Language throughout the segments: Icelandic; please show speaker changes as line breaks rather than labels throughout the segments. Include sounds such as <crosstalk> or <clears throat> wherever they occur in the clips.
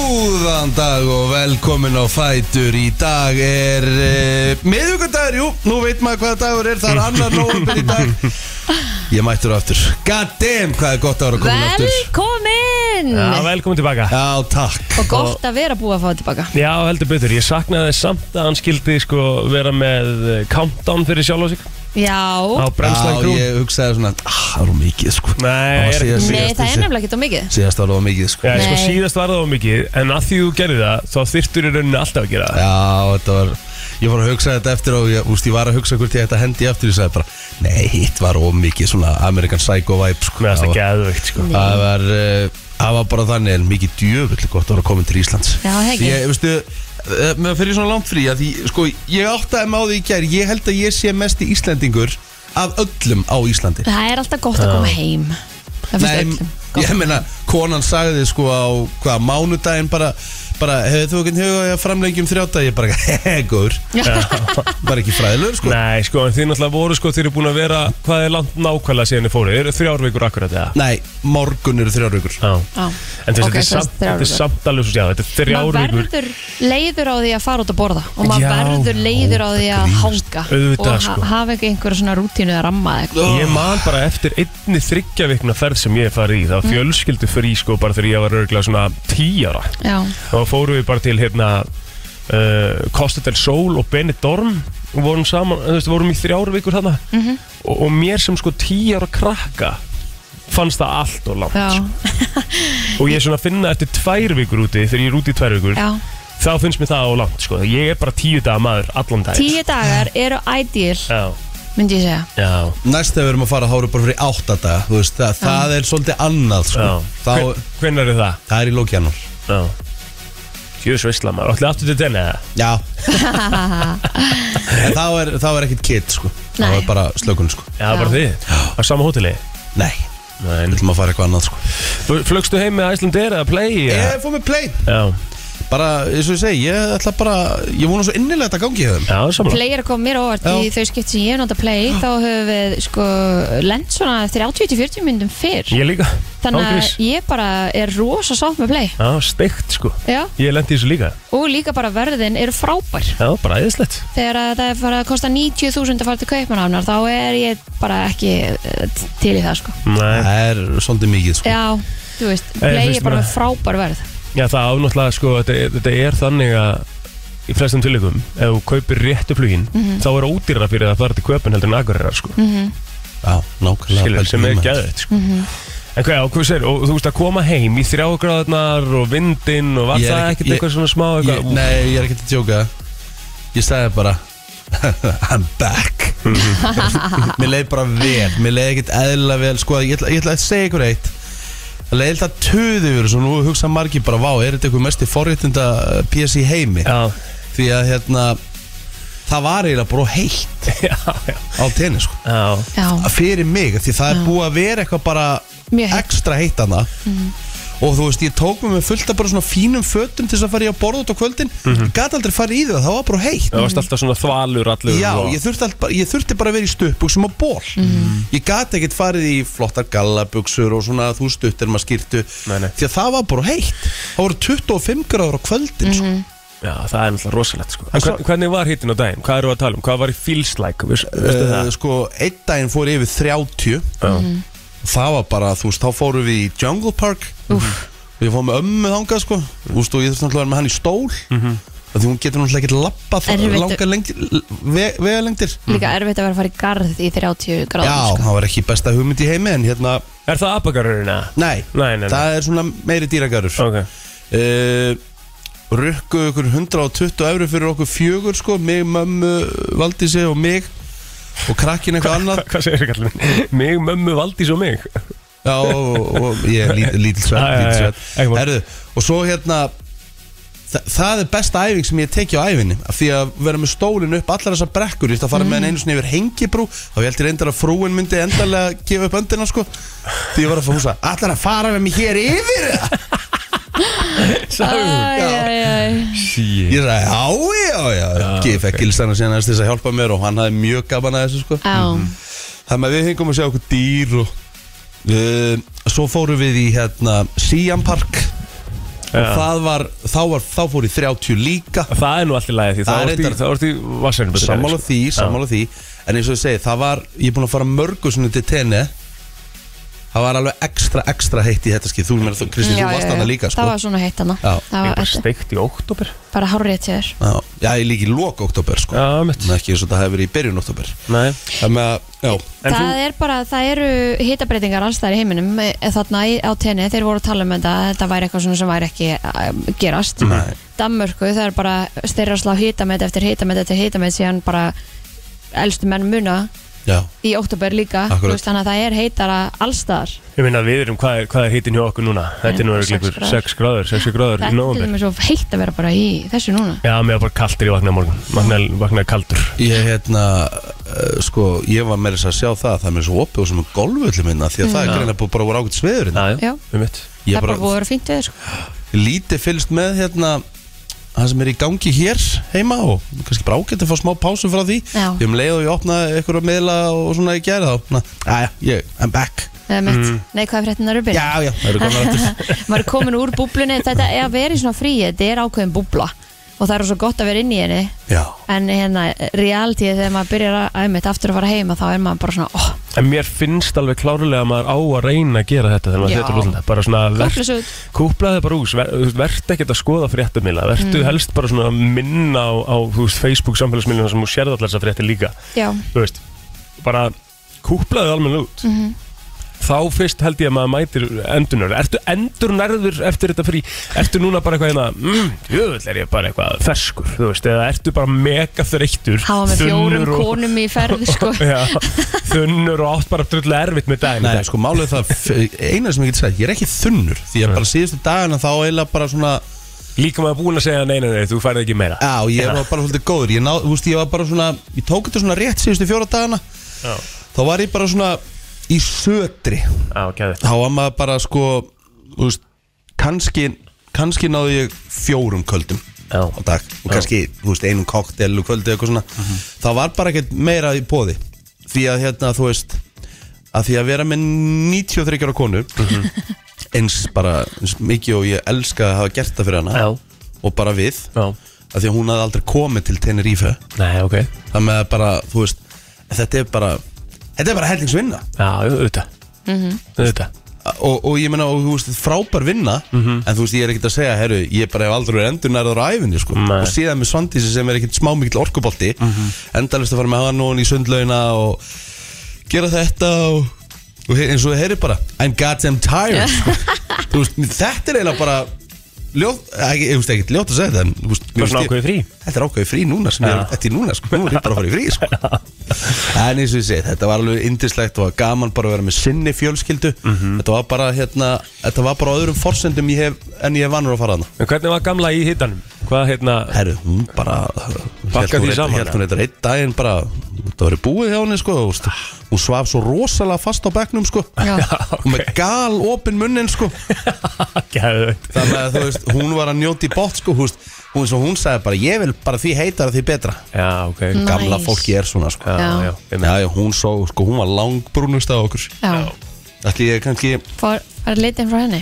Góðan dag og velkomin á Fætur Í dag er uh, miðvíkundagur, jú, nú veit maður hvaða dagur er Það er annar nóvember í dag Ég mættur aftur God damn, hvað er gott að vera komin aftur
Velkomin
Já, velkomin tilbaka
Já, takk
Og gott að vera búið að fá það tilbaka
Já, heldur betur, ég saknaði samt að hann skildi sko vera með eh, countdown fyrir sjálf og sig á
Já,
brennslan
Já,
krú
ég hugsaði svona ah, Það er of mikið, sko
Nei,
Það var
er
síðast-
ekki-
nei
síðast-
það er nefnilega ekki á mikið
Síðast var það of mikið, sko
Já, sko,
Nei.
síðast var það of mikið, en að því þú gerði það, þá þyrftur í rauninni alltaf að gera það.
Já, þetta var Ég fór að hugsa þetta eftir og ég, úst, ég var að hugsa hvort ég ætti að hendi aftur Ég sagði bara, nei, hitt var of mikið svona American Psycho vibe sko.
Mér
Það
finnst það
var-
geðveikt, sko.
Það var, uh, það var bara þannig en mikið djöfull gott að vera komin til Íslands
Já, það ekki.
Ég, veistu, eh, með fyrir svona langt frí að því, sko, ég áttaði mig á því í gær Ég held að ég sé mest í Íslendingur af öllum á
<laughs>
Íslandi
Það er alltaf gott að koma heim Það finnst öllum
<laughs> ég meina, konan sagði sko á hvað, mánudaginn bara, bara hefur þú ekki huga að framlengjum þrjáta ég bara, <laughs> hehehe, góður bara ekki fræðilegur sko
Nei, sko, en þið náttúrulega voru, sko, þið eru búin að vera, hvað er langt nákvæmlega síðan þið fóruð? Þið eru þrjár vikur akkurat, eða?
Nei, morgun eru þrjár vikur
Já.
Já.
En
Ok,
þess að þetta
sem
er
sagt
samt-
þrjár
þetta er
vikur.
samt alveg svo séð, þetta er
Maður
þrjár vikur.
verður leiður á því að fara út að borða Og maður
Já,
verður leiður á því að hanga
Auðvitað,
Og
sko.
hafa ekki einhverja svona rútínu að ramma eða eitthvað.
Ég man bara eftir einni þryggja vikna ferð sem ég hef farið í, það
Mm.
var fjölskyldu frí sko bara þegar ég var örgulega svona 10 ára.
Já,
Þá fórum við bara til hérna uh, Costa del Sol og Benidorm og vorum saman, þú veist, vorum í þrjár vikur þarna
Mhm.
og, og mér sem sko 10 ára krakka fannst það allt og langt
já,
sko. og ég er svona að finna eftir tvær vikur úti þegar ég er úti í tvær vikur
já
þá finnst mér það á langt sko. ég er bara 10 daga maður allan dag
Tíu dagar eru ideal
Já,
Myndi ég segja
já
Næst þegar við erum að fara þá erum við bara fyrir áttadaga þú veist, það, það er svolítið annað sko.
Já.
þá,
Hven- Hvenær er það?
það er í lókjanur
Já Jöfus veistla maður, ætlaði aftur til den eða?
Já <laughs> En þá er, þá er ekkit kid sko. þá
Nei.
er bara slökun sko.
Já, bara
Já.
þið, á sama hóteli
Nei,
Nei,
við ætlum að fara eitthvað annað sko.
flugstu heim með Æslandir eða Play? eða?
Ég fór mig play
Já,
Bara, eins og ég segi, ég ætla bara Ég vona svo innilega að þetta gangi í þeim
já, samanlega
Play er að koma mér á óvart
Já.
í þau skipti sem ég hef nota play þá höfum við sko lent svona 30-40 myndum fyrr
Ég líka,
þannig að
ángriðs
ég bara er rosa sátt með play
Já, steikt sko
Já.
Ég lendi í þessu líka
og líka bara verðin eru frábær
Já, bara æðislegt
þegar að það er farið að kosta 90.000 að fara til kaupmanafnar þá er ég bara ekki eh, til í það sko
Nei,
Það er svolítið mikið sko.
Já, þú veist,
Eh,
play
finnst
er bara
mér-
með frábær verð
já það ánáttúrulega sko þetta, er- þetta er þannig að í flestum tilvikum, ef þú kaupir réttu flugin
Mhm.
þá er ódýrara fyrir það að fara til köpun heldur en agurera sko,
Já, nákvæmlega
skilur, sem
Pældi í
er
maður.
gæðið sko.
Mhm.
En hvað, já, hvað sér, og þú veist að koma heim í þrjágráðnar og vindinn og var
Ég er
það
ekki-
ekkert
ég-
eitthvað svona smá eitthvað,
ég, Nei, ég er ekkert að tjóka Ég sagði bara <laughs> I'm back Mér leiði bara vel Mér leiði ekkert eðlilega vel Sko, ég ætla, ég ætla að segja ykkur eitt Það leiði alltaf töðu yfir þessu og Nú hugsa margir bara, vá, er þetta ykkur mest í forréttinda PS í heimi
Já, <laughs>
Því að, hérna Það var eiginlega bara of heitt
já, já,
á tenni, sko
já.
Já,
Fyrir mig, því það er búið að vera eitthvað bara
Mjög heitt. Mhm.
Ekstra heitt hana Og þú veist, ég tók mig með fullt af bara svona fínum fötum til þess að fara í að borða út á kvöldin
Mhm.
Ég gat aldrei farið í það, það var bara heitt
Það varst alltaf svona þvalur allur
Já,
og...
ég þurfti, alltaf, ég þurfti bara að vera í stuttbuksum og ból
Mhm.
Ég gat ekkert farið í flottar gallabuksur og svona þú stuttir maður skýrtu
Nei, nei.
Því að það var bara heitt Það voru 25 gráður á kvöldin
Mhm.
sko.
Já, það er náttúrulega rosalegt sko.
En
En
svo-
hvern- hvernig var hittin á daginn? Hvað eru að tala um? Hvað var í feels like? Veist, veistu
Uh,
það? Mhm.
sko, einn daginn fór ég yfir 30
Já.
Það var bara, þú veist, þá fórum við í Jungle Park
Mhm.
Úf. Og ég fór með ömmu þangað, sko Þú veist, og ég þurfti náttúrulega að vera með hann í stól mm
Mhm.
-hmm. Því hún getur náttúrulega ekki labbað
Erfitt.
langar lengi, ve, vegalengdir
líka erfitt að vera að fara í garð í 30
Já,
gráðum sko
það var ekki besta hugmynd í heimi En hérna,
Er það abagarurinn eða?
nei,
Nei, nei, nei.
það er svona meiri dýragarur
Ok.
uh, Rukku ykkur 120 eurur fyrir okkur fjögur sko Mig, mömmu, Valdísi og mig Og krakkin eitthvað annað
Hva, hvað segir þið kallin? mig, mömmu, Valdís og mig?
Já, og, og ég er lítil, lítil svett,
Já, já,
lítil
já,
svett.
ekki mál.
Herðu, Og svo hérna þa Það er besta æfing sem ég teki á æfinni af Því að vera með stólinn upp allar þessar brekkur Ég ætla að fara með henni einu sinni yfir hengibrú Þá ég heldur reyndar að frúin myndi endarlega gefa upp öndina sko Því ég var að fá húsa Allar að fara með mig hér yfir eða?"
Æ, æ, æ.
Ah, Sí.
Ég sagði, já, já, já, já Gif ekki listana síðan hans til þess að hjálpa mér Og hann hafði mjög gaman að þessu sko
Já,
Þannig að við hengum að sjá okkur eh, dýr og uh, Svo fórum við í hérna Siam Park og það var, þá, var, þá fór í 30 líka
Það er nú allir lægið því
Það er
Það vorst í,
reyndar-
það vorst í vassanum
sammála því, sammála því en eins og ég segi, það var, ég er búin að fara mörgu svona til tenni það var alveg ekstra, ekstra heitt í þetta skið þú meira þú, Kristi,
Mm.
þú varst hana líka sko.
Það var svona heitt hana
Já.
Það
Ég
var
var
þetta-
steikt í oktober
bara hárrið til þér
já, já, ég líki lók oktober sko.
Já, mitt
en ekki eins og það hefur verið í byrjun oktober
Nei
það með að, já,
En
Það er bara, það eru hitabreitingar alls þær í heiminum eh, þarna í- á tenni, þeir voru að tala um þetta þetta væri eitthvað svona sem væri ekki að gerast
Nei.
Danmörku, það er bara þeirra að slá hitamet eftir hitamet eftir hitamet síðan bara elstu menn muna
já
í oktober líka
Akkurat.
Þú veist, þannig að það er heitara allstar
Ég minna við erum, hvað er, hvað er hitin hjá okkur núna? Þetta er nú
Sex
einhver
gráður.
6 gráður, 6 gráður í
Þetta er til
nóðum
dæmis svo heitt að vera bara í þessu núna
Já, mér var bara kaldur í vaknaði morgun Vaknaði vakna kaldur
Ég hérna, uh, sko, ég var meira þess að sjá það, það er mér svo opið og sem að golfvöldum minna því að það er greinlega búið bara voru ágætt sveðurinn.
Já.
um mitt
Það
Ég
er bara búið að
bara
vera fínt við sko.
lítið fylgst með hérna, það sem er í gangi hér heima og kannski bara ágætt að fá smá pásu frá því.
Já.
Ég um leið og ég opnaði ykkur að miðla og svona ég gerði þá. Na, aðja, ég, I'm back.
Eða mitt, Nei, hvað er fréttin að rubin?
Já, já, það eru komin aftur.
maður er komin úr búblunni þetta er að vera í svona fríi, þetta er ákveðin búbla og það er svo gott að vera inn í henni
<laughs> Já.
en hérna, realtíð þegar maður byrjar að einmitt aftur að fara heima þá er maður bara svona oh,
En mér finnst alveg klárlega að maður á að reyna að gera þetta þegar maður
Já.
setur rúlluna bara svona
Kúpla sig út.
kúplaði bara ús ver, verð ekkert að skoða fréttumila verðu
Mm.
helst bara svona minna á, á þú veist, Facebook samfélagsmiðluna sem þú sérð allar þessar fréttir líka
já,
þú veist, bara kúplaði almenna út
Mhm.
þá fyrst held ég að maður mætir endunar ertu endurnærður eftir þetta frí ertu núna bara eitthvað hérna mm, jöfull er ég bara eitthvað ferskur þú veist, eða ertu bara mega þreyttur
hafa með fjórum
þunnur og-
konum í ferð sko.
<laughs> Já, þunnur og átt bara drullu erfitt með daginn
Nei, sko, málið er það, eina sem ég geti sagt, ég er ekki þunnur því að bara síðustu dagana þá eiginlega bara svona,
Líka maður búin að segja nei, nei, nei, þú færði ekki meira
já, ég var bara svolítið góður, ég, ná, þú veist, ég var bara svona, ég tók þetta svona rétt síðustu fjóra dagana
Já,
þá var ég bara svona í sötri
já, gæði
þá var maður bara sko þú veist, kannski, kannski náði ég fjórum kvöldum
Já.
á dag og kannski þú veist, einum koktel og kvöldi eitthvað svona
Mhm.
það var bara ekkert meira í bóði því að hérna þú veist að því að vera með 93 ára konu
Mhm.
eins bara eins mikið og ég elska að hafa gert það fyrir hana
Já.
og bara við
Já,
að því að hún hafði aldrei komið til Tenerife
nei, ok Já,
það með að bara, þú veist þetta er bara, þetta er bara hellingsvinna
jú, auðvitað
Mhm.
Auðvitað
og, og ég meina, og, þú veist, frábær vinna en þú veist, ég er ekkert að segja, herru ég bara hef aldrei verið endurnærður á æfinni sko.
Nei.
og síðan með Svandísi sem er ekkert smá mikill orkubolti endalist að fara með hann og hann í sundlauna og gera þetta og, og he- eins og það heyri bara I'm goddamn tired sko. þú veist, þetta er eiginlega bara ljótt, ekki, ég veist ekkert ljótt að segja þetta en, þú veist, mér
Bara
finnst
svona
ég-
ákveðið frí
Þetta er ákveði frí núna sem ég er
Já.
eftir núna sko, nú er ég bara að fara í frí
<laughs>
sko. En eins og ég segi, þetta var alveg indislegt og gaman bara að vera með sinni fjölskyldu
Mhm.
Þetta var bara hérna, þetta var bara á öðrum forsendum ég hef, en ég hef vannur að fara hana
En hvernig var gamla í hittanum? Hvað, hérna,
Herru, hún bara
Bakkaði því saman,
Helt hún
ja.
eitthvað einn daginn bara, þetta var búið hjá henni sko þú veist. Hún svaf svo rosalega fast á bekknum sko
Já.
Hún með gal opin munnin sko
gæði
Þannig að þú veist, hún var að njóti bótt sko Hún, hún, svo hún sagði bara, ég vil bara því heitar því betra
Já, ok
Nei.
Gamla
Nice.
fólki er svona sko
Já,
Mm. Já.
já, hérna. einmitt.
Já, já, hún svo, sko, hún var langbrúnust af okkur
já,
Ætli ég kannski,
fór að leita inn frá henni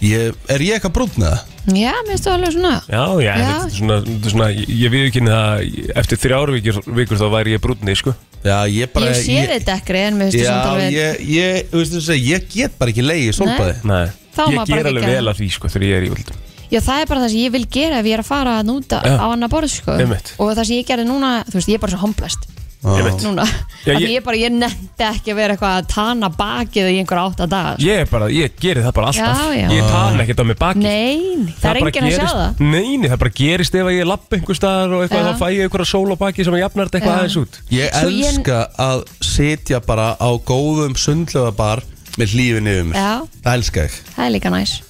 ég, er ég eitthvað brúnn eða?
já, mér stu alveg svona
Já, já,
Já.
þetta er svona, þetta er svona ég, ég viðkynni það eftir þrjár vikur, vikur þá væri ég brúnni, sko
Já, ég bara
ég sé þetta ekkert en mér stu
Já,
samt alveg
ég, ég, þú veist þú segir, ég get bara ekki leið í sólbæði
Nei,
Þá á
ég
maður bara
ger alveg
ekki að-
vel að því, sko, þegar ég er í völdum
Já, það er bara það sem ég vil gera ef ég er að fara að núta
Já.
á annar borð, sko.
Einmitt.
Og það sem ég gerði núna, þú veist, ég er bara svo homblast
Ah.
Einmitt.
núna.
Já,
Af því
ég-
ég bara, ég nefndi ekki að vera eitthvað að tana bakið í einhver átta sko. dag.
Ég er bara, ég geri það bara alltaf
Já, já.
Ég tala ekkert á mig baki
Nei, það, er
bara
enginn að sjá
gerist-
það.
Neini, það bara gerist ef að ég lapp einhver staðar og eitthvað,
Já.
þá fæ ég einhverja sól á baki sem að jafnar þetta eitthvað
Já.
aðeins út
Ég
Svo ég-
elska að sitja bara á góðum sundlöfabar með hlífinni um mig
Já.
Það elska ég
Það er líka næs.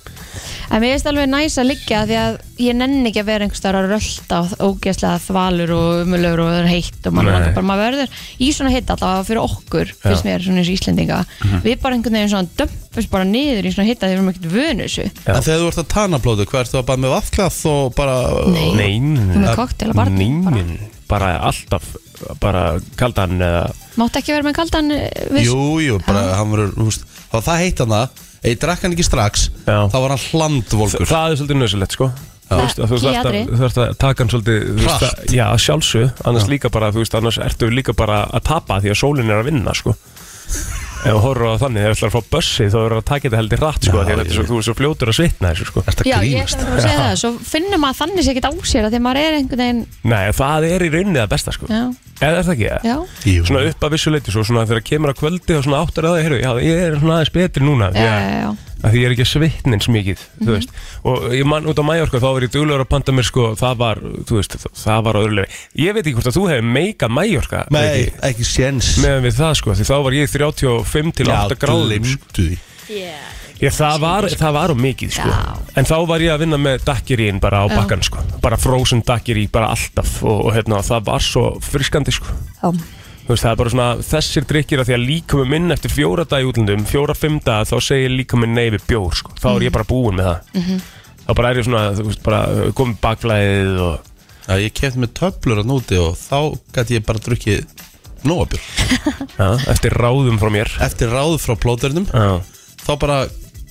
En mér finnst alveg næs að liggja því að ég nenni ekki að vera einhvers staðar að rölda og ógeðslega þvalur og umulöfur og það er heitt og mann
Nei.
langar bara maður verður í svona hitt allavega fyrir okkur, finnst mér svona eins og Íslendinga.
Mhm.
Við bara einhvern veginn svona dömpust bara niður í svona hitta því við erum ekkert vönu þessu.
Já.
En þegar þú ert að tanablóðu, hvað ertu að bara með vatklað og bara
Nei. Þú
Nein,
með koktel að barni bara.
nein Bara alltaf, bara kaldan eða
Máttu ekki vera með kaldan eh, við
Jú, jú, bara hann verður, þú veist, það var það heitt hann það Ef ég drakk hann ekki strax
Já.
Þá var hann hlandvolgur
Það er svolítið nöðsilegt sko Þú veist, að Þú
Í
þarft að,
allri.
þú þarft að taka hann svolítið þú veist,
Hratt.
að- Já, að sjálfsög, annars líka bara þú veist, annars ertu líka bara að tapa því að sólin er að vinna sko Ef þú horfður á það þannig, ef þú ætlar að fá bussi þá verður að taka þetta heldur hratt
Já,
sko því að þetta er
ég
svo, þú er svo fljótur að svitna þessu sko
Þetta
Já, ég
grínast
ætla bara að segja það Svo finnur maður þannig sér ekkert á sér að Þegar maður er einhvern veginn
Nei, það er í rauninni það besta sko
Já,
Eða er það ekki það?
já,
Jú.
Svona upp að vissu leyti svo, svona þegar kemur að kvöldi og svona áttur að það, heyrðu, já, ég er svona aðeins betri núna
já,
því að-
já, já.
að því ég er ekki að svitna eins mikið
Mhm.
þú veist, og ég mann út á Mallorca þá var ég duglegur að panta mér sko, það var þú veist, það var öðrulega ég veit ekki hvort að þú hefur meika Mallorca
Nei,
Riki,
ekki séns
meðan við það sko, því þá var ég 35 til 8 gráðum sko.
glimtu því
ég, það, var, það var á mikið sko.
Já.
en þá var ég að vinna með dakkirín bara á
Já.
bakkan, sko. bara frozen dakkirí bara alltaf og, og hérna, það var svo friskandi sko
já.
Þú veist, það er bara svona þessir drikkir að því að líkamum minn eftir fjóra dag í útlundum, fjóra-fimm dag þá segir líkaminn nei við bjór sko. þá er ég bara búinn með það þá bara er ég svona, þú veist, bara uh, komið bakflæðið og
Já, ég kefti með töflur að núti og þá gæti ég bara drukkið nóabjörn
ja, eftir ráðum frá mér
Eftir ráð frá plóturnum
Já.
þá bara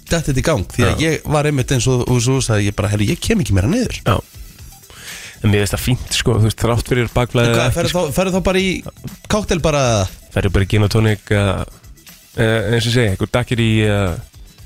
dætti þetta í gang því að
Já.
ég var einmitt eins og og svo sagði ég bara, herri, ég kem ekki meira niður
Já. en mér veist það fínt sko, þú veist, þrátt fyrir
En
bakflæðið
hvað,
ekki,
ferðu þá, ferðu þá bara í káttel bara
sko. ferðu bara í gin og tónik uh, uh, eins og ég segi, einhver dagir í uh,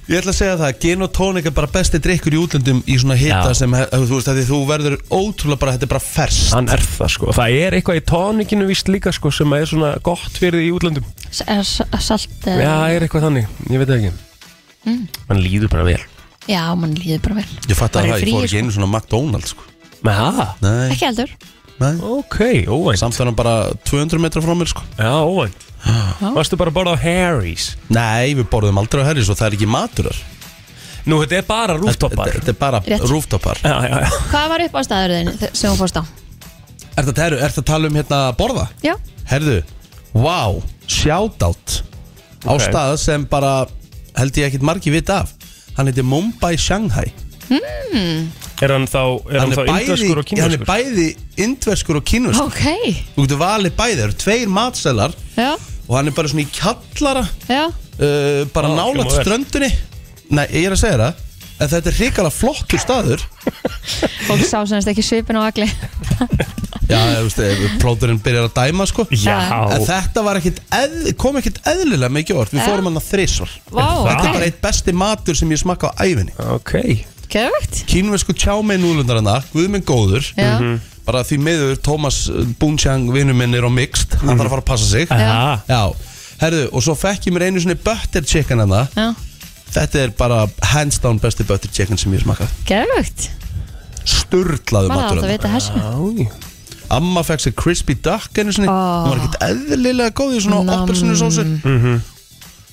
Ég ætla að segja það, gin og tónik er bara besti drikkur í útlöndum í svona hita
Já.
sem, eh, þú veist, af því þú verður ótrúlega bara, þetta er bara ferskt
hann er það sko, það er eitthvað í tónikinu víst líka sko, sem er svona gott fyrir því í útlundum
S- eða s- Salt eh, eða-
Já, er eitthvað þannig, ég veit það ekki Mann líður bara vel
já mann líður bara vel
Ég fatt að
Maður er
það, ég
frí,
fór
sko.
ekki einu svona McDonalds sko.
Með það?
Nei,
Ekki heldur
nei
Ok, óvænt
Samt er hann bara 200 metra frá mér sko
Já, óvænt Varstu bara að borða á Harry's
Nei, við borðum aldrei á herri svo það er ekki maturar
Nú, þetta er bara rooftopar
Þetta þetta er bara
Rétt.
rooftopar
Já, já, já
Hvað var upp á staður þinn þe- sem þú fórst á?
Er þetta er, er að tala um hérna borða?
Já,
Herðu, wow, shoutout Á
Ok.
stað sem bara held ég ekkit margi vita af Hann heitir Mumbai Shanghai
Er hann þá, er hann
Hann
þá
er bæði,
indaskur og
hann er
kínaskur?
bæði indverskur og kínverskur
ok
Þú getur valið bæði, það eru tveir matselar
Já,
Og hann er bara svona í kjallara
já,
uh, Bara
Ó,
nálægt
hljómar vel.
ströndinni Nei, ég er að segja það En þetta er hrikalega flottur staður
fólk sá sem þetta ekki svipin á agli
Já, þú veist, ef plóturinn byrjar að dæma sko En
Já
þetta var ekkit eð, kom ekkit eðlilega mikið orð Við
Já.
fórum hann að þrisvar
Vá,
Þetta er bara
ok,
eitt besti matur sem ég smakka á æfinni
Ok
geðvægt
Kínvesku tjámei núlundarana, Guðminn góður
Já, Mhm.
Bara því miður Tómas Búnsjang vinnu minn er á mixt Hann þarf að fara að passa sig
Aha.
Já, herðu, og svo fekk ég mér einu svona butter chicken hana
já,
Þetta er bara hands down besti butter chicken sem ég smakað
geðvægt
Sturlaðu
Bara átt
matur
að
hana
vita þessu
Já
Amma fekk sér crispy duck einu sinni
Ah.
Hún var ekkert eðlilega góð í svona
Nam.
oppelsinu sósu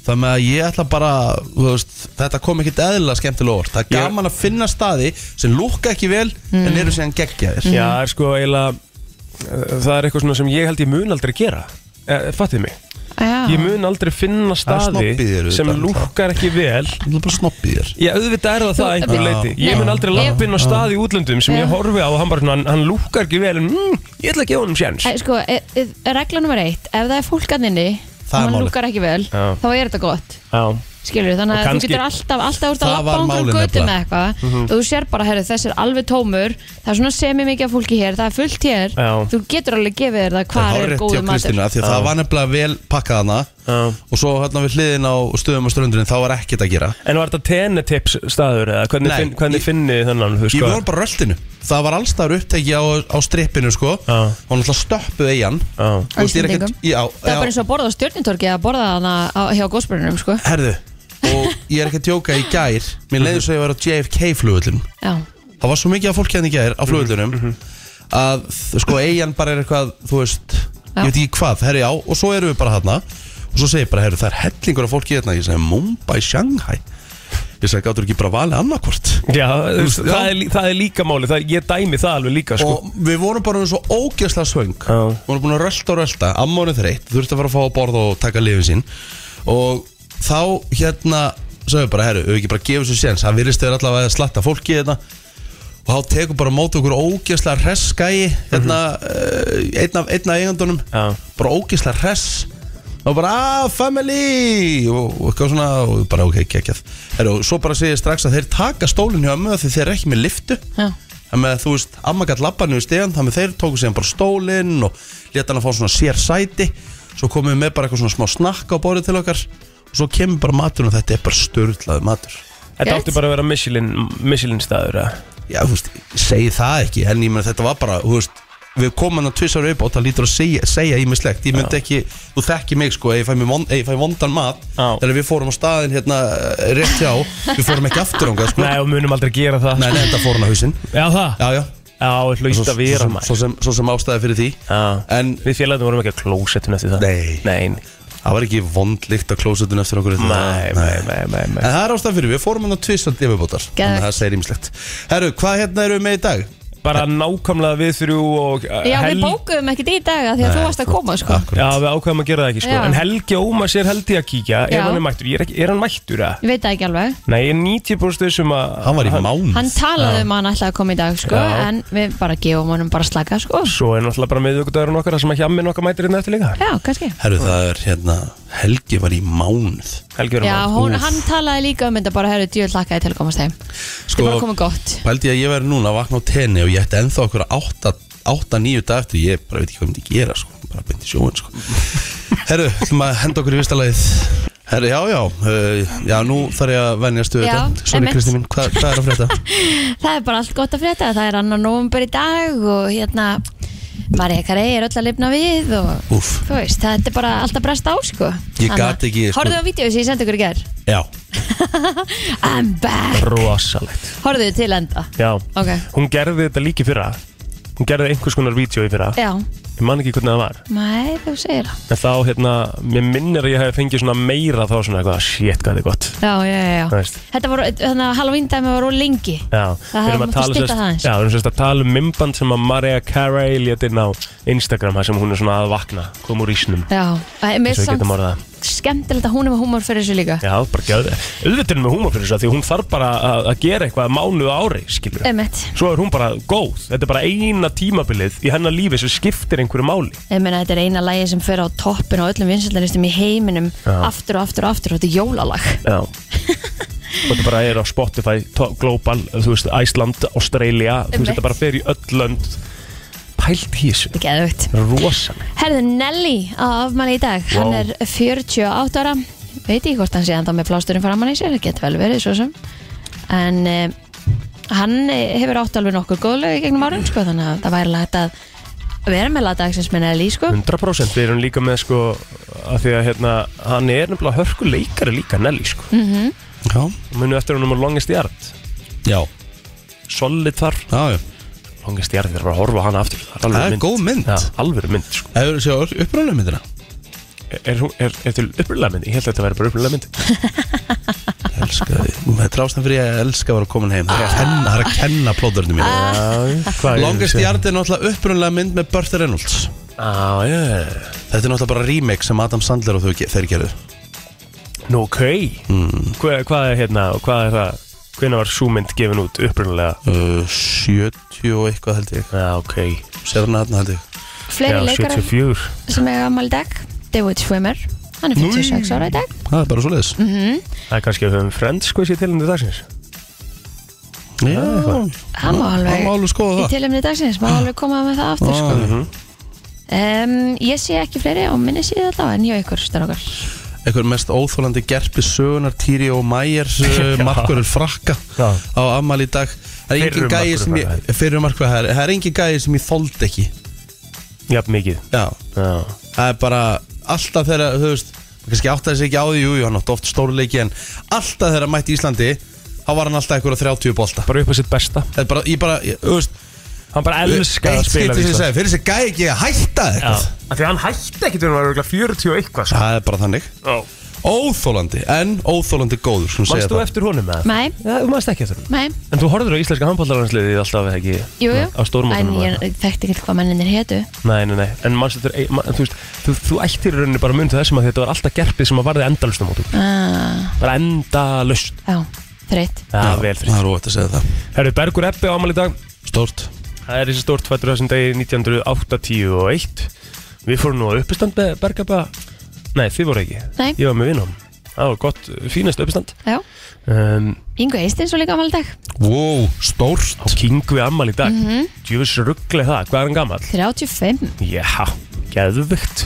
Þannig að ég ætla bara, þú veist, þetta kom ekkert eðlilega skemmtilega orð Það er
Ég-
gaman að finna staði sem lúkka ekki vel
Mm.
en eru síðan geggjaðir
Já, er sko eiginlega uh, Það er eitthvað svona sem ég held ég mun aldrei gera Eh, Fattið mig Ég
Já,
mun aldrei
Það
finna
er
staði
snobbið um þér
sem
auðvitað.
lúkkar ekki vel
Það er bara snoppið þér
Já, auðvitað er það það einhver
Já.
leiti Ég mun aldrei
Nei.
lappin á stað í útlöndum sem
Já.
ég horfi á og hann bara svona, hann, hann lúkar ekki vel en mm, ég ætla að gefa honum sjans
e, sko, e, e, regla nummer eitt Ef það er fólk að nynni
Það er
og mann
málið.
lukkar ekki vel,
Já.
þá er þetta gott
Já,
skilur þannig
Og
að
kannski-
þú getur alltaf alltaf úr að
Það
lappa
var
á einhverjum
málið
götu með
nefnilega. Mhm.
eitthvað og þú sér bara, herru, þessi er alveg tómur það er svona semi mikið af fólki hér, það er fullt hér
Já.
þú getur alveg gefið þér það
Það
hvað
er
er
rétt hjá
góð matur
Kristínu af því að það var nefnilega vel pakkað hana
já
og svo hérna við hliðin á stöðum og ströndurinn þá var ekkert að gera
En var þetta tenetips staður eða hvernig,
Nei,
finn, hvernig
ég-
finni þennan þú
Ég
sko?
var bara á röltinu Það var allstaður uppteki á, á strippinu sko
Já.
og hann alltaf stöppuð eigin
Já.
Íslendingum?
Já,
það er bara
já,
eins og að borða á stjórnintorki eða borða hana á- hjá góðspyrunum sko.
herðu og ég er ekki að djóka í gær mér
Mhm.
leiði svo að ég var á JFK flugvöllum
já,
það var svo mikið af fólki hann í gær á flugvöllunum að þ- sko eigin bara er eitthvað þú veist,
Já.
ég veit ekki hvað herri já, og svo erum við bara hann og svo segir ég bara, herru, það er hellingur af fólki hérna ég segi, Mumbai, Shanghai ég segi, gáttur ekki bara valið annarkvort
Já, þú veist,
Já.
það, er, lí- það er líka máli það, Ég dæmi það alveg líka sko.
og við vorum bara um svo ógeðslega svöng
Já.
við vorum búin að rölda og rölda amma honum þreytt, þurfti að fara að fá að borða og taka lifin sín og þá hérna sagði bara, herru, við ekki bara gefum svo séns það virðist þeir allavega að slatta fólki hérna og þá tekur bara á móti okkur ógeðslega hress gæi hérna, mm einn, af, einn af eigandunum
Já.
bara ógeðslega hress og bara ah, family og, og eitthvað svona og bara ok, kekjað Heru, og svo bara segir ég strax að þeir taka stólinn hjá ömmu af því þeir eru ekki með liftu
Já.
Það með að þú veist, amma gætt labbarnu í stegan þannig að þeir tóku síðan bara stólinn og leta hann að fá svona sér sæti svo komum við með bara eitthvað svona smá snakka á borðið til okkar og svo kemur bara maturinn og þetta er bara störlaði matur
Þetta
Gæt.
átti bara að vera Michelin, Michelin staður eða?
Já, þú veist, segi það ekki En ég meina þetta var bara, þú veist Við komum hann að tvisar upp og það lítur að segja, segja ímislegt Ég myndi ekki, þú þekki mig sko Ef ég fæ, mig von, ef ég fæ vondan mat
Já.
Þegar við fórum á staðin hérna eh, rétt hjá Við fórum ekki aftur ánga sko
Nei, og munum aldrei gera það
Nei, nei, þetta fór hann á hausinn
Já, það?
Já, já
Já, hlaut að vera
svo,
maður
svo, sem, svo sem ástæði fyrir því
Já.
En
Við félagðum vorum ekki að klósetun eftir það
Nei.
Nei,
það var ekki vondlikt á klósetun eftir okkur þetta.
nei, nei, nei, nei, nei.
En það er ástæð fyrir, við fórum hérna hann á tvisar divibótar Þannig að það segir ímislegt Herru, hvað hérna erum við með í dag?
Bara nákvæmlega við þrjú og uh,
Já, við
Hel-
bókuðum ekkert í dag af því að þú varst að koma sko.
Akkurat.
Já, við ákveðum að gera það ekki sko
Já.
En Helgi Ómars er held ég að kíkja
Já.
Ef hann er mættur, ég er, ekki, er hann mættur að?
Ég veit það ekki alveg
Nei, ég er 90% sem um að
Hann var í mánuð
Hann talaði um að hann ætlaði að koma í dag sko,
Já.
en við bara gefum honum bara slaka sko.
Svo er náttúrulega bara miðvíkudagurinn okkar þar sem að hjammin okkar mætir hérna eftir líka
Já, kannski
Herru, það er hérna, Helgi var í mánuð
Helgi er
Já,
hann
hún, hann talaði líka um þetta bara herri djúið lakaði til að komast heim Þetta er bara komið gott
Sko, pældi ég að ég verði núna að vakna á tenni og ég ætti ennþá okkur 8-9 dag eftir, ég bara veit ekki hvað ég myndi gera sko, bara beint í sjóin
<laughs>
sko. Herru, ætlum að henda okkur í fyrsta lagið Herru, já, já, uh, já, nú þarf ég að venjast við
Já,
þetta Sorry
einmitt.
Kristi mín, hvað, hvað er að frétta?
<laughs> Það er bara allt gott að frétta, það er annar nóvumber í dag og hérna Marja Karei er öll að lifna við og
Úf,
þú veist, þetta er bara allt að bresta á sko
Ég gat ekki, sko-
sko Horfðu á vídeo sem ég sendi ykkur í ger
já,
I'm back
Rosalegt
Horfðu til enda
Já
Ok,
Hún gerði þetta líki fyrra Hún gerði einhvers konar vídeo í fyrra
já,
Ég man ekki hvernig það var
mæ, þú segir það
En þá, hérna, mér minnir að ég hef fengið svona meira þá svona eitthvað Shit, hvað þetta er gott
Já, já, já, já
Það veist
Þetta var, þannig að Halloween dæmi var úr lengi
Já,
Það
við erum
mátti
að tala
stytta
sérst-
það aðeins.
Já, við erum sérst að tala um mymband sem að Mariah Carey létt inn á Instagram þar sem hún er svona að vakna, kom úr ísnum
Já, Æ, mér
eins
er
og við
samt
getum orðað það.
skemmtilegt að hún er með húmor fyrir þessu líka
Já, bara gjöðu Auðvitað er hún með húmor fyrir þessu af því hún þarf bara að, að gera eitthvað mánuð á ári, skilur
Emmett,
Svo er hún bara góð, þetta er bara eina tímabilið í hennar lífi sem skiptir einhverju máli
ég meina þetta er eina lægi sem fer á toppin og öllum vinsætlanistum í heiminum
Já.
aftur og aftur og aftur og þetta er jólalag
Já Og þetta bara er á Spotify, to- Global, þú veist, Æsland, Australia Þú veist,
Einmitt.
þetta bara fer í öll lönd Pælt í þessu
Þetta er geðvögt
Rosaleg
Herðu Nelly á afmæli í dag,
Vá.
hann er 48 ára veit ég hvort hann sé enda með plásturinn framann í sér, það getur vel verið svo sem en eh, hann eh, hefur átt alveg nokkur góðlög í gegnum árum sko, þannig að það væri lægt að vera með lagdagsins með Nelly sko.
100% við erum líka með sko að því að hérna, hann er nefnilega hörku leikari líka Nelly sko mm.
já,
munu eftir hann um að longest yard
já,
solid þar,
já, já
longest yard þegar bara að horfa á hana aftur það er, alvöru
Það er góð mynd.
ja, alveg mynd sko.
Það eru séu uppræðlega myndina
er, er, hún- er, er til upprýðlega mynd, ég held að þetta væri bara upprýðlega mynd
<laughs> Ég elska þig, Ah. Nú, þetta er ástæðan fyrir ég að elska að vera komin heim Það er að kenna, það er að kenna plóðurinu mínu
ah,
Longest Yard er náttúrulega uppræðlega mynd með Bertha Reynolds
ah, yeah.
Þetta er náttúrulega bara remake sem Adam Sandler og þau, ge- þeir gerðu
nú ok
Mm.
Hva, hvað er hérna og hvað er það hvenær var sú mynd gefin út upprýðlega
uh, 70 og eitthvað held ég
já ok,
Sér hann held ég
fleiri
já
leikarar
74
sem er gammal í dag David Schwimmer, hann er 56 ára í dag
Það er bara svo leiðis mm.
það er kannski að við höfum friends sko sér til henni dagsins
Já,
hann má
það má
alveg
alveg skoða
í
það
tilumni dagsins, má alveg koma með það aftur sko.
Ah,
um, ég sé ekki fleiri og minni sé þetta en hjá ykkur strákar
Einhver mest óþólandi gerpi sögunar Týri og Mæjar
<laughs> Já.
Markurur uh, frakka
Já.
á ammali í dag Það er engin
Fyrrum
gæi sem ég
markvörður
Fyrir markvörður það er- það er engin gæi sem ég þóld ekki
jafn mikið
Já,
já
það er bara alltaf þegar, þú veist maður kannski áttaði sig ekki á því, jú, jú, hann átti oft stórleiki en alltaf þegar hann mætti Íslandi þá var hann alltaf einhverja 30 bolta
bara upp á sitt besta
Það er bara, ég bara, ég, þú veist
hann bara elskar að
eitt skipti
spila við
sem ég
Ísland
segi, fyrir þessi gæi ekki að hætta
Já,
eitthvað
af því að hann hætti ekkert þegar hann var örgulega 40 og eitthvað sko.
Það er bara þannig Óþólandi, en óþólandi góður skulum segja
Manst þú
það.
eftir honum með það?
Nei.
Já, þú manst ekki eftir honum
Nei,
En þú horfður á íslenska handbóllarhansliðið alltaf eða ekki
jú, jú.
Á stórmótunum
en ég þekkti ekki hvað menninir hétu
Nei, nei, nei En manst eftir, ei- man, þú veist, þú, þú ættir í rauninni bara mun til þessum að þetta var alltaf gerpið sem að varði endalustum mótum
ah,
Bara endalust
já, þreitt
Já,
Já,
vel
Það
fyrir
er óvægt að segja það
Herru, Bergur Ebbi ámali í dag
Stórt
Það er þessi stórt fættur þessum degi 1981 Við fórum nú á uppistand með Bergabba Nei, þið voru ekki
Nei.
Ég var með vinnum Það var gott, fínast uppistand
Já,
um,
Ingo Eistins var líka ámæli í dag
Wow, stórt
Á Kingu ammal í dag mm -hmm. Djöfis ruggli það, hvað er hann gammal?
35
Já, geðvögt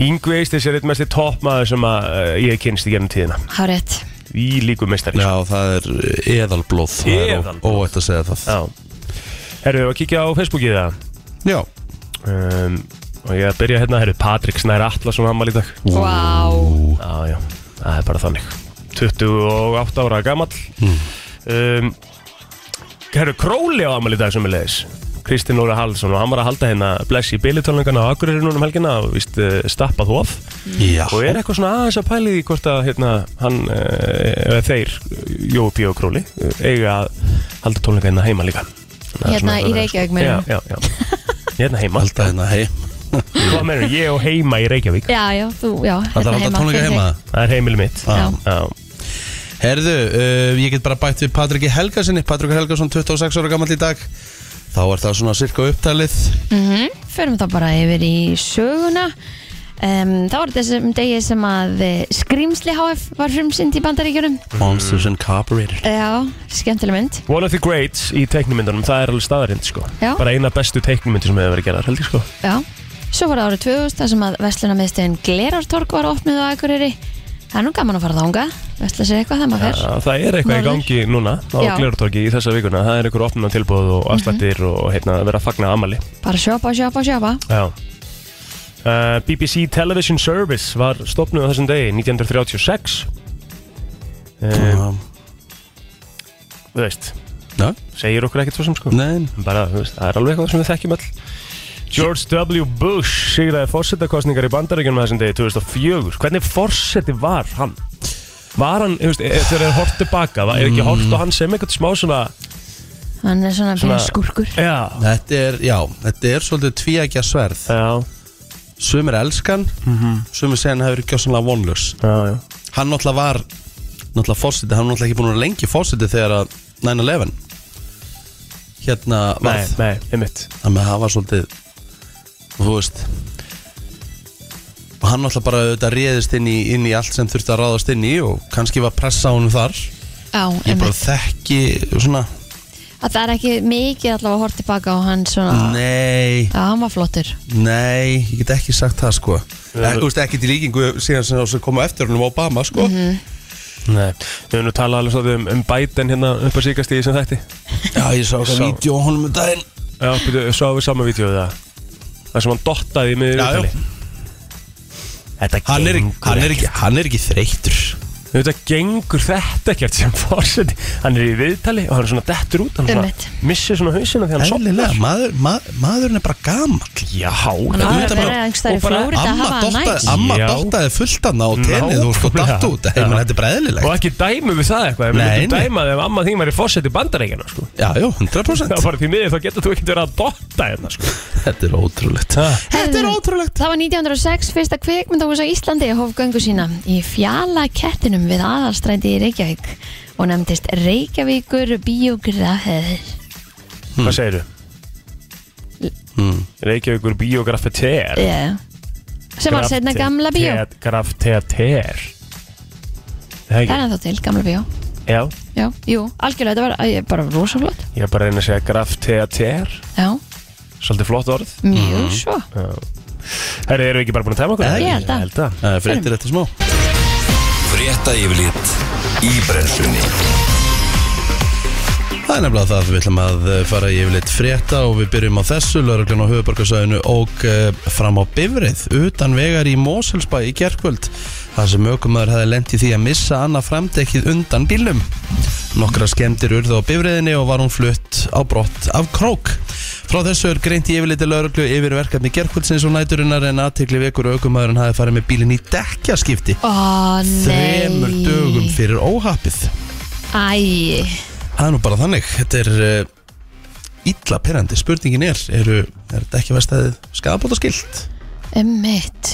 Ingu Eistis er eitt mesti toppmaður sem að uh, ég hef kynst í gennum tíðina
Hárétt
Í líku mestari
Já, það er eh, eðalblóð Það er ó-
Eðalblóð.
Óætt að segja það
Já Herru, að kíkja á Facebookið það
Já,
um, Og ég að byrja hérna, herru, Patrik Snær Atlasson ammal í dag
Vá wow.
Já, já, það er bara þannig 28 ára gamall
Hmm.
um, Herru, Króli á amal í dag sem er leiðis Kristinn Óra Hallsson og hann var að halda hérna bless í bilitölningana á Akureyri núna um helgina og víst uh, stappað hóf
já
og er eitthvað svona aðeins að pæli því hvort að hérna, hann, uh, þeir Jópi og Króli uh, eiga að halda tónleika hérna heima líka Það er
Hérna
svona-
í Reykjavík,
Já,
meinarðu?
já, já Hérna heima
Alltaf hérna heim
Hvað meinar, ég og heima í Reykjavík
Já, já, þú, já hérna
Það er alltaf tónleika heima
Það er heimili mitt
Já.
Ah.
Já.
Herðu, uh, ég get bara bætt við Patriki Helgasinni Patrik Helgason, 26 ára gammal í dag Þá er það svona cirka upptalið
mm Förum þá bara yfir í söguna um, Það var þessum degi sem að eh, Skrýmsli HF var frumsynd í bandaríkjunum
Monsters Incorporated
Já, skemmtileg mynd
One of the greats í teiknumyndunum, það er alveg staðarind sko
Já.
Bara eina bestu teiknumyndu sem hefur verið gerðar, held ég sko
Já, svo var það árið 2000 þar sem að Vestlunarmiðstöðin Glerartorg var opnuð á Akureyri Það er nú gaman að fara þángað, vestla sér eitthvað þegar maður fer
Já, Það er eitthvað í
Norður.
gangi núna á
Já. Mhm.
Glertorki í þessa vikuna Það er eitthvað opnuna tilbúð og afslættir og heitna, vera að fagna amali
Bara sjópa, sjópa, sjópa
Já uh, BBC Television Service var stopnuð á þessum degi 1936 uh,
Já,
Þú veist,
Já.
segir okkur ekkert svo sem sko
Nein,
bara, þú veist, það er alveg eitthvað sem við þekkjum all George W. Bush sigraði fórsetakostningar í bandaríkjunum þessum degi 2004 hvernig fórseti var hann? Var hann, þú veist, e- þegar er hort tilbaka var, er ekki hort á hann sem eitthvað smá svona
Hann er svona, svona
Svona-
skurkur
já,
þetta er, já, þetta er svolítið tvíækja sverð
já,
Sumir elskan, sumir segja hann hefur gjössanlega vonlaus
já, já.
Hann náttúrulega var, náttúrulega fórseti, hann var náttúrulega ekki búin að vera lengi fórseti þegar að 9-11 Hérna
nei,
varð
nei, einmitt
Þannig að það var svolítið Þú veist Og hann alltaf bara auðvitað réðist inn í, inn í allt sem þurfti að ráðast inn í Og kannski var pressa á honum þar Ég
Já,
bara
einmitt
þekki svona
Að Það er ekki mikið allavega að horfa tilbaka á hann svona
Nei,
Já, hann var flottur
nei, ég get ekki sagt það sko Ek, Þú veist ekki til líkingu síðan sem það koma eftir honum Obama sko
nei. við höfum nú talað alveg svolítið um, um Biden hérna upp að síkast í sem þætti
Já, ég sá okkar
Sá.
vídeo á honum um daginn
já, byrju, svo við saman vítjóðu það það sem hann dottaði í miður
Já, já.
viðtali Þetta
hann er,
gengur
hann, er ekki, hann er ekki þreytur
auðvitað gengur þetta ekkert sem fórseti hann er í viðtali og hann er svona dettur út hann
Einmitt.
svona missir svona hausina þegar hann
Eðlilega,
sopnar
maður, maður, maðurinn er bara gamall
já,
Hann á
hann
að
auðvitað
vera
bara-
einhvers þar í
og bara-
Flóri að
Amma
hafa hann
dottaði,
næs
amma
Já.
dottaði fulltanna á tenið og sko datt út
Já.
Hei, menn, þetta er breðilegt
og ekki dæmu við það eitthvað við
Nei,
myndum
nei.
dæma þegar amma þín væri fórseti bandarækjana sko.
Já, já,
það
100%
var bara því miður þá getur þú ekkert verið að dotta hérna sko.
Þetta er ótrúlegt Þetta er ótrúlegt
Það var 1906 fyrsta kvikmyndahús á Íslandi hóf göngu sína í fjala kettinum við aðalstrændi í Reykjavík og nefndist Reykjavíkur biografið.
hvað segir þú?
Mm.
Reykjavíkur biografetér
Yeah. Sem var setna gamla bíó.
grafteatér
Það er ennþá til, gamla bíó.
já,
Já, jú, algjörlega, þetta var æ, ég, bara rosa flott.
ég er bara að reyna að segja grafteatér
Já,
svolítið flott orð
mjög
Mhm.
svo.
Herri, erum við ekki bara búin að tæma okkur?
Ég
held að.
að
Það er fréttir eftir smá
Frétta yfirlit í brennslunni
Það er nefnilega það, við ætlum að eh, fara í yfirleitt frétta og við byrjum á þessu lauruglan á höfuborgarsæðinu og eh, fram á bifrið utan vegar í Moselsbæ í gerkvöld þar sem aukumæður hefði lent í því að missa annað framdekkið undan bílum Nokkra skemmtir urðu á bifriðinni og var hún flutt á brott af krók Frá þessu er greint í yfirleiti lauruglu yfir verkefni gerkvöldsins og næturinnar en aðtikli vekur aukumæðurinn hafi farið með bílinn í dekkjaskipti
Ó, nei.
þremur dögum fyrir óhappið
Æ,
Það er nú bara þannig, þetta er uh, illa perandi, spurningin er eru, er þetta ekki verðstæðið skadabóta skilt?
emmitt.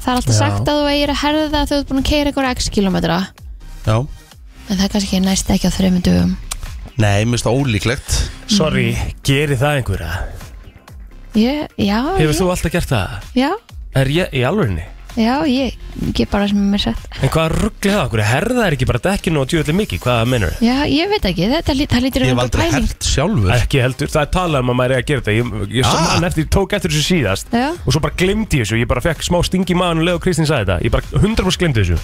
Það er alltaf
Já.
sagt að þú eigir að herða það þegar þú ert búin að keira einhverja x kilometra.
Já
En það er kannski næst ekki á þremur dögum.
Nei, mér finnst það ólíklegt
Sorry, geri það einhverja
Ég, já,
Hefur
ég,
þú alltaf gert það?
já,
Er ég í alvörinni?
já, ég get bara sem er mér sett
En hvað ruggli það okkur? Herða er ekki bara dekkinu og djúðlega mikið, hvað mennur þið?
Já, ég veit ekki, þetta lít- það lítur
Ég
um
hef aldrei hert sjálfur
Ekki heldur, það er talað um að maður er að gera þetta Ég, ég ah.
Ah.
man eftir, tók eftir þessu síðast
Já.
Og svo bara glemdi ég þessu, ég bara fekk smá sting í maðan og leið og Kristín sagði þetta Ég bara 100% glemdi þessu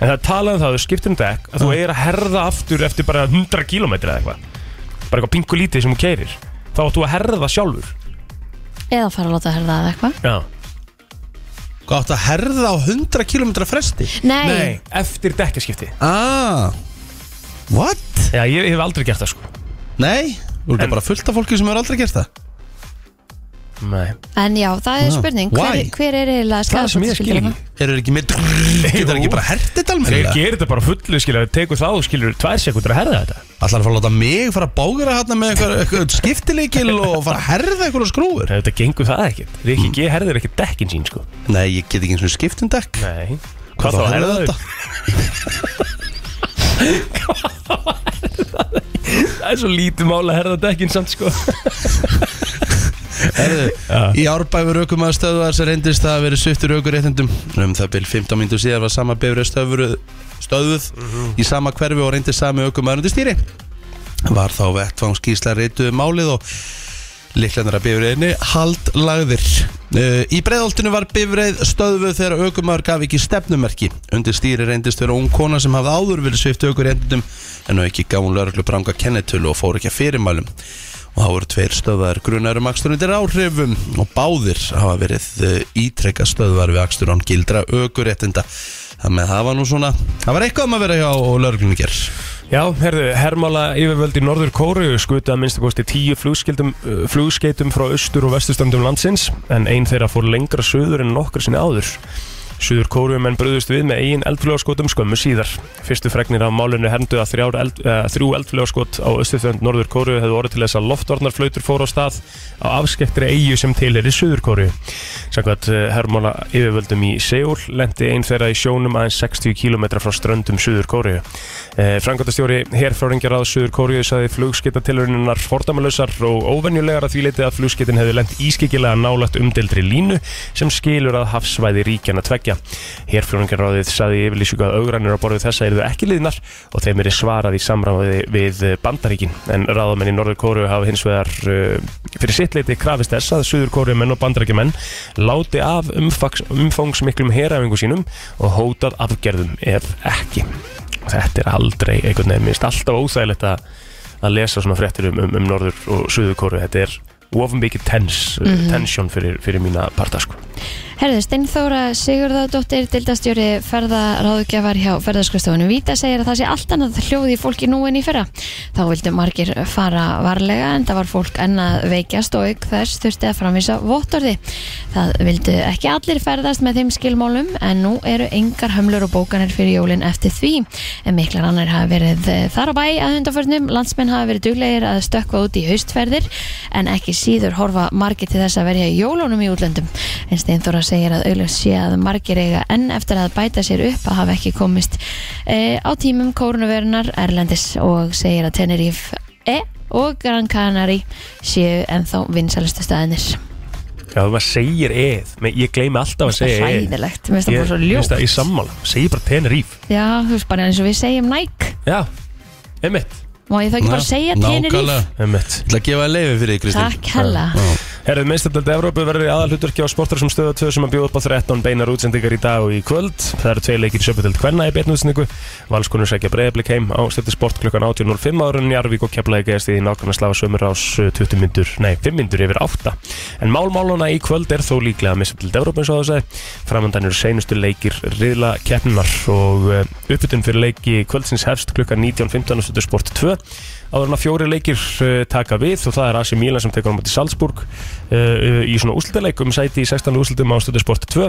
En það er talað um það, að þú skiptir um dekk Að þú er að herða aftur eftir bara 100 km eða eitthvað Bara eitthvað pingu lítið sem þú keirir Þá átt þú að herða sjálfur
Eða fara að láta herða að eitthvað
Já.
Hvað átt að herða á 100 km fresti?
Nei,
Nei, eftir dekkaskipti
Ah What?
Já, ég, ég hef aldrei gert það sko
Nei, þú
En-
erum bara fullt af fólki sem hefur aldrei gert það
Nei.
en já, það er
Ah,
spurning Hver,
why?
hver er eiginlega
Það er sem ég skil
skadabótaskyldan?
ekki.
Eru þeir ekki með Getur ekki bara hert þetta
Þeir
almennilega?
gerir þetta bara á fullu skilur, þeir tekur þá skilur tvær sekundur að herða þetta
Ætlar að fara að láta mig fara að bógra hérna með eitthvað, eitthvað skiptileikil og fara að herða eitthvað skrúfur?
En þetta gengur það ekkert, Rikki G herðir ekkert dekkin sín sko
Nei, ég get ekki eins og skiptum dekk
Nei Hvað þá herða þetta? <laughs> Það er svo lítið mál að herða dekkin samt sko
Herðu, í árbæfur aukum að stöðu þar sem reyndist það að verið sviftur aukur réttindum um það byrj 15 mínútur síðar var sama bifrið stöðuð, stöðuð í sama hverfi og reyndist sami aukum að undir stýri var þá vettfangskísla reytuðu málið og Liklandar að bifriðinni haldlagðir uh, Í breiðoltinu var bifrið stöðvuð þegar aukumar gaf ekki stefnumerki Undir stýri reyndist vera ung kona sem hafði áður vilja svift aukur reyndum En á ekki gaf hún lörglu branga kennetölu og fór ekki að fyrirmælum Og þá voru tveir stöðvar grunarum akstur undir áhrifum Og báðir hafa verið uh, ítrekka stöðvar við akstur án gildra aukur reyndinda Þannig að það var nú svona Það var eitthvað um að vera hjá lörglunni ger
Já, herðu, hermála yfirvöld í Norður Kóru skutu að minnstu kosti tíu flugskildum, uh, flugskeitum frá austur og vestustöndum landsins en ein þeirra fór lengra söður en nokkur sinni áður Suður Kóruumenn bröðust við með eigin eldfljóðskotum skömmu síðar. Fyrstu fregnir af málinu herndu að þrjár eld, uh, þrjú eldfljóðskot á östuþönd Norður Kóru hefðu orðið til þess að loftvarnarflautur fóru á stað á afskektri eigu sem tilheri Suður Kóru. Samkvæmt uh, hermála yfirvöldum í Seúl lendi ein þeirra í sjónum aðeins 60 km frá ströndum Suður Kóru. Uh, Frangotastjóri herfráringjarað Suður Kóru sagði flugskitatilurininnar fordamalösar og óvenjulegar að því leiti að flugskitin hefði lent ískikilega nálagt umdeldri línu sem skilur að hafsvæði ríkjana tveggja. Herfjónungarráðið saði yfirlýsingu að augrannir á borðið þessa eru ekki liðnar og þeim eru svarað í samráði við eh, bandaríkin en ráðamenn í Norður Kóru hafa hins vegar uh, fyrir sitt leiti krafist þess að Suður Kóruumenn og bandaríkjumenn láti af umfangs, umfangsmiklum heræfingu sínum og hótað afgerðum ef ekki. Þetta er aldrei einhvern veginn, minnst alltaf óþægilegt að, að lesa svona fréttir um, um, um Norður og Suður Kóru, þetta er of mikið tens, mm tension fyrir, fyrir mína parta sko.
Herðu, Steinþóra Sigurðardóttir, dildastjóri ferðaráðugjafar hjá ferðarskristofunum Víta segir að það sé allt annað hljóð í fólki nú en í fyrra. Þá vildu margir fara varlega en það var fólk enn að veikjast og auk þess þurfti að framvísa vottorði. Það vildu ekki allir ferðast með þeim skilmálum en nú eru engar hömlur og bókanir fyrir jólin eftir því. En miklar annar hafa verið eh, þar á bæ að hundaförnum, landsmenn hafa verið duglegir að stökkva út í haustferðir en ekki síður horfa margir til þess að verja í jólunum í útlöndum. En Steinþóra segir að auðvitað sé að margir eiga enn eftir að bæta sér upp að hafa ekki komist e, á tímum kórnuverunar Erlendis og segir að Tenerife E og Gran Canary séu ennþá vinsalistu staðinir.
Já, þú maður segir eð, Men ég gleymi alltaf að
Það er
segja eð
hæðilegt, mér finnst það
Ég
bara svo
finnst það í
ljótt.
sammála, segir bara Teneríf
Já, þú veist bara eins og við segjum Nike.
Já, einmitt,
Má ég þá ekki bara segja Tenerife?
Nákvæmlega.
einmitt
Ég ætla að gefa þér leyfi fyrir því, Kristín
Takk hella.
Já.
Herðið meistardöld Evrópu verður í aðalhutverki á sportar sem stöða 2 sem að bjóða upp á 13 beinar útsendingar í dag og í kvöld. Það eru tvei leikir söpudöld hvenna í beinútsendingu. Valskonur sækja breyðablik heim á stöðu sport klukkan 18.05 árun Jarvík og keflaði geðast í nákvæmna slafa sömur ás 20 myndur, eh, nei 5 myndur yfir 8. En málmáluna í kvöld er þó líklega meistardöld Evrópu eins og það segi. Framandan eru seinustu leikir riðla keppninar og uppbytun fyrir leiki kvöldsins hefst klukkan 19.15 á stöðu sport 2 áður en að fjóri leikir uh, taka við og það er AC Milan sem tekur á móti Salzburg uh, uh, í svona úslitaleik um sæti í 16 úslitum á stöðu Sport 2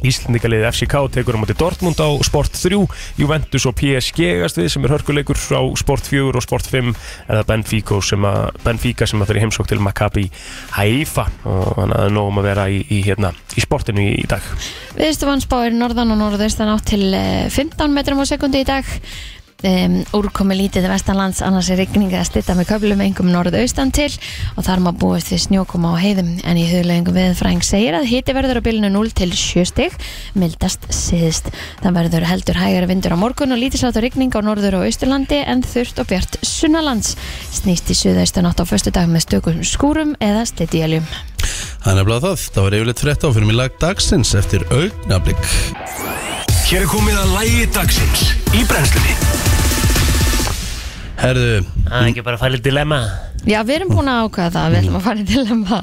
Íslendingaliðið FCK tekur á móti Dortmund á Sport 3, Juventus og PSG gast við sem er hörkuleikur á Sport 4 og Sport 5 eða Benfica sem að, Benfica sem að fyrir heimsók til Maccabi Haifa og þannig að það er nóg um að vera í, í, hérna, í sportinu í, í dag.
Viðstofan spáir norðan og norðaustan átt til eh, 15 metrum á sekundi í dag um, úrkomi lítið vestanlands annars er rigning að stitta með köflum engum norðaustan til og þar má búast við snjókoma á heiðum en í huglöðingum viðfræðing segir að hiti verður á bylunu 0 til 7 stig mildast síðst. Það verður heldur hægari vindur á morgun og lítisátt og rigning á norður og austurlandi en þurft og bjart sunnalands snýst í suðaustan átt á föstudag með stökum skúrum eða slittiðjæljum.
Það er nefnilega það, það var yfirleitt frétt á fyrir mig lag dagsins eftir augnablík
Hér er komið að lægi dagsins í brennslunni
Herðu,
Það er ekki bara að fara í dilemma
Já, við erum búin að ákvaða það, við ætlum að fara í dilemma.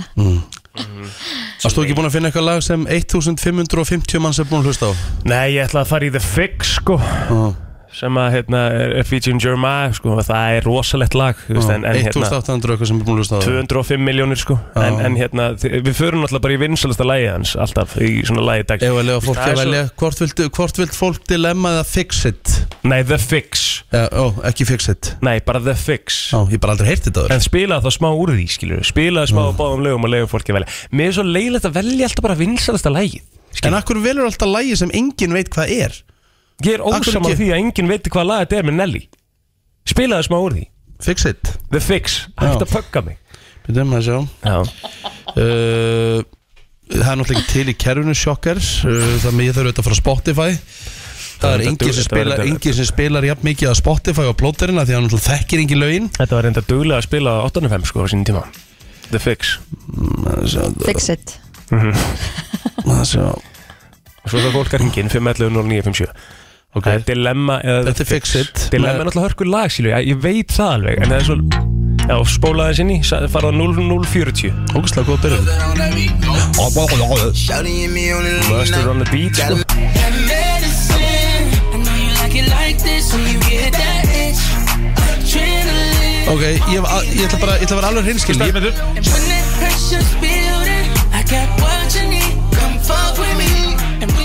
varst þú ekki búin að finna eitthvað lag sem 1550 manns er búin að hlusta á?
Nei, ég ætla að fara í The Fix sko
Uh,
sem að hérna, er featuring Jeremiah sko, og það er rosalegt lag þú veist, en, en hérna
1800 eitthvað sem er búin að hlusta á
205 miljónir sko en,
Já.
en hérna, þi- við förum alltaf bara í vinsalasta lægi hans alltaf í svona lægi dags
Ef að lega fólki
Það er
að
svo-
velja, hvort vilt, hvort vilt fólk dilemma eða fix it?
Nei, The Fix,
Já, ó, ekki fix it
nei, bara The Fix
Já, ég bara aldrei heyrti þetta þar
En spilaði þá smá úr því, skilur Spilaði smá á báðum lögum og lögum fólki að velja Mér er svo leiðilegt að velja alltaf bara vinsalasta lægið
En akkur velur alltaf lagi sem enginn veit hvað er?
Ég er
Akkur
ósamal
ekki?
því að enginn veit hvað lag þetta er með Nelly Spilaði smá úr því
Fix it
The Fix, hægt að pögga mig
Við dæmum að sjá
Já,
Uh, Það er náttúrulega ekki til í kerfinu sjokkar uh, Þannig ég þarf auðvitað að fara á Spotify Það er
reyndar
engin sem
duglegt að vera
spilar,
þetta-
engin sem spilar jafn mikið að Spotify og plóterina því að hann náttúrulega þekkir engin lögin
þetta var reynda duglega að spila á 8.5 sko á sínum tíma The Fix
Fix it.
Það sjá.
Og svo það fólk að ringin 5.11.09.57
Ok.
Það er dilemma eða
Þetta er Fix It.
Dilemma er náttúrulega hörku lag, skilur Ég ég veit það alveg En það er svo Já, spólaði sinni, farað 0040
Ógustlega góð byrjun
Buster on the beat, sko
Ok, ég, hef að- ég ætla bara ég ætla að vera alveg hinskil ég,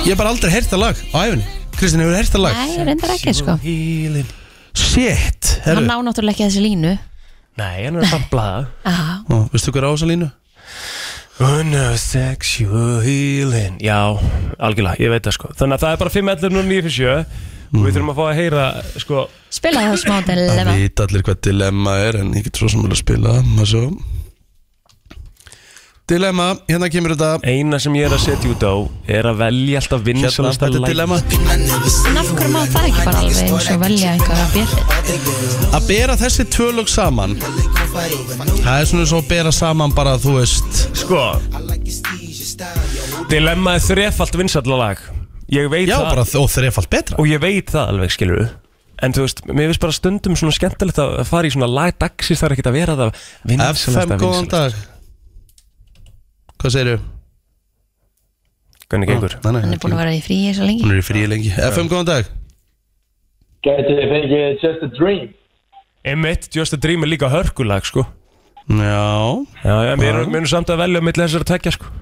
ég hef bara aldrei heyrt það lag á æfinni Kristinn, hefur heyrt það lag?
Nei, reyndar ekki, sko.
Healing.
Shit,
Hann
herru
ná náttúrulega ekki þessi línu.
Nei, hann er að sampla það
Aha.
Ó, Veistu hver á þessa línu?
Unnur sexual healing Já, algjörlega, ég veit það sko Þannig að það er bara 5.11.09.57 og
Mm.
Við þurfum að fá að heyra, sko
Spilaði það smá dilemma
Það vita allir hvað dilemma er en ég get svo sem vilja spila það maður sjá. Dilemma, hérna kemur þetta
Eina sem ég er að setja út á er að velja alltaf
Hérna,
vinsalasta
þetta er
lagið.
dilemma
En af hverju má það ekki bara alveg eins og velja einhverja björn
Að bera þessi tvölug saman Það er svona svo að bera saman bara þú veist
Sko Dilemma er þrefalt vinsallalag Ég veit
Já,
það
bara þó þrefalt betra
Og ég veit það alveg, skilur En þú veist, mér finnst bara stundum svona skemmtilegt að fara í svona lag dagsins Það er ekkert að vera það
FM,
vinsalasta
góðan
vinsalasta
dag Hvað segirðu?
Hvernig gengur?
Nei, nei,
Hann er búin að vera í fríi svo lengi
Hún er í fríi lengi FM, góðan dag
Gæti þið fengið Just a Dream
Emmett, Just a Dream er líka hörkulag, sko
Já
Já, já, mér erum, erum samt að velja mitt þessar að tekja sko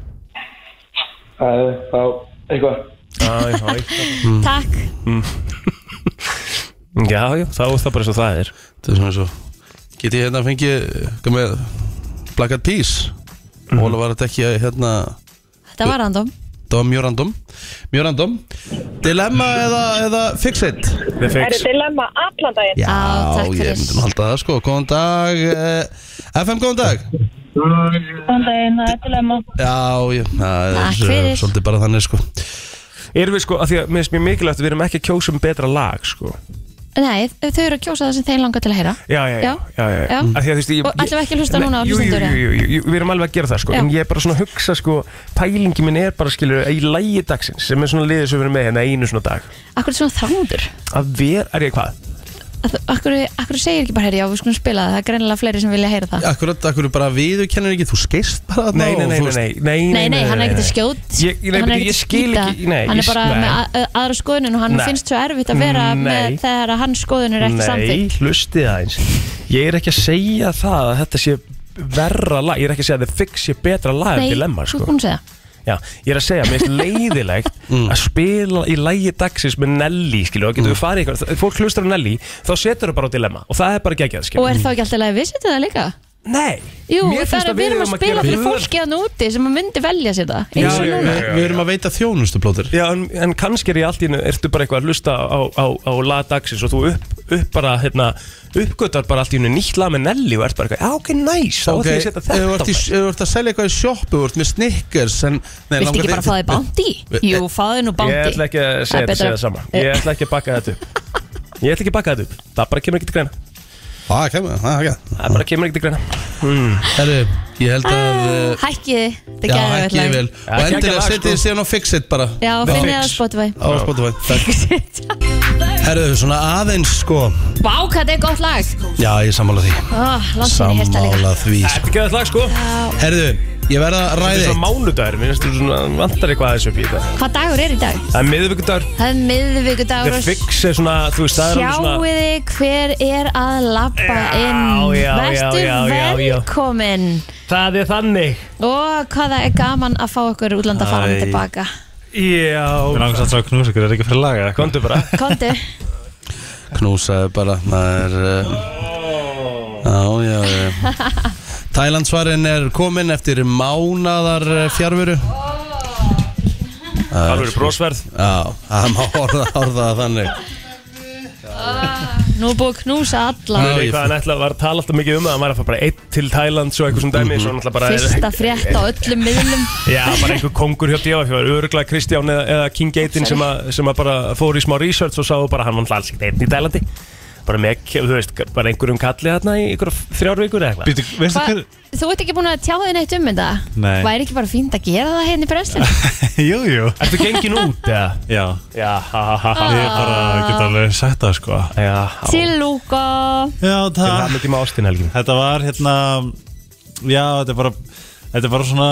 Það er þá eitthvað
Æ, æ.
Takk
Já, já, þá er það bara svo það er
Þetta er svona svo Get ég hérna að fengi hvað með Black Eyed Peas
Mhm.
mm. Óla var þetta ekki hérna
Þetta var random
Það var mjög random Mjög random Dilemma eða, eða fix it
The Fix
dilemma allan daginn.
Já,
takk
ég
fyrir.
myndi nú halda það sko Góðan dag eh, FM, góðan dag
Allan daginn, það er dilemma.
Já, ég, það er
Takk
svo-
fyrir.
svolítið bara þannig sko
Erum við sko, að því að mér finnst mjög mikilvægt að við erum ekki að kjósa um betra lag sko
Nei, ef þau eru að kjósa það sem þeir langar til að heyra
Já, já, já,
Já.
já, já,
Já.
Af Því að þú veist ég-
Og ætlum við ekki að hlusta
Nei,
núna á
jú, jú,
hlustendur,
jú, jú, jú, við erum alveg að gera það sko
Já.
En ég er bara svona að hugsa sko Pælingi minn er bara skilur í lægi dagsins Sem er svona liðið sem við erum með hérna einu svona dag
Akkur er svona þrándur
Að vera, er ég hvað?
Akkur, akkur segir ekki bara heyri, já við skulum spila það Það er greinilega fleiri sem vilja heyra það
Akkurat, akkur bara við kennir ekki Þú skeist bara þarna
Nei, nei,
og þú
nei, nei,
veist-
nei, nei,
Nei, nei, hann er ekkert að skjót
Ég- ég- nei,
hann er
ég
ekkert að
skil
skýta,
ekki- nei,
Hann
ég
er bara
skil-
með
nei.
að- aðra skoðun og hann
Nei.
finnst svo erfitt að vera
Nei.
með þegar að hans skoðun er ekki samþykk
Nei, hlustið aðeins Ég er ekki að segja það að þetta sé verra lag, ég er ekki að segja að The Fix sé betra lag en Dilemma,
þú
sko
búin að segja
Já, ég er að segja, mér finnst
<laughs>
leiðilegt
Mm.
að spila í lægi dagsins með Nelly, skilju, og getur við farið eitthvað þegar fólk hlustar á Nelly, þá setur þau bara á Dilemma og það er bara geggjað,
Og
skilju
er þá ekki alltaf leið að við setja það líka?
Nei,
Jú,
mér
það
finnst
er að við erum að spila fyrir
gera-
fólki að núti sem að myndi velja sér það eins og
Já, já,
núna
Við við erum að veita þjónustu plótir
Já, en, en kannski er ég allt í hennu, ertu bara eitthvað að hlusta á, á, á lag dagsins og þú upp, upp bara, hérna, uppgötar bara allt í hennu nýtt lag með Nelly og ert bara eitthvað, já ok, næs, þá
Ok,
ætlum ég að
ef
setja
þú
þetta á
ert í- ef þú ert að selja eitthvað í sjoppu, þú ert með snickers en, nei,
Viltu
langar
ekki bara
þig-
fá þig bándi? Jú, fá þig nú bándi
Ég ætla ekki að segja þetta, segja það sama Ég ætla ekki að bakka þetta upp Ég ætla ekki að bakka þetta upp Það bara kemur ekki til greina
Það kemur, það kemur
Það bara kemur ekki til greina
Herru, ég held að uh,
Hækki þið,
Já,
Ah, þetta gerði
ekki vel
Já,
Og
ekki
endilega
lag,
setja þið
sko.
síðan á fix it bara
Já,
Á-
finnið það á
fix.
Spotify
Á Spotify Takk.
Fix it.
Herru, svona aðeins sko
Vá, hvað þetta er gott lag
Já, ég sammála því
oh, Lansinni hérta líka
Sammála því sko.
Þetta er ekki lag sko Þetta
Herru, ég verða að
er
ræði
svona
eitt.
mánudagur Mér finnst þú svona vantar eitthvað aðeins upp í þetta
Hvað dagur er í dag?
Það er miðvikudagur
Það er miðvikudagur
The
og
Fix er svona, þú veist, það er alveg svona
Sjáuði hver er að labba
Já,
inn
já,
Vertu
já, já, já.
velkomin
Það er þannig
Og hvað það er gaman að fá okkur útlanda faran
Æ.
tilbaka
Já
Mér langar samt svo að knúsa ykkur, er ekki fyrir laga eitthvað?
Kondu bara
Kondu
Knúsaðu bara Það er
eh.
uh, Já, já, já
<laughs>
Tælandsvarinn er kominn eftir mánadar eh, fjarveru
Alveg brósverð
Já, það má orða, orða það þannig
Nú er búið að knúsa alla
Já, ég-
Hvað hann ætla var að tala alltaf mikið um það Hann var að fara bara einn til Thailand Svo eitthvað svona dæmi
Mhm.
Svo náttúrulega bara
Fyrsta frétt á öllum miðlum
Já, bara einhver kongur hjá DF, það var öruglega Kristján eða, eða King Gaten sem, að- sem að bara fór í smá research og sáu bara hann var alls ekkert einn í Dælandi bara með, þú veist, bara einhverjum kalli þarna í einhverjum þrjár vikur eða eitthvað
Býtu, veistu
Hva,
hver?
Þú ert ekki búin að tjá þig neitt um þetta?
Nei.
Væri ekki bara fínt að gera það hérna í brennslun?
jú, jú
Ertu gengin út, eða?
Já,
Já, ha, ha, ha, ha
ég er bara að geta alveg sagt það sko
Já, á-
Til Lúka
Já,
Til
það
það mikið með ástin helgin
Þetta var hérna Já, þetta er bara Þetta er bara svona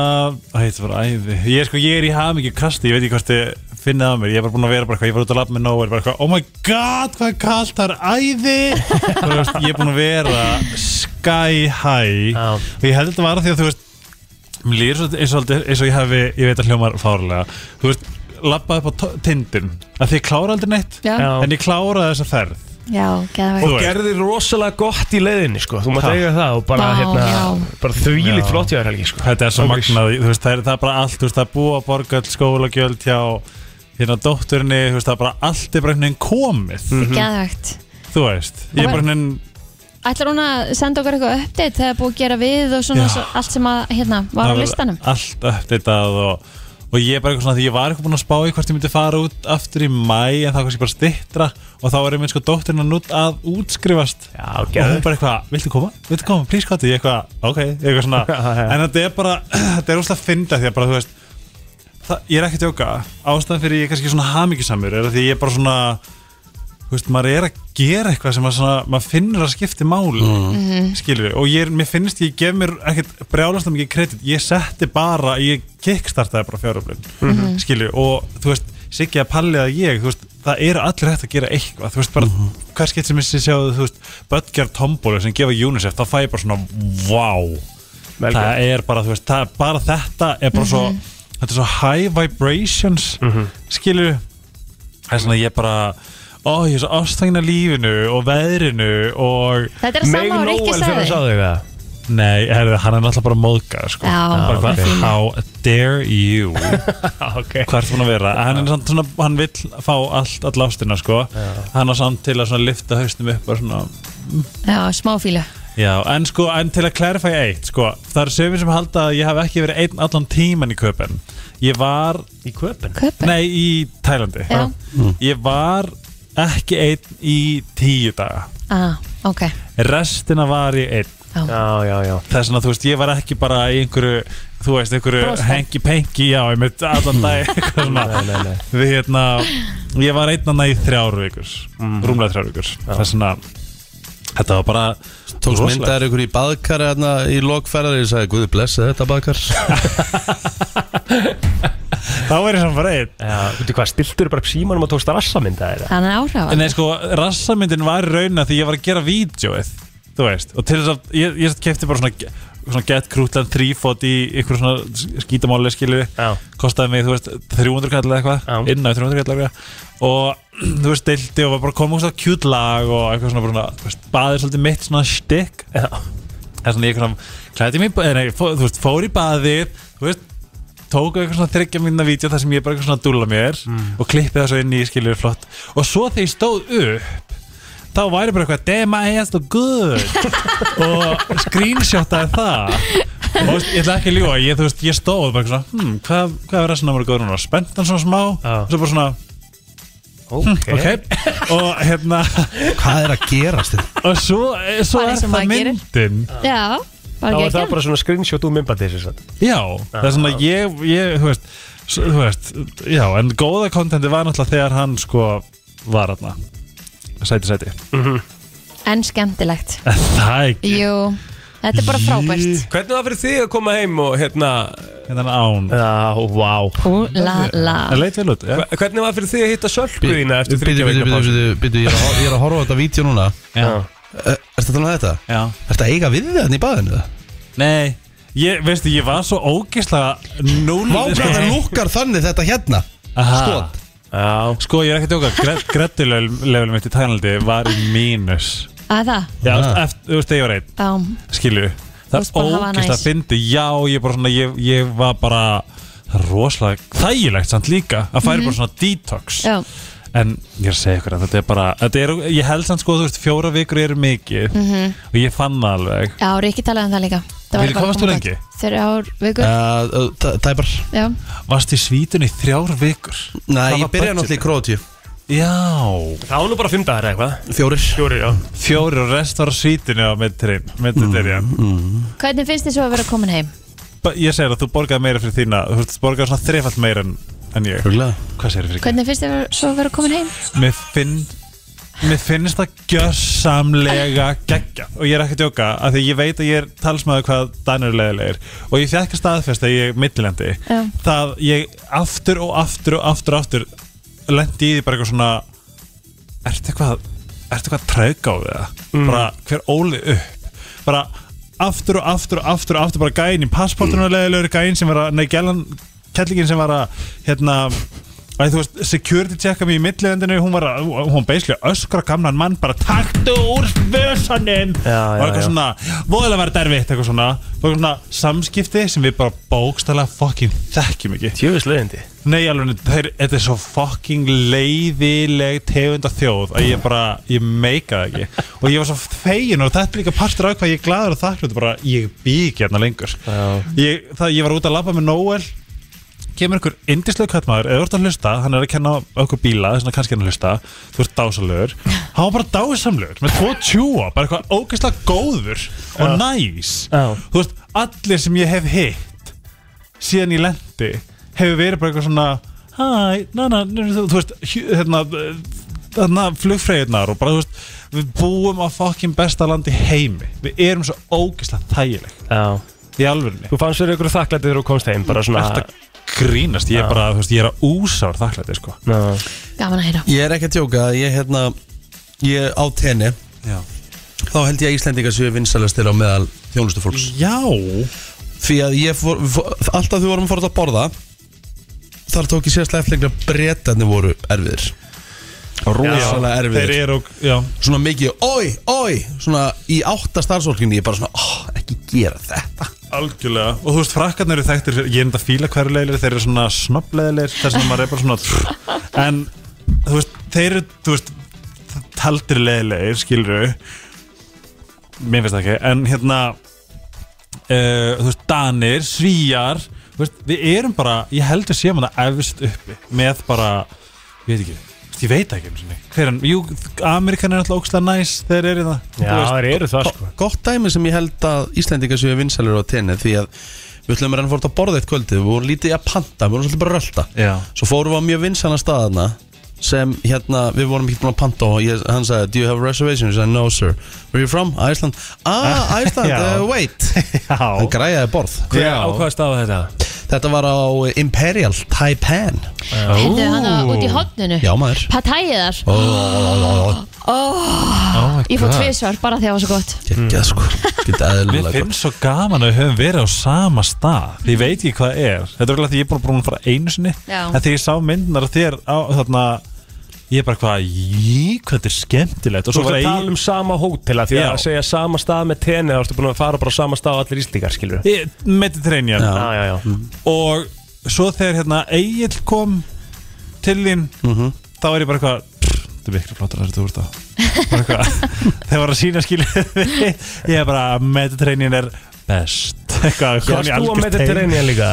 Æ, þetta er bara æði Ég er sko, ég er í hamingi kasti Ég veit ekki hvort þið finna að mér Ég er bara búin að vera bara eitthvað Ég var út að lafa með nóg bara eitthvað Oh my god, hvað er kalt Það er æði Þú veist, ég er búin að vera Sky high
Já.
Og ég held að þetta var því að þú veist Mér líður svolítið- eins og, aldrei- eins og ég hefði Ég veit að hljómar fárlega Þú veist, labbað upp á to- tindin Að því ég klára aldrei neitt
Já,
Já.
En ég kláraði þessa ferð
já, geðvægt
Og-
og
veist.
gerði rosalega gott í leiðinni, sko þú mátt
Ha.
eiga það og bara,
Vá,
hérna,
já.
bara þvílít
Já.
flott hjá þér helgi, sko
Þetta er svo
Ok.
magnað, þú veist, það er, það er bara allt, þú veist, það er búa, borga, öll skólagjöld hjá hérna dótturinni, þú veist, það er bara allt er bara einhvern veginn komið,
Mm. Geðvægt
þú veist, ég er bara einhvern veginn,
Ætlar hún að senda okkur eitthvað update þegar búið að gera við og svona
Já.
svo, allt sem að hérna var á
það er
listanum?
allt uppdeitað og, og ég er bara eitthvað svona, því ég var eitthvað búin að spá í hvort ég myndi fara út aftur í mæ, en það var kannski bara stittra og þá er einhvern veginn sko dótturinn að, nút, að útskrifast
Já,
og
gerði
hún bara eitthvað, viltu koma, viltu koma, please kottu ég eitthvað, ok, ég eitthvað svona en þetta er bara, <clears throat> þetta er óslega fynda því að bara, þú veist það, ég er ekki að tjóka, ástæðan fyrir ég er kannski svona hamingisamur er að því ég er bara svona þú veist, maður er að gera eitthvað sem maður, svona, maður finnur að skipti máli mm. skilur við, og ég, er- mér finnst ég gef mér ekkert brjálast mikið kredit ég setti bara, ég kickstartaði bara fjáröflun, mm -hmm. skilur við og þú veist, Siggi að Palli að ég þú veist, það eru allir hægt að gera eitthvað þú veist, bara, mm -hmm. hvað skipt sem ég sé sjáðu þú veist, Böttger Tombólu sem gefa UNICEF þá fæ ég bara svona, vá
Vel
það er bara, þú veist, það er bara þetta er bara
Mhm.
svo, þetta er svo high vibrations, mm skilur það er svona ég bara ó, ég er svo ástængin af lífinu og veðrinu og
Þetta er að sama
Meg
og Rikki
Nóel þegar
sagði
hann sagði þig það
nei, herðu, hann er náttúrulega bara móðgað, sko
Já,
bara,
ok.
hvað- how dare you
Já, ok
hvað ert búin að vera, hann er samt svona hann vill fá allt, all ástina, sko hann á samt til að svona lifta haustum upp bara svona,
Já, smáfílu
Já, en sko, en til að clarify eitt, sko, það eru sömur sem halda að ég hef ekki verið einn allan tíman í köpen. Ég var,
Í köpun
Köpun
nei, í Tælandi.
Já.
Ég var ekki einn í tíu daga.
ah, Ok,
Restina var ég
Já,
einn.
já, já
Þess vegna, þú veist, ég var ekki bara í einhverju, þú veist, einhverju
Brosfeng.
hengi-pengi, já, ég mitt allan dag, <laughs> eitthvað svona.
Nei, nei, nei
Við hérna, ég var einn annað í þrjár vikur, rúmlega þrjár vikur. Þess vegna, þetta var bara...
Tókst
rosalegt.
myndaður ykkur í baðkar hérna, í lokferðar Ég sagði, guði blessa þetta baðkar
Þá var ég samt bara einn.
Já, veitu hvað, stiltur bara upp símanum og tókst rassamynda eða?
þannig áhrif
Nei, sko, rassamyndin var í rauna því ég var að gera vídjóið, þú veist og til þess að, ég, ég kefti bara svona svona get krútlan þrýfót í ykkur svona skítamáli skilur
Já.
kostaði mig, þú veist, 300 kall eða eitthvað
Já.
inn á 300 kall eða eitthvað og þú veist, deildi og var bara komið svona kjút lag og eitthvað svona, bara svona, þú veist, baðið svolítið mitt svona stikk
Já,
það er svona ég svona, klæði mig, í ba- nei, fó, þú veist, fór í baðið, þú veist tók eitthvað svona þryggja minna vídeo þar sem ég bara eitthvað svona dúla mér og klippið það svo inn í skilur flott og svo þegar ég stóð upp þá væri bara eitthvað damn I am so good og screenshotaði það og þú veist, ég ætla ekki að ljúa ég, þú veist, ég stóð bara eitthvað svona, hmm, hvað, hvað er þessi námur góður núna spennt hann svona smá
Já.
og svo bara svona
Ok,
Hm, ok, og hérna
Hvað er að gerast þér?
og svo, svo
Bara
er
eins og
það
maður gerir.
myndin
Já,
þá
bara
er það
ekki
bara svona screenshot úr mymbandi þess að
Já, það er svona ég, ég þú veist, s- þú veist já, en góða kontenti var náttúrulega þegar hann sko var aðna sæti sæti <laughs>
En skemmtilegt
það ekki,
Jú, þetta er bara frábært
Hvernig var fyrir þig að koma heim og hérna
hérna án
Já, vá
Hú, la, la
það leit vel út, já,
Hva- Hvernig var fyrir þig að hitta sölku þína eftir
Bíddu,
þryggja
bíddu,
veika
bíddu,
pásu?
bíddu, bíddu, Ég er að- ég er að horfa á þetta vídeo núna Eh,
já.
Er þetta talað um þetta?
já.
Er þetta eiga við þetta í baðinu?
nei ég, veistu, ég var svo ógislega núl
Vá, hvað það lukkar þannig þetta hérna
Aha.
Skot
Já,
sko, ég er ekki að <laughs> tjóka grettilevel mitt í Tælandi var í mínus
Að það,
já,
Ah.
eftir, þú veist, þegar ég var einn
bám
skilju
Þú
það
veist bara
er
að hafa
ógæst að
næs.
fyndi já, ég, bara svona, ég, ég var bara það er rosalega þægilegt samt líka að færa bara svona detox
Mhm. Já,
en ég er að segja ykkur að þetta er bara þetta er, ég held samt sko, þú veist, fjóra vikur eru mikið
Mhm.
og ég fann það alveg
já, Ríkki talaði um það líka Það
Fyrir
bara
hvað varst þú
komið
lengi?
gott. Þrjár vikur,
Uh, uh, tæ- Tæpar
já
varst í svítunni í þrjár vikur
Nei,
Hvað
ég byrja
var budgetið?
náttúrulega í Króatíu
já,
þá er nú bara fimm dagar eða eitthvað
Fjórir
Fjóri, já
fjóri og rest var á svítunni á mittrin mm.
Hvernig finnst þið svo að vera komin heim?
ég segir að þú borgaði meira fyrir þína þú veist, borgaði svona þrefalt meira en, en ég
Rúglega
hvað segir fyrir
Hvernig finnst þið svo að vera komin heim?
Mér finn Mér finnst það gjörsamlega geggja og ég er ekki að djóka af því ég veit að ég er talsmaður hvað danur leðilegir og ég fekk staðfest að ég er millilendi
Já.
það ég aftur og aftur og aftur og aftur lendi í því bara eitthvað svona ertu eitthvað ertu eitthvað trögg á því
Mm.
bara hver óli upp bara aftur og aftur og aftur og aftur bara gæinn í passportinu mm. leðilegur gæinn sem var að, nei, gælan kellingin sem var að hérna Æ, þú veist, security checka mig í millilendinu hún var að, hún basically öskra gamlan mann bara taktu úr vösanum
Já, já,
og eitthvað
já.
svona, voðalega var derfitt eitthvað svona, og eitthvað svona samskipti sem við bara bókstælega fucking þekkjum ekki
Tjöfis leiðindi
Nei, alveg, þeir, þetta er svo fucking leiðileg tegund af þjóð að ég bara, ég meika
<laughs>
það ekki og ég var svo fegin og þetta er líka partur á hvað ég er gladur og þakklúti bara, ég bý ekki hérna lengur
Já.
ég, það, ég var út að labba með Noel kemur einhver indislega kallmaður eða þú ert að hlusta, hann er að kenna okkur bíla þess vegna kannski er hann að hlusta, þú ert
<laughs>
dásalögur hann var bara dásamlegur, með tvo tjúa bara eitthvað ógeðslega góður og næs,
Já.
þú veist allir sem ég hef hitt síðan ég lendi hefur verið bara eitthvað svona hæ, na, na, na, þú, þú veist hjú- hérna, eh, þarna flugfreyðnar og bara þú veist, við búum á fokkin besta landi heimi, við erum svo ógeðslega þægileg
Já
í alvörunni,
Þú fannst fyrir ykkur þakklæti þegar þú komst heim bara svona
þetta grínast ég er bara, þú veist, ég er að úsár þakklæti sko.
Já.
Gaman að heyra
Ég er ekki að tjóka Ég hérna Ég á tenni
já,
Þá held ég að Íslendingar séu vinsalastir á meðal þjónustufólks
já
Því að ég fór, fór Alltaf þú vorum að fara út að borða Þar tók ég sérslega eftir lengra Bretarnir voru erfiðir Rosalega
þeir
erfiðir
eru, já,
Svona mikið Ói, ói Svona í átta starfsólkinni Ég bara svona oh, Ekki gera þetta
algjörlega og þú veist, frakkarnir eru þekktir, fyrir- ég er enda að fíla hverju leilir þeir eru svona snoppleilir þess að maður er bara svona en þú veist, þeir eru, þú veist taldir leilir, skilur mér finnst það ekki en hérna uh, þú veist, danir, svíjar þú veist, við erum bara, ég held við séum það efst uppi með bara ég veit ekki, þú veist, ég veit ekki einu sinni. hver en, jú, Amerikan er alltaf ógstlega næs þeir eru í það
Já,
Þú veist,
þeir eru það sko
Gott dæmi sem ég held að Íslendingar séu vinsalur á tenni Því að við ætlum að reyna að fóra út að borða eitt kvöldið Við vorum lítið í að panta Við vorum svolítið bara að rölda
já,
Svo fórum við á mjög vinsalan staðana sem hérna, við vorum ekki búin að panta og ég, hann sagði, do you have a reservation? Ég sagði, no sir Where are you from? Iceland Ah, Iceland,
Já.
uh, wait Hann
já,
græjaði borð
Hver, á hvað stafa þetta?
Þetta var á Imperial Taipan
Hendu hana út í hodninu
Já maður
Patæið þar
oh,
oh my
Ég fór
God.
tvisvar bara því að það var svo gott
Gekka sko Geta
Mér
eðlilega gott.
finnst svo gaman að við höfum verið á sama stað Því ég veit ekki hvað það er Þetta er alveg því ég er bara búin að fara einu sinni
Já.
En þegar ég sá myndnar af þér á, þarna, Ég er bara hvað Jí, hvað þetta er skemmtilegt Og
Þú
svo
ert
var
að
ég
tala um sama hótela því að
Já.
að segja sama stað með tenni þá ertu búin að fara bara á sama stað á allir íslíkar skilur Já,
um Mediterranean
já, já
Og svo þegar hérna
Mhm.
Egil kom til þín Þá er ég bara hvað "Pff, Þetta er miklu flottar að þú ert á Bara
<laughs>
eitthvað. þegar var að sína skilið <laughs> ég er bara Mediterranean er best <laughs> eitthvað kom
Varst þú
í
á
algjört heim.
Mediterranean líka?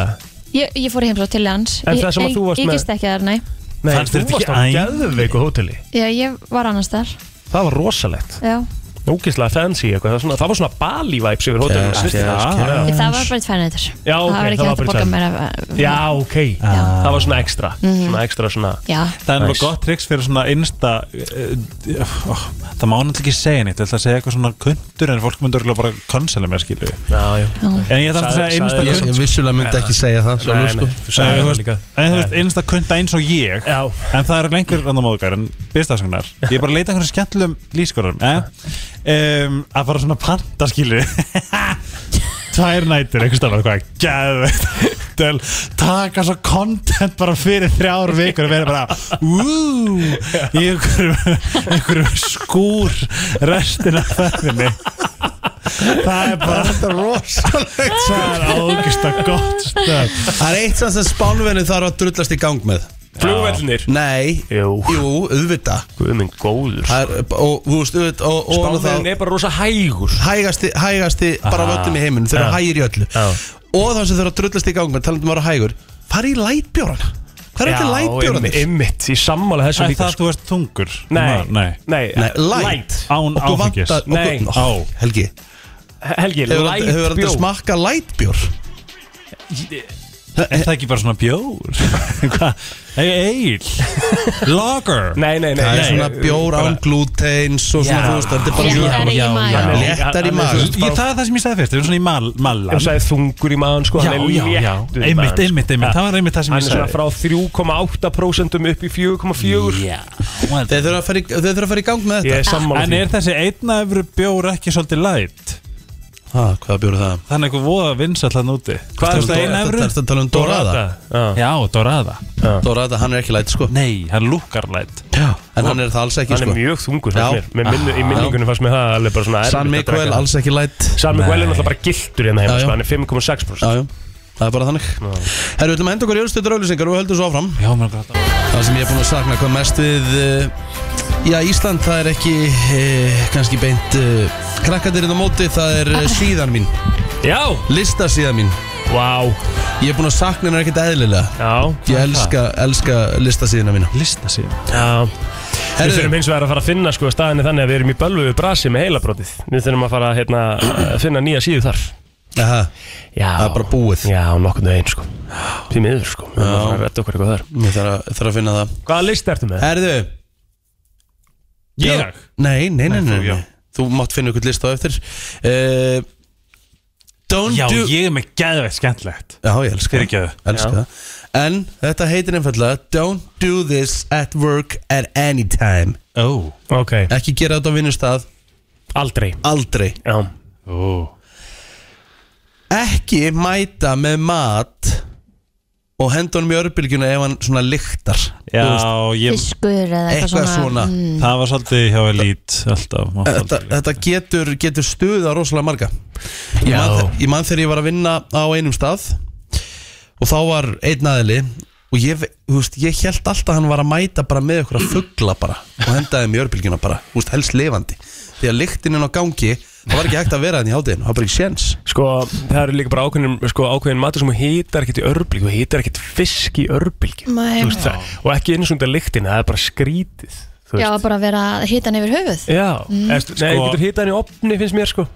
Ég, ég fór í heimsótt til hans
En
Ég-
það sem að
ég-
þú varst
Ég
með-
gist ekki þar, nei
Nei,
Fannst
þú
þér þetta
varst
ekki
á
æ-
geðveiku hóteli
Já, ég var annars þar
Það var rosalegt
Já
Ógislega fancy eitthvað Það var svona, það var svona Bali vibes yfir hótelinu
Yes,
Svistu
yes,
það?
yes.
Ég- Það var bara eitt fænætur
Já,
Það
ok,
var
það
ekki hægt að
var bara
borga eh,
tvær.
mér
Já, ok Það var svona ekstra Svona ekstra svona
Já,
það er
Nice.
náttúrulega gott triks fyrir svona insta uh, uh, það má náttúrulega ekki segja neitt ég ætla að segja eitthvað svona kundur en fólk myndur bara cancela mér skilu
Já, já
en ég þarf að
Sagði-
segja insta
sagði-
Ég, sko. ég vissulega myndi ekki segja það sjálfur, sko.
þú sagði það líka
en þú veist insta kunda eins og ég
Já,
En það eru lengur andan móðgar en byrstafsögnar Ég er bara að leita einhverjum skemmtlum lífskorum eh? um, Að fara svona panta skilu <laughs> Tvær nætur einhvers stafar hvað Gæðveikt Del, Taka svo content bara fyrir þrjár vikur og vera bara Úú Í einhverjum, einhverjum skúr Restin af þörfinni Það er bara
Þetta er rosalegt
Það er ágist að gott stöð
sko. Það er eitt samt sem spánverðin þarf að drullast í gang með
flugvellinir
Nei,
Jú.
jú auðvita
Guðminn góður
Og þú veist, auðvita og, og, og
Spánverðin er bara rosa hægur
hægasti, hægasti bara völdum í heiminum þeir eru
Já.
hægir í öllu
Já.
og það sem þeir eru að drullast í gang með talandi um að vera hægur fara í lætbjórana hvað er þetta
einmitt,
lætbjórana?
einmitt, í sammála þessu
Er
líka
það
sko.
þú veist tungur?
Nei,
Nei.
nei, eh,
Nei, light
Án
Okkur
áfengis.
vantar-
Nei.
okkur- ó, Helgi,
Helgi,
hefur
light
hefur aldrei
bjór.
smakka lætbjór?
Er það ekki bara svona
<laughs>
bjór? Hvað? Nei, eil Lager
Nei, nei, nei
Það er
nei.
svona bjór án glúteins og svona
Já.
þú veist, þetta er bara
Léttari
mjög-
í
Já, já, já.
maganum.
léttar í
Hann er
maður
svo-
Ég, það er það sem ég sagði fyrst, það er svona í mal, mallan
Hann sagði þungur í maðan sko
Já,
hann er
já, já,
léttur í magann,
einmitt,
sko.
einmitt, einmitt Það var einmitt það sem
Hann
ég
er svona
sagði
frá 3,8% upp í 4,4
Já
þeir þurfa að fara í- þeir þurfa að fara í gang með þetta
Ég er sammála
En er þessi einna efru bjór ekki svolítið lætt?
Ha, hvaða bjór er það?
Það er eitthvað voða vinsall hann úti
Hvað
er
er
það
Dora-
eina
Þetta
efru?
er að tala um Dorada
Já,
Já, Dorada
Dorada, hann er ekki læt sko
Nei, hann lúkar lætt
en hann er það alls ekki
Hann er
sko
mjög þungur
Já. Ah,
fannst mér. Með minnu, Í minningunum fannst mér það alveg bara svona
San Miguel, alls ekki læt
San Miguel er náttúrulega bara giltur hérna heima
Já, já.
sko, Hann er 5,6%
Jájú, það er bara þannig Herru, við ætlum að henda okkur í öllstöður auðlýsingar og við höldum svo áfram
Já, mér er grátt
Það sem ég er búin að sakna hvað mest við uh, Já, Ísland, það er ekki uh, kannski beint uh, krakkadirinn á móti, það er uh, síðan mín
Já,
listasíðan mín
vá
Ég er búin að sakna hennar ekkert eðlilega
Já,
Ég elska, elska listasíðina mína
Lista síðan
já Við þurfum
Herru,
hins vegar að fara að finna sko staðinni þannig að við erum í bölvu brasi með heilabrótið Við þurfum að fara hérna, að finna nýja síðu þar
aha,
Já,
það er bara búið
Já, nokkurnu einn sko Því miður sko, við þurfum að fara að redda okkur eitthvað þar
Ég þarf að, þarf að finna það
Hvaða list ertu með?
Herru,
Ég?
Nei, nei, nei, nei,
þú, já.
nei. Þú mátt finna ykkur list á eftir uh, Don't
Já,
do
ég er með geðveitt skemmtlegt
Já, ég elska það.
Fyrirgefðu.
Elska það. En þetta heitir einfallega Don't do this at work at any time
Ó
Ok,
Ekki gera þetta á vinnustad
aldrei
Aldrei
Já,
Ó
Ekki mæta með mat Og henda honum í örbylgjuna ef hann svona lyktar
Já,
Þú veist,
ég
fiskur eða eitthvað
Eitthvað svona,
mm,
Það var svolítið hjá Elít alltaf maður
Þetta,
svolítið.
þetta getur, getur stuða rosalega marga ég man, ég man þegar ég var að vinna á einum stað Og þá var einn aðili Og ég, þú veist, ég held alltaf að hann var að mæta bara með ykkur að fuggla bara Og hendaði um jörbylgjuna bara, þú veist, helst lifandi Því að lyktininn á gangi Það var ekki hægt að vera þannig í hádeginu, það var bara ekki séns
sko það eru líka bara ákveðin, sko, ákveðin matur sem þú hitar ekkert í örbylgju Þú hitar ekkert fisk í örbylgju
Nei.
Þú veist það, Og ekki eins og þetta lyktina, það er bara skrítið þú
Já,
veist.
bara vera að hita hann yfir höfuð
Já, mm. Eðst, nei,
Sko-
getur hitað hann í opni finnst mér sko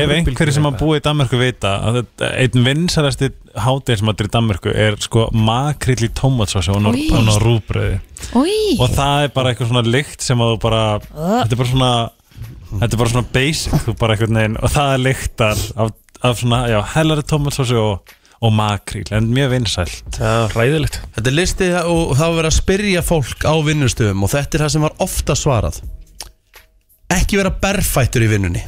Ef einhverjir sem að búa í Danmörku vita að þetta- einn vinsalasti hátæðismatur í Danmörku er sko makrill í tómatsásu og
Í.
ná rúbröði
Új,
og það er bara eitthvað svona lykt sem að þú bara þetta er bara svona þetta er bara svona basic þú bara einhvern veginn og það lyktar af, af svona já, hellari tómatsásu og, og makrill en mjög vinsælt
Já, ræðilegt
Þetta er listi og það var verið að spyrja fólk á vinnustöfum Og þetta er það sem var ofta svarað Ekki vera berfættur í vinnunni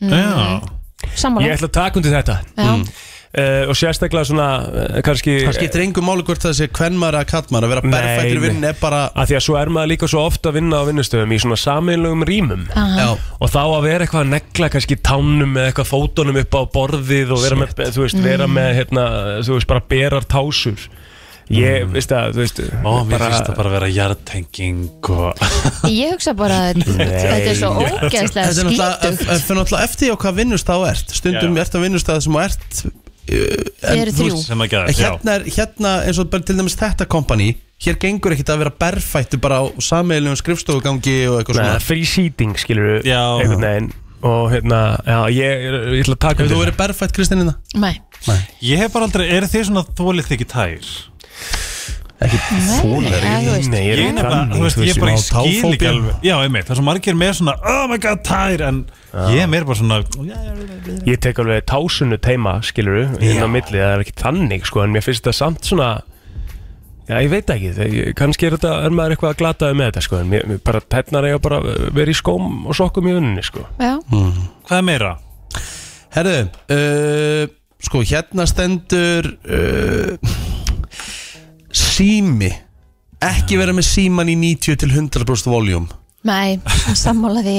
Já,
Ég
sammála
ætla að taka undir þetta
Já.
uh, og sérstaklega svona uh, kannski
Það skiptir engum máli hvort það sé kvennmaður eða kattmaður að vera
Nei,
berfættur í
nei.
vinninni er bara
að því að svo er maður líka svo ofta að vinna á vinnustöðum í svona sameinlegum rýmum
Já,
og þá að vera eitthvað að negla kannski tánum eða eitthvað fótunum Mm. upp á borðið og vera með, þú veist, vera með hérna, þú veist, bara berar tásur Ég, veist það, þú veist
Mm. Ó, mér
bara-
finnst það bara að vera jartenging og
Ég hugsa bara
<laughs>
að þetta er svo
Þetta
ógeðslega
er
skýtugt
náttúrulega, fyrir náttúrulega eftir því á hvað vinnustaf ert Stundum
Já.
ert á vinnustaf sem þú ert
Þið eru þrjú
sem að gera
En hérna, er, hérna eins og bara til dæmis þetta kompani Hér gengur ekkit að vera berfættu bara á sameilum skrifstofugangi og eitthvað
Nei,
svona
free seating, skilur við
Já.
einhvern veginn og hérna, já, ég, ég ætla að taka
Hefur þú
undir
verið berfætt Kristinina?
Nei,
Ég hef bara aldrei, eru þið svona þólið þykir tær?
nei, ja, þú veist
Nei, ég
Ég
er
er bara,
þannig,
Mm, þú veist, ég
veist,
bara
smá
ég skil ekki
táfóbía.
alveg Já, einmitt, það er svo margir með svona Oh my god, tær, en ég er meir bara svona Já, já,
Ég tek alveg tásunu teima, skilur við inn á
Já.
milli, það er ekki þannig, sko en mér finnst þetta samt svona Já, ég veit ekki, það, ég, kannski er þetta er maður eitthvað að glataði með þetta, sko en mér, mér bara tennar ég að bara vera í skóm og sokkum í unni, sko
Já,
Hvað er meira?
Herðu, uh, sko hérna stendur uh, Sími Ekki vera með síman í 90 til 100% voljum
nei, sammála því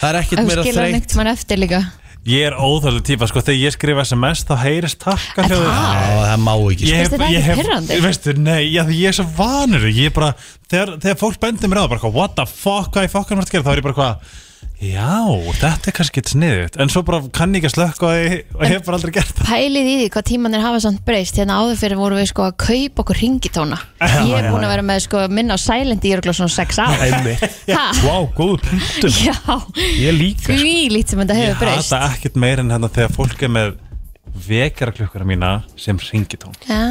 Það er ekkit
Ef
meira
skilur hann
þreytt
ekkert mann eftir líka
Ég er óþálega típa, sko, þegar ég skrifa SMS þá heyrist takka
En
Já,
það,
það má ekki sko.
Ég
Finnst þér það
ég
ekki pirrandi?
Veistu, nei, já, því ég er svo vanur því. Ég er bara, þegar, þegar fólk bendir mér á það, bara, eitthvað, what the fuck, hvað ég fokkan var að gera Þá er ég bara, hvað, já, þetta er kannski eitt sniðið En svo bara kann ég ekki að slökka og ég og ég hef bara aldrei gert það
pælið í því hvað tímanir hafa samt breyst hérna áður fyrir vorum við sko að kaupa okkur ringitóna ég er búin að vera með sko minna á silent í örgla svona 6 ár
Einmitt,
<laughs> ha,
vá, góður punktum
já,
Ég líka, sko
því lít sem þetta
Ég
hefur breyst
hata ekkert meir en hérna þegar fólk er með vekjarklukkara mína sem ringitón
já,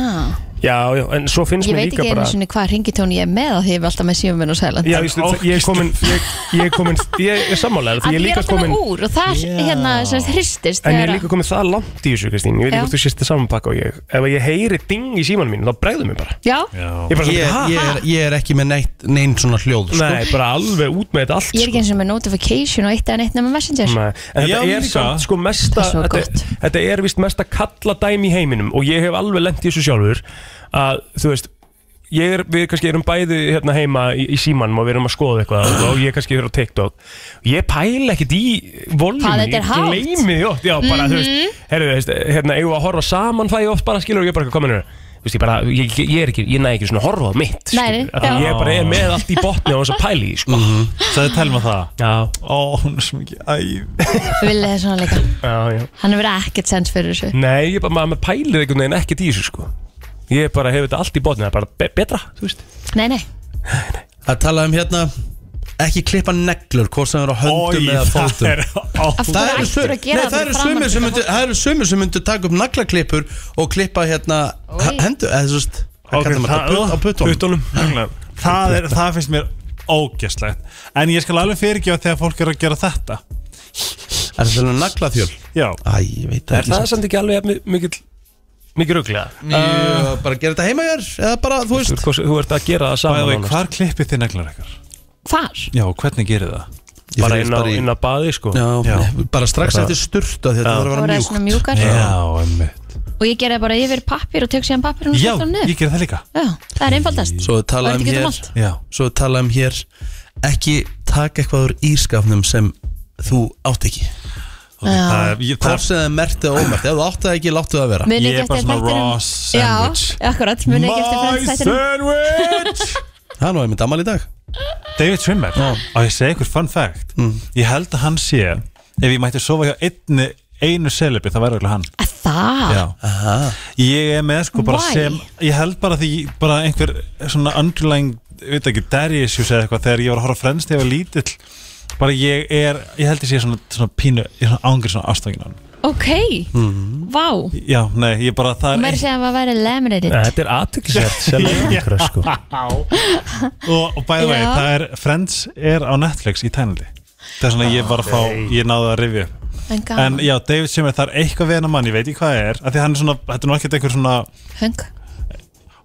Já, já, en svo finnst
ég
mér
veit
líka
ekki
bara
einu sinni hvað ringitón ég er með af því ég er alltaf með símum minn á silent
Já, ég, ég, ég er komin, ég, ég er komin, ég er
að
sammálega Því ég er
ég er
líka
alltaf
komin
með úr og það
Já.
hérna sem sagt hristist
En ég er
þegar að-
líka komið það langt í þessu, Kristín Ég
Já.
veit ekki hvort þú sést það saman pakka og ég Ef ég heyri ding í símanum mínu, þá bregðum mér bara
já,
Ég er bara,
ég,
svona,
ég, er, ég er ekki með neitt, neinn svona hljóð
ha,
sko.
nei, bara alveg út með þetta allt sko.
ég er ekki eins og með notification og eitt eða neitt nema messenger
Nei, en
Já,
þetta er
líka.
samt sko
Það
mesta
er svo
þetta,
gott.
þetta er vist mesta kalla dæmi í heiminum og ég hef alveg lent í þessu sjálfur að þú veist ég er, við kannski erum bæði hérna heima í, í símanum og við erum að skoða eitthvað og- og ég kannski er á TikTok ég pæla ekkert í
Hvað
voljum
þetta er
ég
hátt. Mhm.
gleymi því oft já, bara, þú veist, herru, þú veist, hérna, eigum við að horfa saman það ég oft bara skilur og ég bara komin hérna Þú veist, ég, bara, ég, ég, er ekki, ég næ ekki svona að horfa á mitt
Nei,
skilurðu,
nei,
af því
já.
ég bara er með allt í botni og þess að pæli sko.
Mhm.
mm -hmm.
Sæði telma það
já,
Ó, hún er svo mikið æf
Villi er svona líka
já, já
hann hefur ekkert sens fyrir þessu
Nei, ég bara, maður maður pælir einhvern veginn ekkert í þessu sko Ég bara hef þetta allt í botni, það er bara be betra, þú veist
nei, nei,
Það tala um hérna Ekki klippa neglur, hvort sem það eru á höndum
Ói,
eða
það
fótum
er ó,
af
Það
hverju
eru
ættir
sumir-
að gera
nei, það eru sumir
sko.
sem myndu- það eru sumir sem myndu taka upp naglaklippur og klippa hérna
Oj.
hendur, eða þú veist
Ok,
hvað kallar maður
það-
þetta? Putt- á puttunum
það, er, það finnst mér ógæslegt En ég skal alveg fyrirgefa þegar fólk er að gera þetta
Er það svona naglaþjöl?
Já,
Æ, ég veit það
Er
ekki sko.
það samt ekki alveg jafn mi- mikill mikið ruglega?
Uh, bara gera þetta heima hér eða bara, þú
Þú,
veist
þú, þú ert að gera það
bæði
saman
vei,
nánast.
hvar klippið þið neglar ykkar?
hvar?
Já, hvernig gerir það?
Ég
Bara
fer
inn á,
í-
inn á baði sko
já,
Já.
nei, bara strax eftir sturta því að þetta þarf að
voru
vera
það svona
mjúkt
mjúkar
einmitt
og ég gerði bara yfir pappir og tök síðan pappir og
Já,
sett hann
ég
niður
gerir það líka
Já, það er einfaldast
svo tala um
Vertu getum
hér
allt.
Já,
svo tala um hér ekki taka eitthvað úr ískapnum sem þú átt ekki
ok, það er, ég, það
hvort sem það er merkt eða ómert ef þú átt það ekki, láttu það vera
Muni
Ég er bara svona raw sandwich.
Já, akkurat, muni ekki eftir Friends þættinum <laughs>
sandwich
það er nú einmitt amal í dag
David Schwimmer og ég segi ykkur fun fact
Mm.
ég held að hann sé ef ég mætti sofa hjá einni, einu celebi það væri alveg hann
Að Það,
Aha.
ég er með sko bara
Ah. Why?
sem ég held bara því bara einhver svona underlying ég veit ekki, daddy issues eða eitthvað þegar ég var að horfa á Friends þegar ég var lítill bara ég er, ég held ég sé svona, svona pínu, ég er svona ángur svona ástöngin á hann
ok
Mhm.
Vá,
já, nei, ég bara það er
mér segja að maður væri laminated
Nei, Þetta er
<laughs>
aðtöklisvert sem er ykkur sko
og, og bæði vegi,
Já.
það er Friends er á Netflix í tænaldi það er svona ég var að fá, ég náði að rifja upp
En
En
gaman,
já, David Simmer, það er eitthvað við hennar mann, ég veit ekki hvað það er af Því hann er svona, þetta er nú ekkert einhver svona
hung,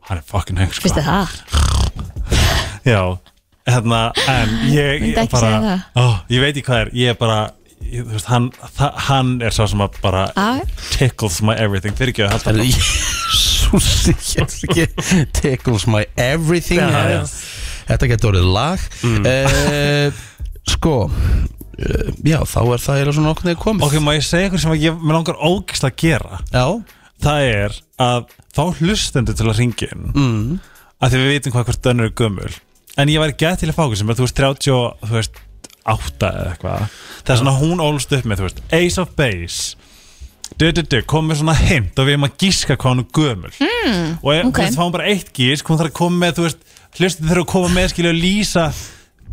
Hann er fucking heng, sko
finnst þið það?
Já, hérna, en ég,
Myndi
ég
ekki segja
bara
það.
ó, Ég veit ekki hvað er, ég er bara ég, Þú veist, hann, það, hann er sá sem að bara
Já.
Tickles my everything, fyrir ekki að halda
Súsi, ég ætla ekki Tickles my everything
Já, já.
Þetta getur orðið lag eh, Sko eh, Já, þá er það eða svona okkur neður komið
Ok, má ég segja ykkur sem að ég, mér langar ógist að gera
Já,
Það er að fá hlustendur til að ringja inn mm. að því við vitum hvað hvort önnur er gömul en ég væri gæð til að fá okkur sem að þú veist 30 og þú veist 8 eða eitthvað það er svona hún ólst upp með þú veist Ace of Base du, du, du, kom með svona hint og við erum að gíska hvað hún er gömul mm. og ef,
ok.
þú veist, fá hún bara eitt gísk hún þarf að koma með, þú veist, hlustendur þurfa að koma með skilja og lýsa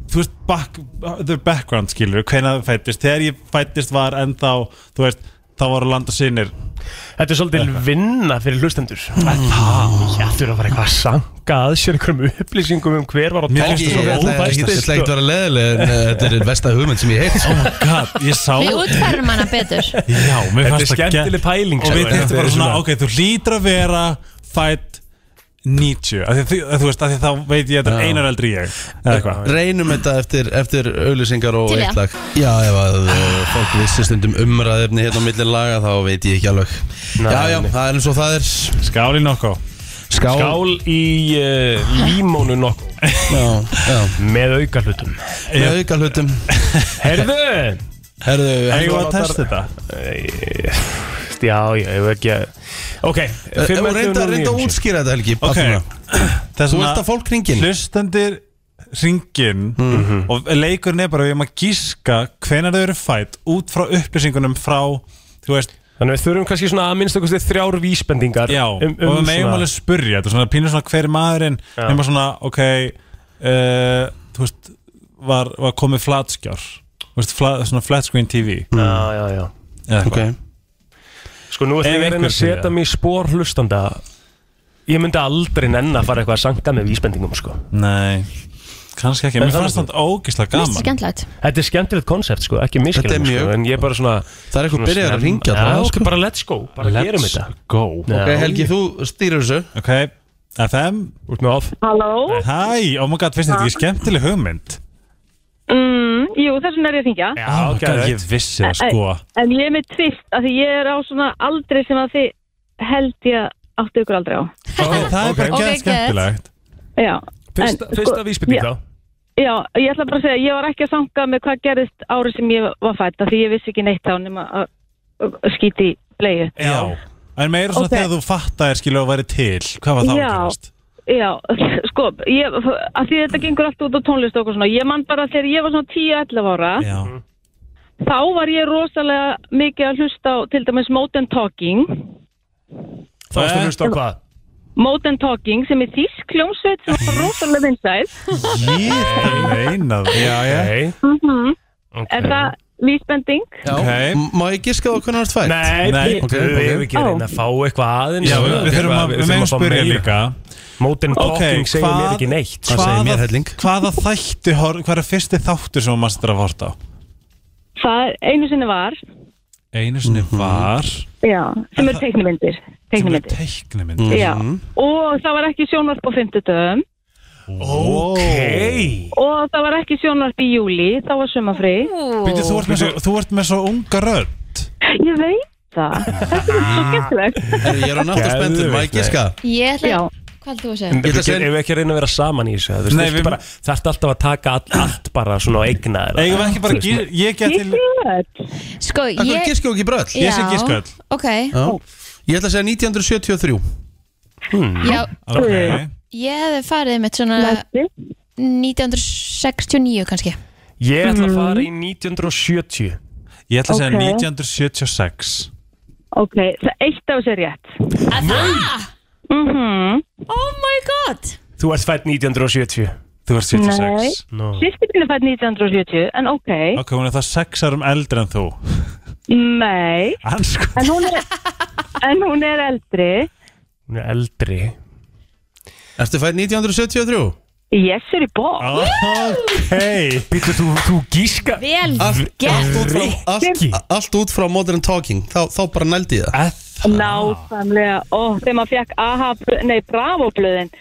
þú veist, back, the background skilur hvena það fættist, þegar ég fættist var en þá, þú veist, þá voru land og sinir
Þetta er svolítið vinna fyrir hlustendur
Mm.
Það er að fara eitthvað að sanga að sér einhverjum upplýsingum um hver var á
Mér
Ég
finnst
ætla ég
tónlistinni og
ætla
óvættist,
ekki að
sko.
vera leðileg en eh, þetta er einn vesta hugmynd sem ég heitt
oh my god, ég sá
Við útfærum hana betur
já, mér
Þetta er
fannst það
skemmtileg pæling
og
sko.
við þetta bara svona, ok, þú lítur að vera fætt 90 af því, þú- þú veist, af því þá veit ég að þetta er einar eldri ég eða eitthvað
Reynum þetta eftir, eftir auðlýsingar og
Til í
eitt
það.
lag Já, ef að <laughs> eh, fólk vissi stundum umræðefni hérna á milli laga þá veit ég ekki alveg
Nei,
Já, já,
nei.
það er eins og það er
skáli nokko
Skál,
Skál í uh, límónu nokku
Já, já,
Með auka hlutum
með auka hlutum
Herðu
Herðu,
eigum við
hefðu
að testa þetta
Eh, Já, já, ég veit ekki að Ok,
Reynda, reynda að útskýra þetta Helgi
ok,
pappína.
það er
Þú ert að
svona
fólk ringin
hlustendir ringin og leikurinn er bara við erum að gíska hvenar þau eru fætt út frá upplýsingunum frá, þú veist
Þannig við þurfum kannski svona að minnstu kosti þrjár vísbendingar
Já,
um,
og við
um
megum alveg spurja Þetta er svona pínur svona hver er maðurinn
Já.
nema svona, ok uh, Þú veist, var, var komið flatskjár Þú veist, flat, svona flat screen TV
Já, já, já
eða
Ok,
eitthvað.
Sko nú er
Ef
þið að reyna
einhver
að
skilja.
setja mig í spór hlustanda Ég myndi aldrei nenn að fara eitthvað að sanga með vísbendingum sko.
Nei, kannski ekki
En
Mér
það-
fannst þetta ógislega
Mest
<laughs> gaman
skemmtilegt
Þetta er skemmtilegt konsept sko, ekki
Þetta er
miskilum
mjög-
sko, En ég er bara svona
það er eitthvað byrjar að ringja
Já,
þá,
ok,
sko.
bara let's go, bara
Let's
gerum þetta
go
Já.
Ok, Helgi, þú stýrir þessu
Ok, FM
Út með off
Halló?
Hæ, oh my god, finnst þetta ekki skemmtileg hugmynd
Mm, jú, þessum er ég að þingja.
Já,
Oh my
ok,
god, ég vissi það sko
En ég er með tvist, af því ég er á svona aldrei sem að þið held ég áttu ykkur aldrei á.
okay, Það er bara
Ok,
okay,
good.
skemmtilegt
Já,
Fyrsta,
En, sko,
fyrsta vísbending
já.
þá
já, ég ætla bara að segja, ég var ekki að sanga með hvað gerðist árið sem ég var fætt, af því ég vissi ekki neitt á nema að- að að skýti í bleiðu.
Já En meira svona
Ok.
þegar þú fattaðir skilur að væri til Hvað var það að
Já.
gerast?
Já, <laughs> sko, ég, að því þetta gengur allt út á tónlist og okkur svona, ég man bara þegar ég var svona 10-11 ára,
Já,
þá var ég rosalega mikið að hlusta á til dæmis Modern Talking,
Þá varstu að hlusta á hvað?
Modern Talking sem er þýsk kljómsveit sem var rosalega vinsæl,
Ég það meina það Já, já
Nei
Mhm. er það vísbending?
Já.
Ok.
M- Má ég giska þá hvernig þú ert fætt?
Nei,
Nei,
við-
ok,
við
ok.
hefum ekki að reyna að fá eitthvað aðeins
Já, við, við þurfum að, við megum
fá
spyrja
meira.
líka
Mótin
Ok,
Blocking segir
hvað-
mér ekki neitt
Hvað segir mér,
Hvaða-
Helling?
Hvaða þætti, hor- hvað er fyrsti þáttur sem maður stættir að horta á?
Það er- einu sinni var,
Einu sinni
Mhm.
var
já, sem
En
er
það-
teiknumyndir,
sem er
teiknumyndir,
teiknumynd
já, og það var ekki sjónvarp á fimmtudöfum
Mm.
Ok
og það var ekki sjónvarp í júli, þá var sumafri,
Býtu, þú, ert með svo- þú ert með svo unga rödd
ég veit það, þetta er svo skemmtilegt,
Herri, Ég er á náttúr spendur, má ég
Geðveikt,
giska?
Ég ætla,
já.
hvað ætla þú að
Mm.
segja?
Ég ætla að segja-
Ef við ekki að reyna að vera saman í þessu
Nei,
Það
við-
bara, þarft alltaf að taka all, allt bara svona og eigna þér
Eigum við ekki bara, gí- ég get
Ég
til
veit,
Sko,
Það hvernig
ég,
giska og ekki bröll?
Ég sé giskall.
Ok,
Já. Ég ætla að segja 1973
já,
okay.
ég hefði farið mitt svona
Næsti.
1969 kannski
Ég ætla að fara í
Hmm.
1970
Ég ætla að segja
Ok.
1976
Ok, það eitt af þessu er rétt. Mhm.
Oh my god
Þú ert fætt 1970
Þú ert 76
no.
Sýsti mín er fætt 1970, en ok,
Ok, hún er það 6 árum eldri en þú
nei,
Ansku
en hún er, en hún er eldri.
Hún er eldri
Ertu fætt 1973?
Yes, er í bók.
Ok
Býttu, þú, þú gíska
Vel
Ah.
Allt, allt, út frá, allt,
Rikki.
allt út frá Modern Talking Þá, þá bara nældi ég það
Nákvæmlega, ó, þegar maður fekk aha, bl- nei, bravo-blöðin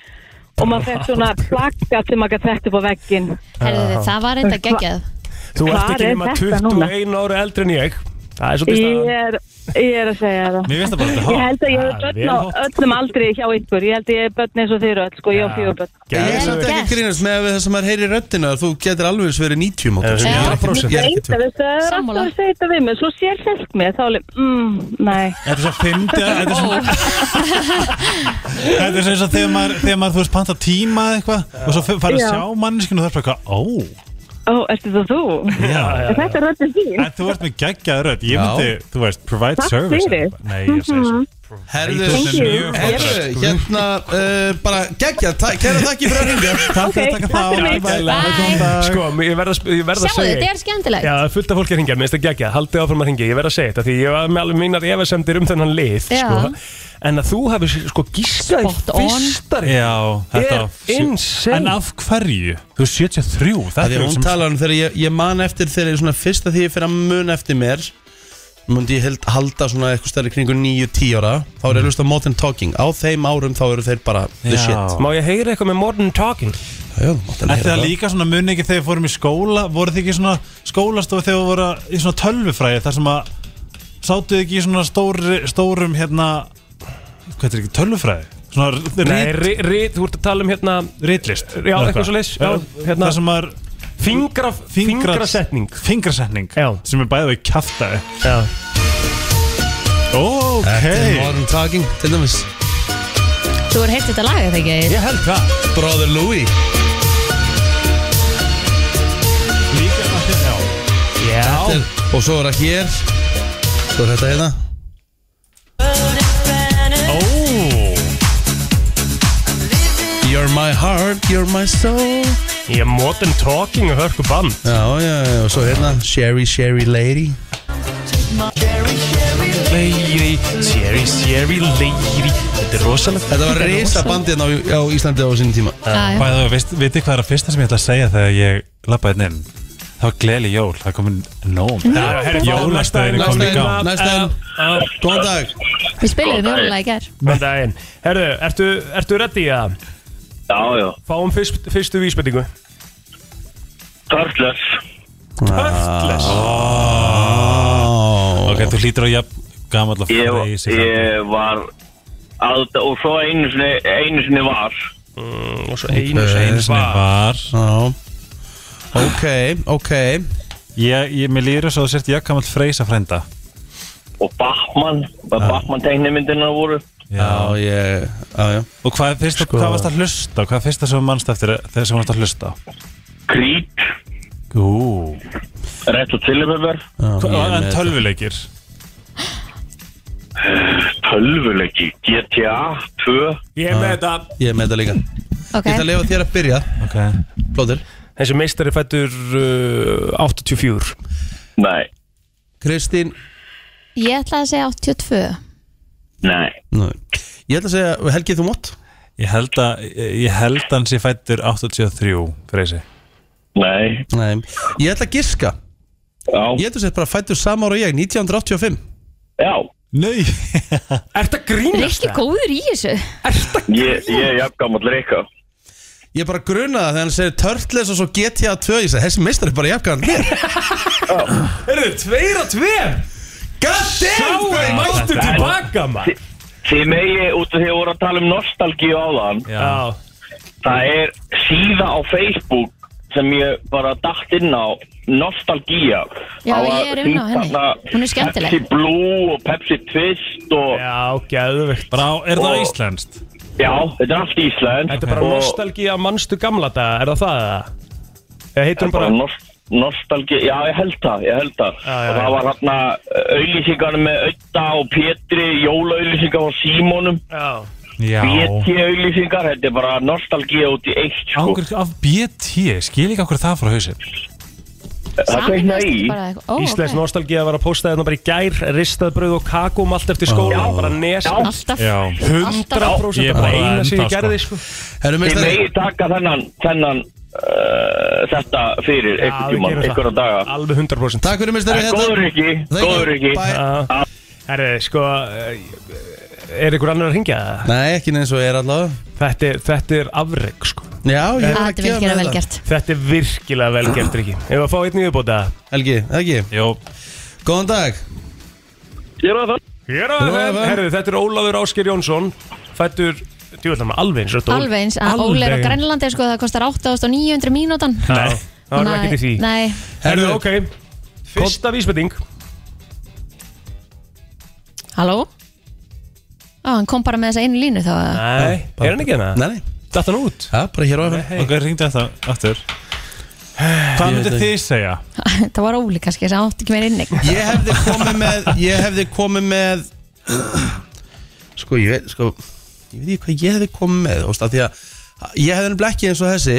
og maður fekk svona plakkat sem maður gætt þekkt upp á veggin.
Herðu, Það var reynda geggjað
Þú ert
Hvar
ekki
er
nema
þetta núna?
21 ára eldri en ég Það er svolítið
Ég
staðan
er, ég er að segja það.
Mér finnst það bara þetta
Ég held að ég
Ah,
er börn
vel
á
hótt.
öllum aldri hjá ykkur. Ég held að ég er börn eins og þeir eru öll, sko, ég á
Já.
fjögur börn.
Ég er
Vel
samt ekki
gert.
að grínast með að við það sem er heyri röddina Þú getur alveg eins verið 90 mótur
Já.
Ég er ekki
Þetta,
trú
veistu, það er alltaf
Sammála.
að segja þetta við mig, svo sér fólk mér, þá er alveg, mm, nei.
Þetta er svo fyndið að- Þetta er svo Þetta er svo eins og þegar maður, þegar maður þú veist panta tíma eða eitthvað og svo farið að
Já.
sjá manneskinu og það er bara eitthvað, ó
Ó, ertu það þú?
já,
Er þetta röddinn þín?
En þú ert með geggjað rödd, ég
Já.
myndi, þú veist, provide
Takk
service
fyrir. Mhm.
eða eitthvað. Nei, ég segi svo
Herðu,
Thank you.
herðu, hérna uh, Bara geggja, kæra takk fyrir að hringja
Takk fyrir
Ok,
að taka
takk
þá,
fyrir mig.
Gæla,
Bye.
góðan dag.
Sko, ég verð að, sp- ég verð að
Sjáu,
segja
þetta er skemmtilegt
Já, það er fullt af fólki að ringja, minnst að gegja, haldið áfram að ringja, ég verð að segja þetta því ég var með alveg mínar efasemdir um þennan lið,
Já.
sko En að þú hefur sko gískað í
Spot on.
fyrstari
Já, þetta
er insane.
En af hverju? Þú er 73
Það
Þetta
er
er
hún
sem
talar um þegar ég, ég man eftir þegar svona fyrsta því ég fyrir að mun eftir mér Mundi ég held halda svona eitthvað stærri kringu 9-10 ára Þá er ég hlust á Modern Talking Á þeim árum þá eru þeir bara the
Mm. Já.
shit
Má ég heyra eitthvað með Modern Talking?
Já, þú mátt alveg
Ætti
heyra
það líka svona muni ekki þegar við fórum í skóla voru þið ekki í svona skólastofu þegar við voru í svona tölvufræði þar sem að sátuð ekki í svona stóri, stórum hérna hvað er ekki tölvufræði? Svona
Nei,
rít,
ri- ri- þú ert að tala um hérna
rítlist
Já, eitthvað svoleiðis, já, hérna.
Það sem er
fingra,
Fingra-
fingrasetning
fingrasetning
Já.
sem er bæðið við kjaftaði
Já,
Ok
Þetta er Modern Talking til dæmis
Þú er heilt þetta lag, eða ekki?
Ég held það
Brother Louie
Líka, já
já,
Til- Og svo er það hér Svo er þetta hérna
Ó
You're my heart, you're my soul
ég er Modern Talking og hörku band
Já, já, já, og svo hérna Sherry, Sherry Lady
Leiri, Sherry, Sherry, Leiri Þetta er rosalegt
Þetta var reysa bandið hérna á, á Íslandi á sinni tíma
Já, já.
Bæðið við, veist- vitið hvað er að fyrsta sem ég ætla að segja þegar ég lappa hérna inn Það var gleli jól, það komin nóm Jólastæðin
Næsta
komin í gang
hérna,
einn, næsta hérna. einn Góðan dag
Við spilum við jólag í gær
Góðan daginn Herðu, ertu, ertu reddi að
Já, já.
fáum fyrst, fyrstu vísbendingu?
Törflöf.
Höftless
Ó,
Ok, þú hlýtur á jafn gammal að
Ég,
fara í sig
ég var alltaf, og svo einu sinni, einu sinni var.
Og svo einu einu
Sinni var
Eh, Já Ok, ok
Ég, ég, mér líður svo að þú sért jafn gammal freysa frænda
Og Batman, hvað Batman teiknimyndina voru.
Já, ég, já, já
Og hvað, er fyrsta, hvað varst að hlusta? á? Hvað er fyrsta sem þú manst eftir þegar sem varst að hlusta? á?
Creed,
Ú
Red Hot Chili Pepper,
Hvað-
ég er
En
með
tölvuleikir
tölvuleiki, GTA 2.
Ég er með þetta
Ég er með þetta líka
Ok,
Ég ætla að lifa þér að byrja
Ok
Plóter
Þessi meistari fættur uh, 84
Nei,
Kristín
ég ætla að segja 82
nei.
Nei. Ég ætla að segja Helgi þú mótt
Ég held að, ég held að hans ég fættur 83 freysi
Nei,
Nei Ég ætla að giska
já,
Ég ætla að segja bara fættur sama ára og ég 1985
já,
<laughs> Nei
Ert að grínast
Rikki góður í þessu
ég, ég er jafngamall Rikka.
Ég bara gruna það þegar hann segir Turtles og svo GTA 2 Ég segi þessi meistar er bara jafngan mér
Herðu, tveir og tveir
God damn
Sjáu, mættu
þetta er-
tilbaka maður
Þið megi, út af því að voru að tala um nostalgíu áðan,
Já,
það er síða á Facebook sem ég bara dætt inn á nostalgía
Já,
Það var
ég er inn á
sýnt
henni.
þarna
Hún er skemmtileg.
Pepsi Blue og Pepsi Twist og já,
já, geðvegt
Bara, á- er það
Og-
íslenskt?
þetta er allt Ísland
Þetta er bara nostalgía mannstu gamla daga, er það það eða? Eða heitir hún bara
nost nostalgía, já ég held það, ég held það
Já, já,
og það
já.
var hérna auðlýsingarnir með Ötta og Pétri, jólaauðlýsingar og Símónum,
Já
Já
BT auðlýsingar, þetta er bara nostalgía út í eitt sko,
Ángur af BT, skil ekki okkur það frá hausinn
það kveiknaði í
Íslensk
Íslensk
nostalgía var að posta þarna bara í gær ristað brauð og kakóm allt eftir skóla
Já.
bara nes
Já.
Alltaf
Já.
100%
Ég
það var
bara
eina sem
enda,
ég
sko.
gerði sko.
Herru
Þið
meistari
megi taka þennan, þennan uh, þetta fyrir
Já,
einhvern
við
tímann,
gerum það.
einhverja daga.
alveg 100%
Takk fyrir meistari hérna.
En Góður ekki,
Thank you.
góður ekki.
Bye.
Já. Herri, sko eh, er ykkur annar að ringja
Nei, ekki neins og ég er allavega
þetta er, þetta er afreg sko.
Já, ég er að
Þetta vil
gefa
gera
mér
vel
þetta.
gert
þetta er virkilega vel gert Riki ef að fá einn í uppbóta
Helgi, ekki
Jó
Góðan dag
Ég er að það
Hér á FM,
FM.
herðu, þetta er Ólafur Ásker Jónsson Fættur, djúvöldar maður, alveg eins rödd Ól-
Alveg eins að Óli er á Grænlandi sko, það kostar 8.900 mínútan
Nei, það var ekki til því
Nei,
Herðu,
Herðu.
ok, fyrsta vísbending
halló Á, hann kom bara með þessa einu línu þá að
Nei, er hann ekki hérna?
Nei, nei,
Datt hann út?
það er bara hér á FM
Ok, ringdi þetta aftur Hvað myndir þið segja?
<laughs> það var Óli kannski, þess að átti ekki meir inni
Ég hefði komið með Ég hefði komið með Sko, ég veit sko, Ég veit ekki hvað ég hefði komið með óst, Því að ég hefði nefnilega ekki eins og þessi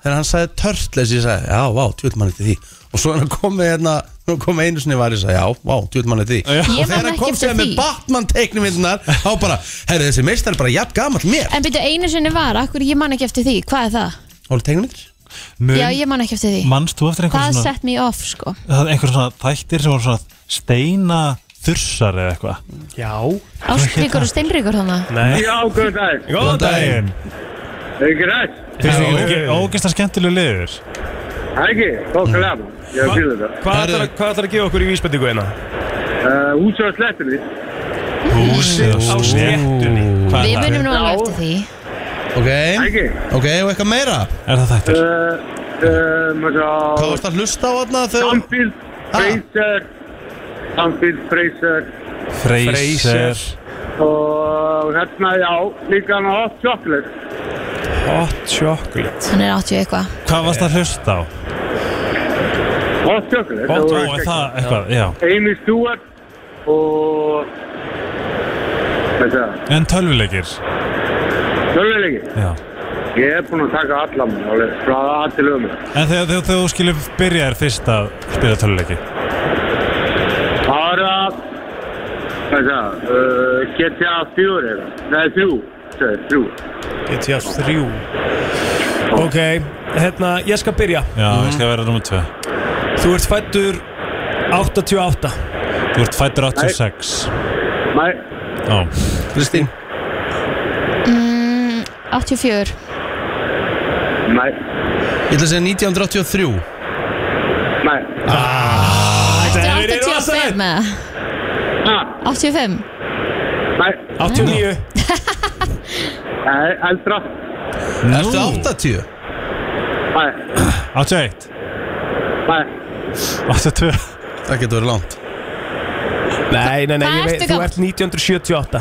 Þegar hann sagði törtleis Ég sagði, já, vá, tjóðl mann eftir því Og svo hann komið hérna Nú kom einu sinni var ég sagði, já, vá, tjóðl mann eftir því
Já.
Og
Ég man
þegar hann
ekki
kom
eftir
sér með
því.
Batman teiknumindunar Þá bara, herri, þessi meistar er bara jafn gamall mér
En byrju, einu sinni var, akkur ég man ekki eftir því Hvað er það?
Hóli teiknumindur
Mun,
Já, ég man ekki eftir því
Manst þú eftir einhver
Það
svona,
sett mér off, sko
það er einhver svona þættir sem voru svona steina þursar eða eitthvað
Já
Ástríkur og steinríkur þannig
Nei
Já, góðan daginn
Góðan daginn
Það er ekki rætt
Finnst
Já,
þið ekki
ok.
ógeðslega skemmtileg liður?
Það er ekki, fólkulega Ég er að fýla þetta
Hvað ætlar að- hvað ætlar að gefa okkur í vísbendingu hérna?
Uh, Útsvarslettinni
Húsið
Á sléttunni
Hvað
Við
er það?
munum nú alveg eftir því
Ok,
Ekki
ok, og eitthvað meira
Er það þættir?
Uh, uh, maður
Hvað
sá
varst að hlusta á þarna þegar
Samfield,
Ah,
Fraser Samfield, Fraser
Freyser
og hérna, já, líka hann á Hot Chocolate
Hot chocolate
Hann er 80 eitthvað
Hvað varst að hlusta á?
Hot Chocolate
Ó,
það
ó,
voru
er
ekki-
það eitthvað, já
Amy Stewart og hvað það,
En tölvuleikir
tölvileiki
Já
ég er búinn að taka allan alveg, frá að til um
En þegar, þegar, þegar þú skilur byrjaðir fyrst að spila töluleiki
það er að hvað það, uh, GTA 4 eða, nei 3 sagði, 3
GTA 3 Ok, hérna, ég skal byrja
Já, ég skal vera nummer 2
Þú ert fættur 88
Þú ert fættur 86
nei,
Já,
Kristín,
mm, 84
nei,
ég ætla að segja 1983
nei
Þetta
hefur
er
verið rosalegt.
85 með
ah,
85
nei,
89
nei, eldra
Ertu 80?
nei,
Mm. 81
nei,
82
Það getur verið langt
Nei, nei, nei,
Hvað
ég veit,
ertu
þú
gamall?
ert 1978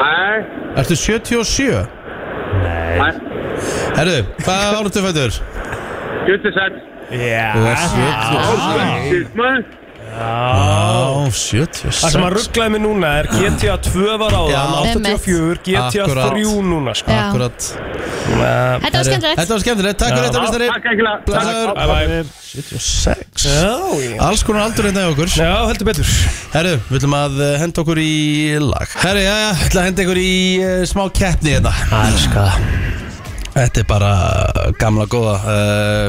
nei
Ertu 77?
Nei.
Herru, hvað áratu fættur?
76
Þú
Já
ert 77
Sýsmann
Á,
Það sem að
76
rugglaði mig núna er GTA 2 var á
Já.
það, 84, GTA
Akkurat.
3 núna sko
Já.
Akkurat
Þetta var
Herru,
skemmtilegt
Þetta var skemmtilegt, takk fyrir þetta mistari
Takk ekki
Blessaður.
Bye bye
76
Já, já.
Alls konar aldur hérna hjá okkur
Já, heldur betur
Herru, við ætlum að eh, henda okkur í lag Herru, já, já, ég ætla að henda ykkur í eh, smá keppni hérna
Ælska
Þetta er bara eh, gamla góða uh,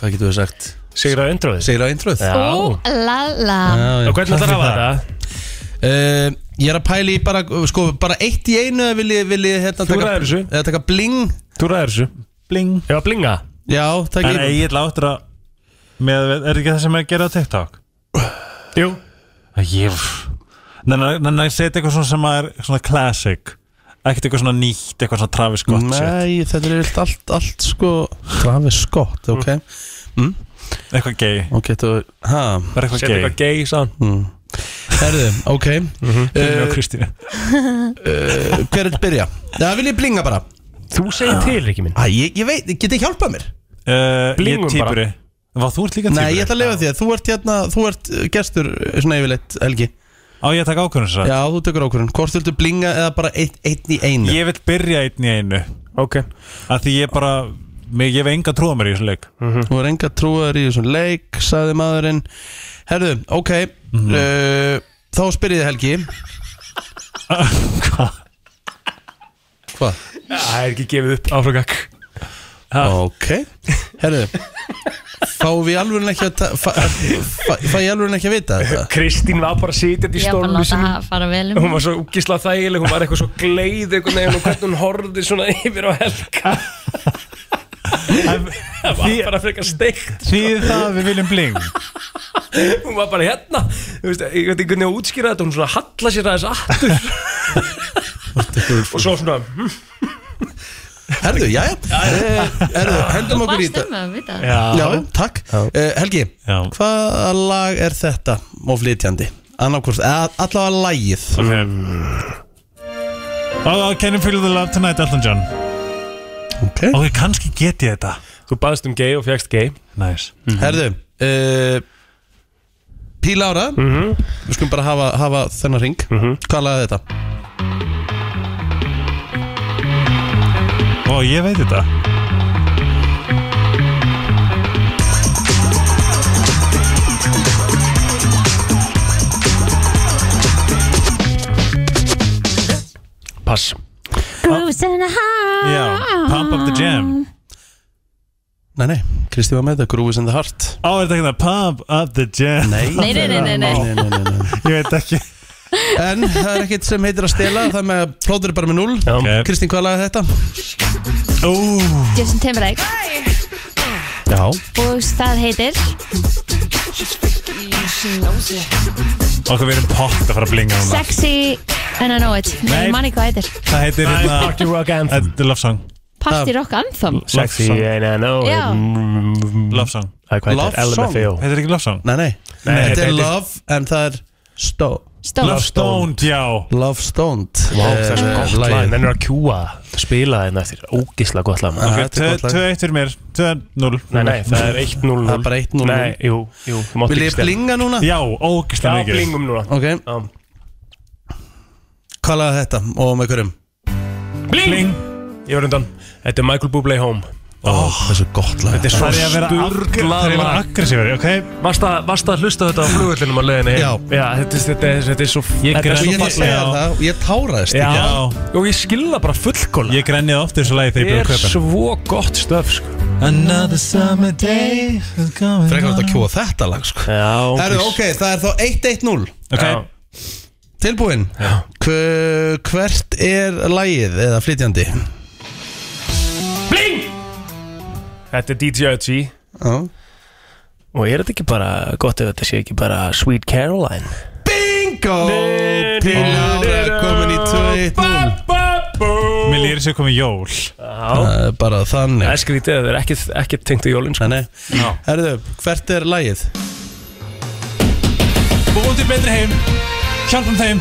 Hvað getur við sagt?
Sigur að undra þið
Segir á introð?
Já
Ú, la la
já, já.
Og hvernig ætlar að hafa þetta?
Uh, ég er að pæli í bara, sko, bara eitt í einu eða vil ég, vil ég hérna,
Þú ræður þessu.
eða taka bling
Þú ræður þessu
Bling
Ég var að blinga
Já, takk
En
ég
Egil áttur að með, Er ekki það sem er að gera á TikTok?
Jú
Að Ég Nennan að setja eitthvað svona sem er svona classic Ekkert eitthvað svona nýtt, eitthvað svona Travis Scott shit.
Nei, þetta er allt, allt, allt sko Travis Scott, ok
Eitthvað gay,
Ok, þú, ha
bara eitthvað
Sett
gay
eitthvað gay sann
Herðu, ok
Gylfi og
uh,
Kristínu
Hver er að byrja? Já, vil ég blinga bara
Þú segir til, ekki minn
Æ, ég, ég veit, getið ekki hjálpað mér?
Uh, Ég
Blingum
er típuri Vá, þú ert líka típuri
Nei, ég ætla að lifa því að þú ert hérna, þú ert uh, gestur uh, svona yfirleitt, Helgi
Á ég að taka ákvörðun sér
Já, þú tekur ákvörðun, hvort viltu blinga eða bara eitt, einn í einu
Ég vil byrja einn í einu
Ok
að Því ég bara mig, Ég hef enga trúa mér í þessum leik
Þú er enga trúar í þessum leik, sagði maðurinn Herðu, ok uh, Þá spyr ég þig, Helgi Hvað?
Það er ekki gefið upp áfragak
Ok Herðu Fá við alveg ekki að ta- fæ, fæ, fæ ég alveg ekki að vita þetta
Kristín var bara sitjandi í
Ég var bara að láta
stólnu sinni
það fara vel um
Hún var svo úkislega <laughs> þægileg Hún var eitthvað svo gleið einhvern veginn og hvernig hún horfði svona yfir á helga Það var bara frekar steikt
Því það að við viljum bling
Hún var bara hérna Þú veist, Ég veit ekki hvernig að útskýra þetta Hún svona halla sér aðeins aftur Og svo svona hm,
Herðu, jæja Eh, Herðu, hendum okkur í
Varst
þetta
um að vita
Já,
Já, takk Eh, Helgi,
Já.
hvaða lag er þetta og flytjandi? Annarkvort, allavega lagið
Oh, can you feel the love tonight, Elton John
Ok
Ok, kannski get ég þetta
Þú baðst um gay og fjækst gay
Næs
Herðu, uh, Píla ára Við skulum bara hafa, hafa þennan ring Hvað lagði þetta?
Ó, ég veit þetta
Pass
Grooves in the heart
Já, Pump Up The Jam
Nei, nei, Kristi var með þetta, Grooves in the Heart
Á, er þetta ekki það Pump Up The Jam
Nei, nei, nei, nei, nei.
nei, nei, nei.
Ég veit ekki
En það er ekkit sem heitir að stela Það með að plótur er bara með 0
Ok.
Kristín, hvað lagði þetta?
Ó,
Justin Timberlake
Já
og það heitir
okkur við erum pott að fara að blinga núna
Sexy and I know it Nei,
Nei.
ég man ekki hvað heitir
Það heitir hérna
Party rock anthem
Þetta er love song
Party Rock Anthem
Sexy
Love song.
and I know
Já.
it
Love song
Það er hvað
Love
þetta er
song.
LMFAO
Heitir ekki love song?
Nei, nei, þetta
þetta
er
heitir-
Love En það er Stone
Stone
Love stoned, já
Love Stoned
Vá, það er svo
Eh,
gott
lagið.
lag Þannig er að kjúa Spila þeim eftir Ógisla gott lag maður.
Ah, þetta er gott lag.
2-1 fyrir mér 2-0
Nei, nei, það er 1-0
Það er bara 1-0.
Nei, jú, jú þú mátt
Vil
ekki
ég
stela.
blinga núna?
Já, ógislega
Já,
mikið
blingum núna
Ok,
Já.
hvað lagði þetta og með hverjum?
Bling! Ég var undan Þetta er Michael Bublé Home
Ó, það er svo gott lag
Þetta er
Það er að vera
Sturlað lag.
aggressífur Ok,
Varst að, varst að hlusta þetta á flugullinum á leiðinni heim?
Já.
Já, þetta, þetta, þetta, þetta er svo
Ég
Þetta er
græt
Og
svo
ég
svo
er
fallega,
segja
já.
það og ég táraðist
Já. um
ekki.
Og ég skilða bara fullkóla
ég grænjaði ofta þessu lagi þegar
er
ég búið að kaupa
svo gott stöf sko.
hann. Another summer day is coming
Frekar þetta
on.
að kjóa þetta lag sko
Já,
Herru, ok, það er þá 1-1-0
Ok,
Já.
Tilbúinn Hver- Hvert er lagið eða flytjandi?
Bling! Þetta er DJ Ötzi
Já.
Og er þetta ekki bara gott ef þetta sé ekki bara Sweet Caroline
Bingo! Pílára komin í 2-1-0
mér lýri sér komið jól
Já,
Það er Bara
það er
þannig
skrítið að það er ekki, ekki tengt í jólinn sko.
Nei, nei. Herru, hvert er lagið?
Búum til betri heim, hjálpum þeim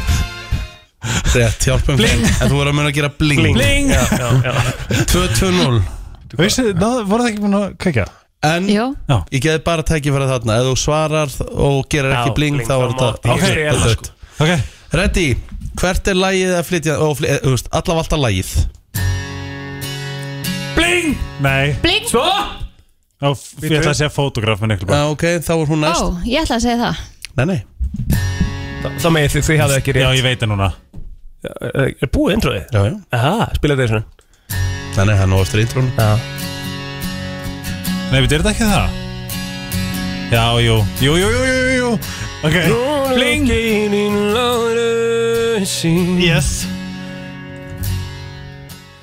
Rétt, hjálpum
Bling.
En þú voru að muna að gera bling
Bling
Já, já, já
2-2-0
Veistu, ná- voru það ekki búin að kveika?
En
Jó,
Ég geði bara tækifæra þarna Ef þú svarar og gerir ekki
Já,
bling
bling,
þá er
þá
þetta
mátti
Ok,
ég segja
þetta
það,
er
sko.
dött.
Ok,
Ready, hvert er lagið að flytja og fly, eða, þú veist, allavega alltaf lagið
bling Nei,
bling
Svo
Ó, f- ég ætla að segja fotograf með neklu
Já, Ah, ok, þá er hún
Ó,
næst
ég ætla að segja það
Nei, nei,
Þá megið þið, þið hafið ekki
Já,
rétt
ég veit það núna
Eh, Er búið introið?
já, já
Aha, spila þetta svona
Nei, nei, það er nú eftir intrón
Já
Nei, við þetta ekki það Já, jú, jú, jú, jú, jú, jú Ok, bling
Bling
Yes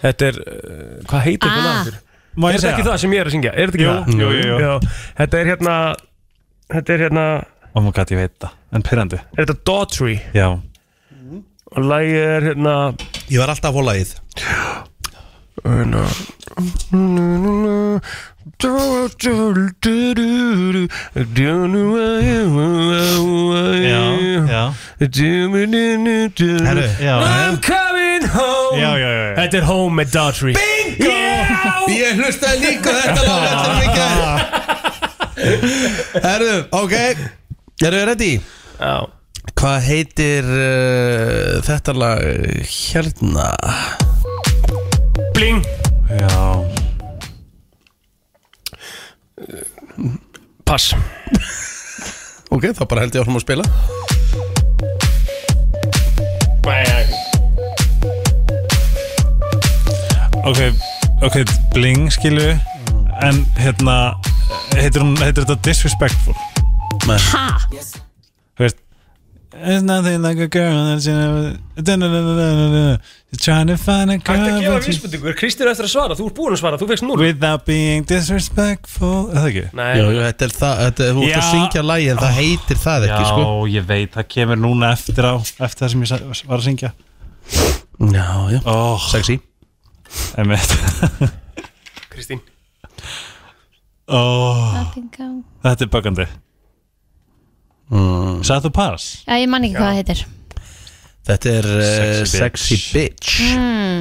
Þetta er, eh, hvað heitir þetta
Ah.
ah. aftur?
Má
Er
ég
þetta ekki
segja?
það sem ég er að syngja? Er þetta ekki
Jú,
það?
jú, jú, jú.
Já, Þetta er hérna Þetta er hérna Er
Ó, maður gæti, ég veit það En pyrrandi
þetta Daughtry
Já
Og lagi er hérna
Ég var alltaf á lagið
Hérna
já
Herru,
I'm coming home
Já, já, já, já.
Þetta er home með Daughtry
bingo Ég hlustaði líka á þetta lag allir mig gær Herru, ok Eru þið ready?
Já
Hvað heitir uh, þetta lag uh, hérna?
Bling
Já
Pass
Ok, þá bara held ég áfram að spila
Ok, ok, bling skilju En hérna Heitir, hún, heitir þetta disrespectful
Nei.
Ha,
Þú veist There's nothing like a girl that's in a... da-da-da-da-da-da-da. She's Trying to find a
Ætti að
girl
gefa
but she's-
vísbendingu, er Kristín eftir að svara? Þú ert búin að svara, þú fegst núl
Without being disrespectful Er það ekki?
Nei,
Jú, jú, þetta er það, þetta, þú ert að
Já.
syngja lagi en það heitir það ekki, sko
ég veit, það kemur núna eftir á Eftir það sem ég sa- var að syngja
Já, já,
Ó, oh,
sexy
einmitt
Kristín
Ó,
Nothing can-
þetta er böggandi mm. Sæðu pass?
Já, ég man ekki hvað það heitir
Þetta er uh,
Sexy bitch.
sexy bitch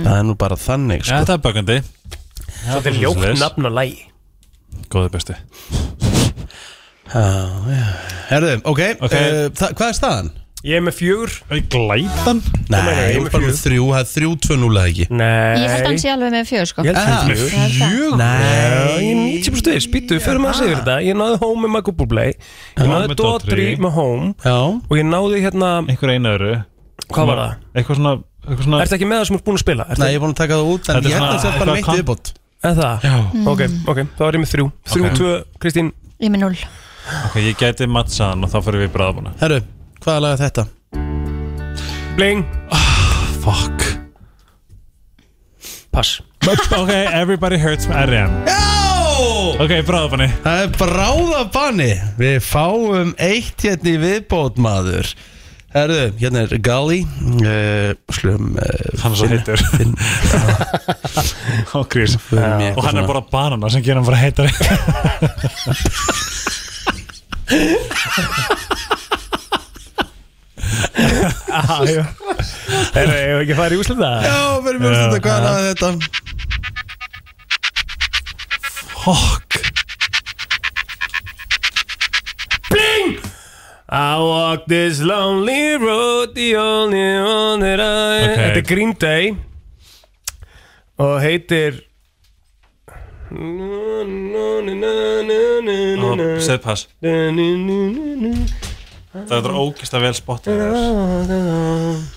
Það er nú bara þannig, sko
Þetta er böggandi
Þetta er ljótt nafn á lægi
Góði besti
Herðu, ok,
Ok.
Uh, þa- hvað er staðan?
Ég er með fjögur
Glætan?
Nei,
meina, ég
ég
er
er bara
með
með þrjú, það er þrjú, tvö, núlega ekki
Nei
Ég held hann sé alveg með fjör, sko
Ég held
Ah,
hann sé með fjögur
Nei.
Ég er 90% við, spýtu, förum að segja þetta Ég náði home með Michael Bublé Ég náði
með
Dotri
Daughtry.
með home
Já,
Og ég náði hérna,
Einhver einu öru
hvað var það?
Eitthvað svona, eitthvað svona
Ertu ekki með það sem þú ert búin að spila? Ertu
nei, ég er búin að taka það út
Þetta
En
er
ég held
svona
að það er bara
eitthvað
meitt
kom-
viðbót
Er það?
Já.
Ok, ok, þá er ég með þrjú Þrjú,
Ok.
tvö, Kristín
Ég er með null
Ok, ég gæti mattsaðan og þá fyrir við bræðbúna
Herru, hvaða lag er þetta?
Bling
Fuck
Pass
Ok, everybody hurts með R.M.
Já!
Ok, bræðbúni
Það er bráðabanni Við fáum eitt hérna í viðbót maður Herðu, hérna er Gali uh, Slum uh,
Hann er svo heitur <laughs> Og Chris Og hann er bara banana sem gerir hann bara heitar
Erum við ekki að fara í úslita?
Já, verður mjög stundar hvað er þetta
Fuck
I walk this lonely road The only one that I
Ok.
Þetta er Green Day Og heitir Þetta
Segð pass Það er ógist að vel spotta
I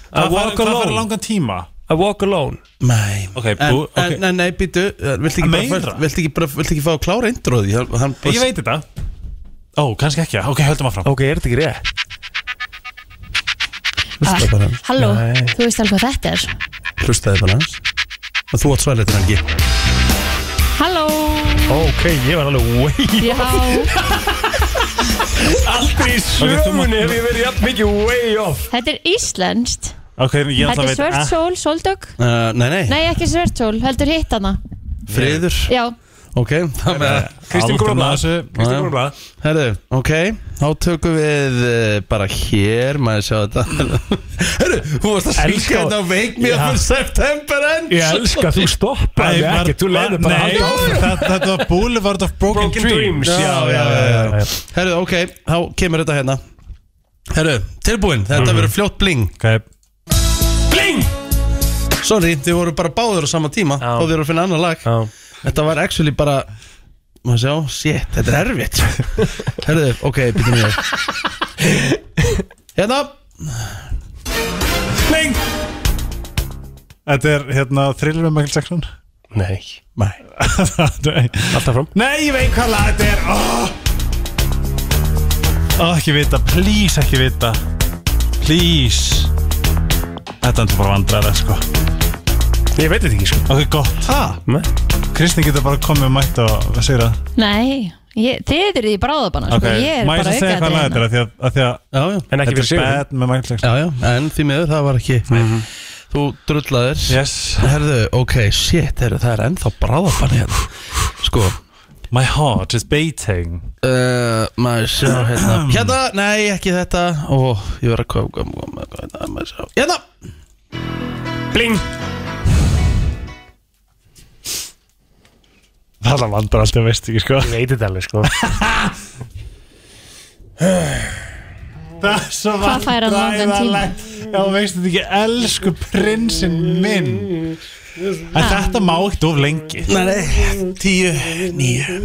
Það
walk
fyrir
alone
langan tíma
I walk alone
Nei,
Ok,
en,
bú- ok.
en, en nei, býtu Vilt ekki,
Að
bara-
meira?
viltu ekki, bara- viltu ekki fá að klára indróði hann,
Ég veit þetta Ó, kannski ekki, ok, höldum áfram
Ok, er þetta ekki rétt?
Hlustaði bara hans
Ah, Halló, þú veist alveg hvað þetta er
Hlustaði bara hans Og þú átt svæðlega til hann ekki
Halló,
Ok, ég var alveg way
já
Aldrei í sögunni hef ég verið jafn mikið way off
Þetta er íslenskt
Ok, ég
Þetta
alltaf
er
veit
svört sól, sóldögg
uh, Nei, nei,
Nei, ekki svört sól, heldur hitt hana
friður
Já,
Ok, það með það
Kristín kom að
Aldrei
blað
þessu.
Kristín kom að blað
Herðu, ok, þá tökum við uh, bara hér, maður sjá þetta <laughs> Herðu, hún varst að
Elska-
syngja þetta á Wake Me Up
Já.
in September End
Ég elska, þú stoppaði ekki Þú leiði bara
Nei,
aldrei
þetta- þetta var Boulevard of Broken
Broken Dreams
Dreams
Já, <laughs> já, já, já, Herðu, ok, þá kemur þetta hérna Herðu, tilbúin, þetta verður fljótt bling
Ok,
Bling
Sorry, þið voru bara báður á sama tíma
Já.
og þið voru að finna annar lag
Já.
Þetta var actually bara, maður sjá, shit, þetta er erfitt Herðu, ok, býtum við Hérna,
Bling Þetta er hérna thriller með Michael Jackson <laughs>
Nei
mæ
Nei.
Alltaf fram
Nei, ég veit hvað lag þetta er Ó, oh, ekki vita, please ekki vita Please Þetta er bara vandræða sko
Ég veit þetta ekki sko
Ok, gott Ha?
Nei.
Kristín getur bara komið og mætt og segir það
nei ég, Þið eru í bráðabanna, sko Ég er
má ég
bara
svo segja hvað
aukaatriði
lag þetta
hérna.
er af því að, að því að
Já, já
En ekki
Þetta
fyrir
er
sigur
bad með Michael Jackson
Já, já, en því miður það var ekki Þú drullaðir
Yes
Herðu, ok, shit, herðu, það er ennþá bráðabanni hérna Sko
My heart is beating
uh, Maður sjá hérna Hérna, nei, ekki þetta Ó, ég verð að koma kom, kom, kom, hérna, Maður sjá Hérna
Bling
Það er vandræða alltaf, veist ekki sko
Ég veit þetta alveg sko
Það er svo
Hvað fær hann langan tíma?
vandræðalegt Já, veist þetta ekki, elsku prinsinn minn En þetta má ekkert of lengi
Nei, nei, tíu, níu,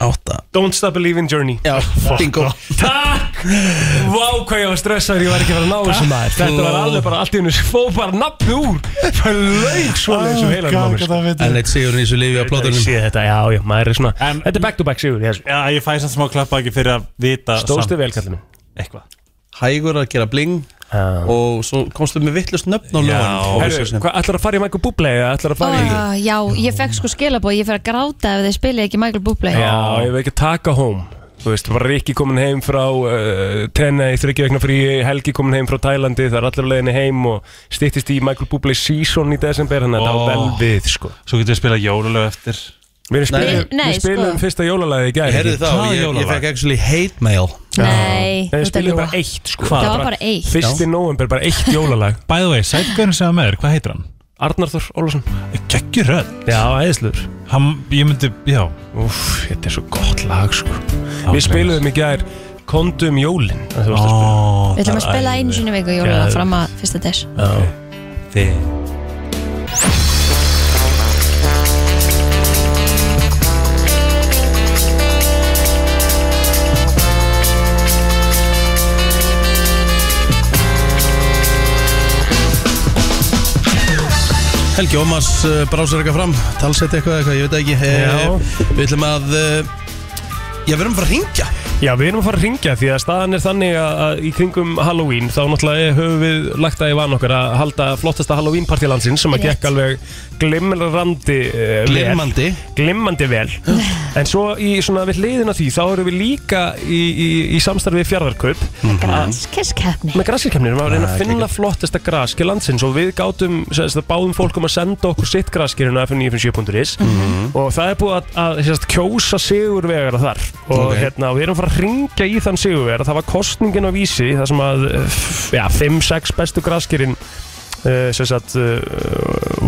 átta
Don't stop believing journey
Já, bingo
Takk Vá hvað ég var stressaður Ég var ekki að fara að ná þessu maður Þetta var alveg bara allt í hennu Fó bara nafnu úr Það laug svo leið Svo heilan
Gaf
maður
ekki
sko.
það viti.
En eitt sigur í þessu lifi á
Ég
plótunum
sé þetta Já já maður er svona
En-
Þetta er back to back sigur í þessu.
Já, ég fæ samt smá klappa ekki fyrir að vita
Stóðstu vel kallinu
Eitthvað
Hægur að gera bling og svo komstu með vittlust nöfn á
Herru,
lögunum
hvað, ætlar að fara í Michael Bublé eða ætlar að
Ó,
fara í
já, ég fekk sko skilabóð, ég fer að gráta ef þið spilið ekki Michael Bublé
Já, ég veit ekki að taka home Þú veist, var Rikki komin heim frá uh, Tenna í þryggja vegna frí Helgi komin heim frá Tælandi, það er allir á leiðinni heim og stýttist í Michael Bublé season í desember, þannig að það
Ó.
var vel við sko.
Svo getum við spila jólulega eftir
Við spilum,
Nei,
við
nei,
spilum
sko.
fyrsta jólalagi í
Ég
gæri
heyrði þá,
Hvaða
ég, ég
jólalag?
fekk actually hate mail
Nei,
Nei, við
þetta er
spilum
ljúga.
bara eitt sko.
Það var bara eitt.
Fyrsti november, bara eitt
<laughs>
jólalag
By the way, sætgörn sem að með þér, hvað heitir hann?
Arnar Þór Ólafsson
Gekki rödd
Já, æðislur
Hann, ég myndi, já
Úf, þetta er svo gott lag sko.
ok.
Við spilum í gær Kondum jólin að þú varst að spila.
Ó,
Við ætlum að spila einu sinni í viku jólulega
Geðveikt.
fram að fyrsta des
þið
Helgi Ómas uh, brásar eitthvað fram talsett eitthvað, eitthvað, ég veit ekki Eh,
Já.
Við ætlum að uh, Já, við erum bara að ringja
Já, við erum að fara að ringja því að staðan er þannig að, að í kringum Halloween þá náttúrulega höfum við lagt að í van okkar að halda flottasta Halloween partilansin sem að
Rétt.
gekk alveg glimrandi uh,
Glimmandi
vel, glimmandi
<laughs>
vel. en svo í svona við hliðin á því þá erum við líka í, í, í samstarfi fjardarkaup
Granskisskeppni
Mhm. með graskilkemnir, maður
Ah,
reyna að finna flottasta graskil landsins og við gátum sérst, að báðum fólkum að senda okkur sitt graskilina f957.is
Mhm.
og það er búið að, að sérst, kjósa sigurvegara þar og
Ok.
hérna, og við erum að fara að ringja í þann sigurvegara það var kostningin á vísi það sem að eh, f- ja, 5-6 bestu graskilin uh, sérst, uh,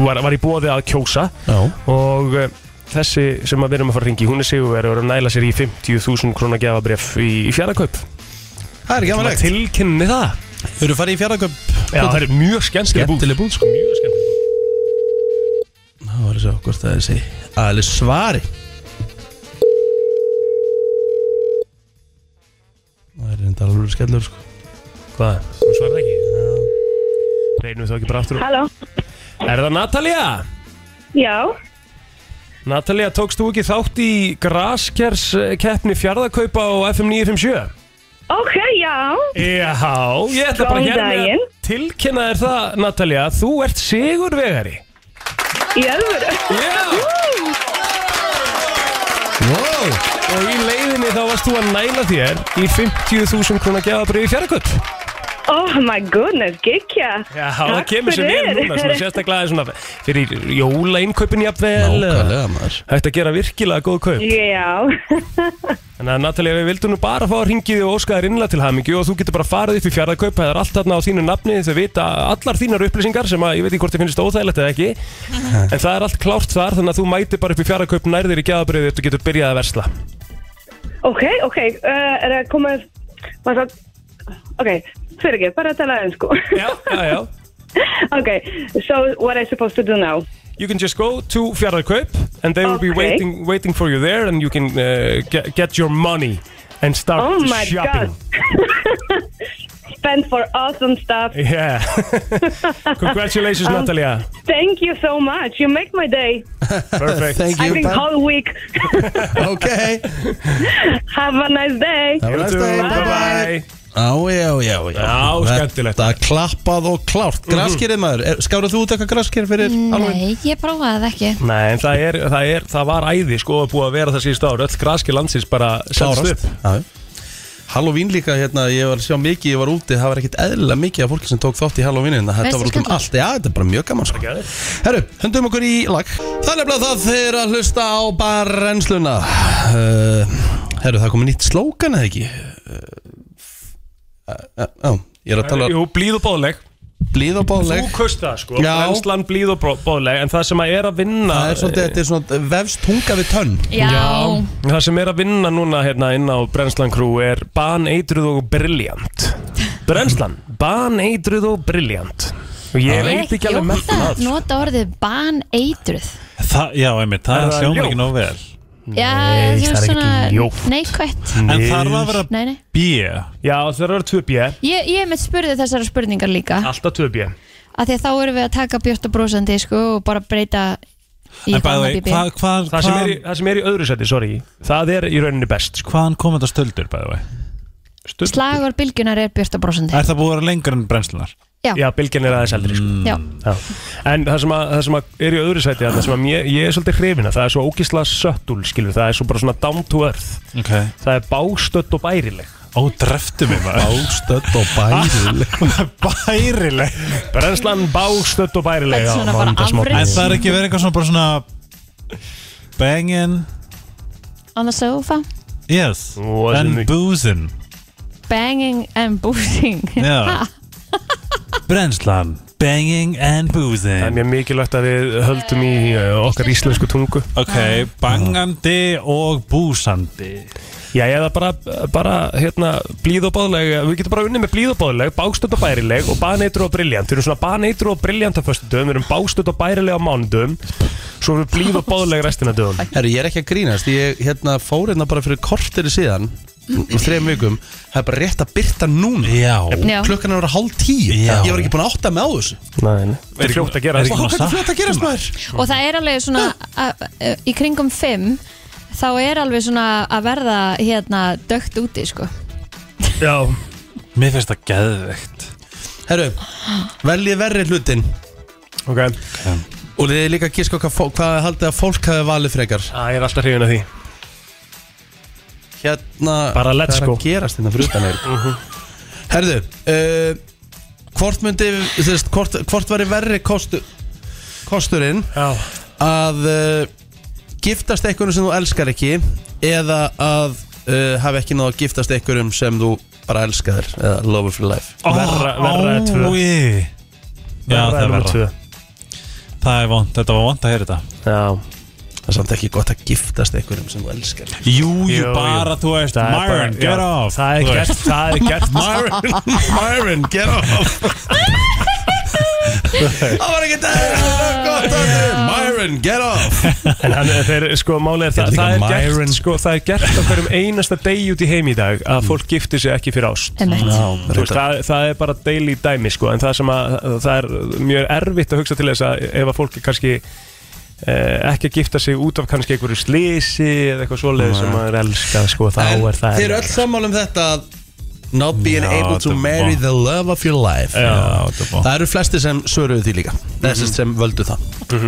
var, var í bóði að kjósa
Já
og uh, þessi sem að við erum að fara að ringa í hún er sigurvegara og er að næla sér í 50.000 krónar gefabref í, í fjardaköp
Það er
Það
gamanlegt
tilkynni það
Við erum farið í fjárðaköp
Já, það er mjög skemmtileg búð
Skemmtileg búð, sko.
Mjög skemmtileg búð
Það var þess að hvort það er segi Aðeins svari Það er reynda alveg skellur sko
Hvað? Þú svarar ekki Reynum við þá ekki bara aftur
Halló?
Er það Natalia?
Já,
Natalia, tókst þú ekki þátt í Graskers keppni fjárðakaupa á FM 957?
ok, já
Já, ég ætla bara
Góðan
hérna
daginn.
að tilkynna þér það, Natalia að Þú ert sigurvegari
Í alvöru
Já
Wow
Og í leiðinni þá varst þú að næla þér í 50.000 krónar gefabrið í fjárðakaup
Oh my goodness, gekkja
Já, það kemur sér vel núna, svona
<laughs>
sérstaklega aðeins svona fyrir jólainkaupin jafnvel eða-
Nákvæmlega maður
Hægt að gera virkilega góð kaup
Já, <laughs>
Þannig að Natalia, við vildum nú bara fá að ringið og óska þér innlega til hamingju og þú getur bara farið upp í fjarðakaup það er allt þarna á þínu nafni, þau vita allar þínar upplýsingar sem að ég veit ekki hvort þið finnst óþægilegt eða ekki en það er allt klárt þar þannig að þú mætir bara upp í fjarðakaup nærðir í gæðabriði eftir getur byrjað að versla
ok, ok uh, Er það komið var það- Ok, fyrir ekki, bara að tala aðeins sko
Já, já,
<laughs>
já
Ok, so what am I supposed to do now?
You can just go to fjarðakaup and they will be
Okay.
waiting, waiting for you there and you can uh, get, get your money and start
Oh my
shopping
god Spend for awesome stuff
Yeah. <laughs> Congratulations, Natalia.
Thank you so much, you make my day
Perfect.
Thank
I
you
think whole week <laughs>
Ok
Have a nice day
Have a nice day Bye bye Já, já, já, já
Já, skemmtilegt. Mhm.
Þetta klappað og klárt Graskirið maður, er- skáruð þú út eitthvað graskir fyrir
Mm.
Halloween?
Nei, ég prófaði það ekki
Nei, en það er, það er, það var æði sko að búa að vera það síðust ár, öll graski landsins bara setst upp.
Já. Halloween líka hérna, ég var að sjá mikið, ég var úti Það var ekkit eðlilega mikið af fólki sem tók þátt í Halloween Þetta
Veistu
var út um
skemmtilegt?
allt, já, þetta er bara mjög gaman sko. Herru, höndum okkur í lag Það er nefnilega það þeir að hlusta á barrensluna uh, Herru, það er komið nýtt slókan eða ekki Eh, Já, uh, uh, ég er að tala
Jú, blíð og bóðleg.
blíð og
Þú
bóðleg
kaust það sko,
Já.
brennslan blíð og bró- bóðleg, en það sem að er að vinna...
Það er svolítið, þetta er svona vefst tunga við tönn
Já,
Það sem er að vinna núna hérna inn á Brennslan Crew er baneitruð og briljant Brennslan, baneitruð og briljant Og ég veit ekki alveg með
það
það sko.
Nota orðið baneitruð
Það, já,
Er
einmitt, það
það
hljómar
ljótt?
ekki nóg vel
Já,
Nei,
þú
það
veist
er ekki
svona
ljótt.
neikvætt
En þarf að vera
Nei, nei
B
Já, það eru 2B,
Ég, ég mitt spurði þessara spurningar líka
alltaf 2B
að því að þá erum við að taka björta brósandi sko, og bara breyta í
En by the way,
bíbí.
hvað, hvað,
það sem, er í,
hvað
það sem er í öðru seti, sorry Það er í rauninni best sko.
Hvaðan kom þetta stöldur, by the way?
Stutt
Slagur bylgjunar er björta brósandi
Er það búið að vera lengur en brennslunar?
Já, bylgjan er aðeins eldri sko.
Mm.
Já,
Já. En það sem, að, það sem að er í öðru sæti Það sem að ég, ég er svolítið hrifin að Það er svo ógisla söttul, skilur Það er svo bara svona down to earth
Ok
Það er bástödd og bærileg
Ó, dreftu mig <laughs> maður
Bástödd og bærileg
Bærileg
Brennslan bástödd og
Þetta er
bærileg á
svona bara
mánudagsmorgni.
En
afrit.
það er ekki verið eitthvað svona bara svona Bangin
on the sofa
Yes
Wasn't
And
it-
boozin
Banging and boozing
Já Brennslan Banging and
Það er
boozin
mjög mikilvægt að við höldum í uh, okkar íslensku tungu
Ok, bangandi og búsandi
Já, eða bara, bara hérna, blíð og báðleg Við getum bara unnið með blíð og báðleg, bástöld og bærileg og baneitur og briljant Við erum svona baneitur og briljant á föstu dögum Við erum bástöld og bærileg á mánudum Svo erum við blíð og báðleg restina dögum
<laughs> Herru, ég er ekki að grínast Ég hérna, fór hérna bara fyrir kortir síðan um Þreim vikum Það er bara rétt að byrta núna
Já
Já.
Klukkan er að vera hálf tíu
Já.
Ég var ekki búin að átta með á þessu
Nei, nei Þetta er fljótt að gera
er ekki-
Hvað
Maður
er fljótt að gerast maður?
Og það er alveg svona að- að- Í kringum fimm Þá er alveg svona að verða hérna dögt úti sko
Já,
Mér finnst það geðveikt
Herru, veljið verri hlutin
ok
Og þið er líka að gíska hvað, fó- hvað haldið að fólk hafi valið frekar
Það er alltaf hrifin að því
Hérna
Bara let's
Hvað er
go.
að gerast hérna fyrir utan eir Herru, uh, hvort myndi þú veist, Hvort, hvort væri verri kostu, kosturinn
Já,
að uh, giftast einhverjum sem þú elskar ekki eða að uh, hafa ekki náðu að giftast einhverjum sem þú bara elskar eða love of your life
verra, verra er tvö
Ói. Já, það er
númer
verra
tvö.
Það er vond, þetta var vond að heyra þetta
Já,
það er samt ekki gott að giftast einhverjum sem þú elskar ekki.
Jú, jú,
Jú,
bara,
jú.
þú veist,
Það er bara-
Myron, get
já,
off
Það
þú
er
veist.
gert, það er gert
Myron, <laughs> Myron, get off það var ekki þetta gott að Myron, get off
En hann, þeir, sko, málið er það,
líka
það er
Myron.
gert, sko, það er gert á hverjum einasta degi út í heim í dag
Mm.
að fólk giftir sig ekki fyrir ást.
Emmett
Þú Veist, það, það er bara daily dæmi, sko, en það sem að, það er mjög erfitt að hugsa til þess að ef að fólk er kannski eh, ekki að gifta sig út af kannski einhverju slisi eða eitthvað svoleið sem maður elskar, sko, þá
en
er það
þeir eru öll sammála um þetta að not being
Já,
able to
þetta er
marry
vont.
the love of your life
Já, þetta er vond
Það eru flesti sem svöruðu því líka Þessi
Mhm.
sem völdu það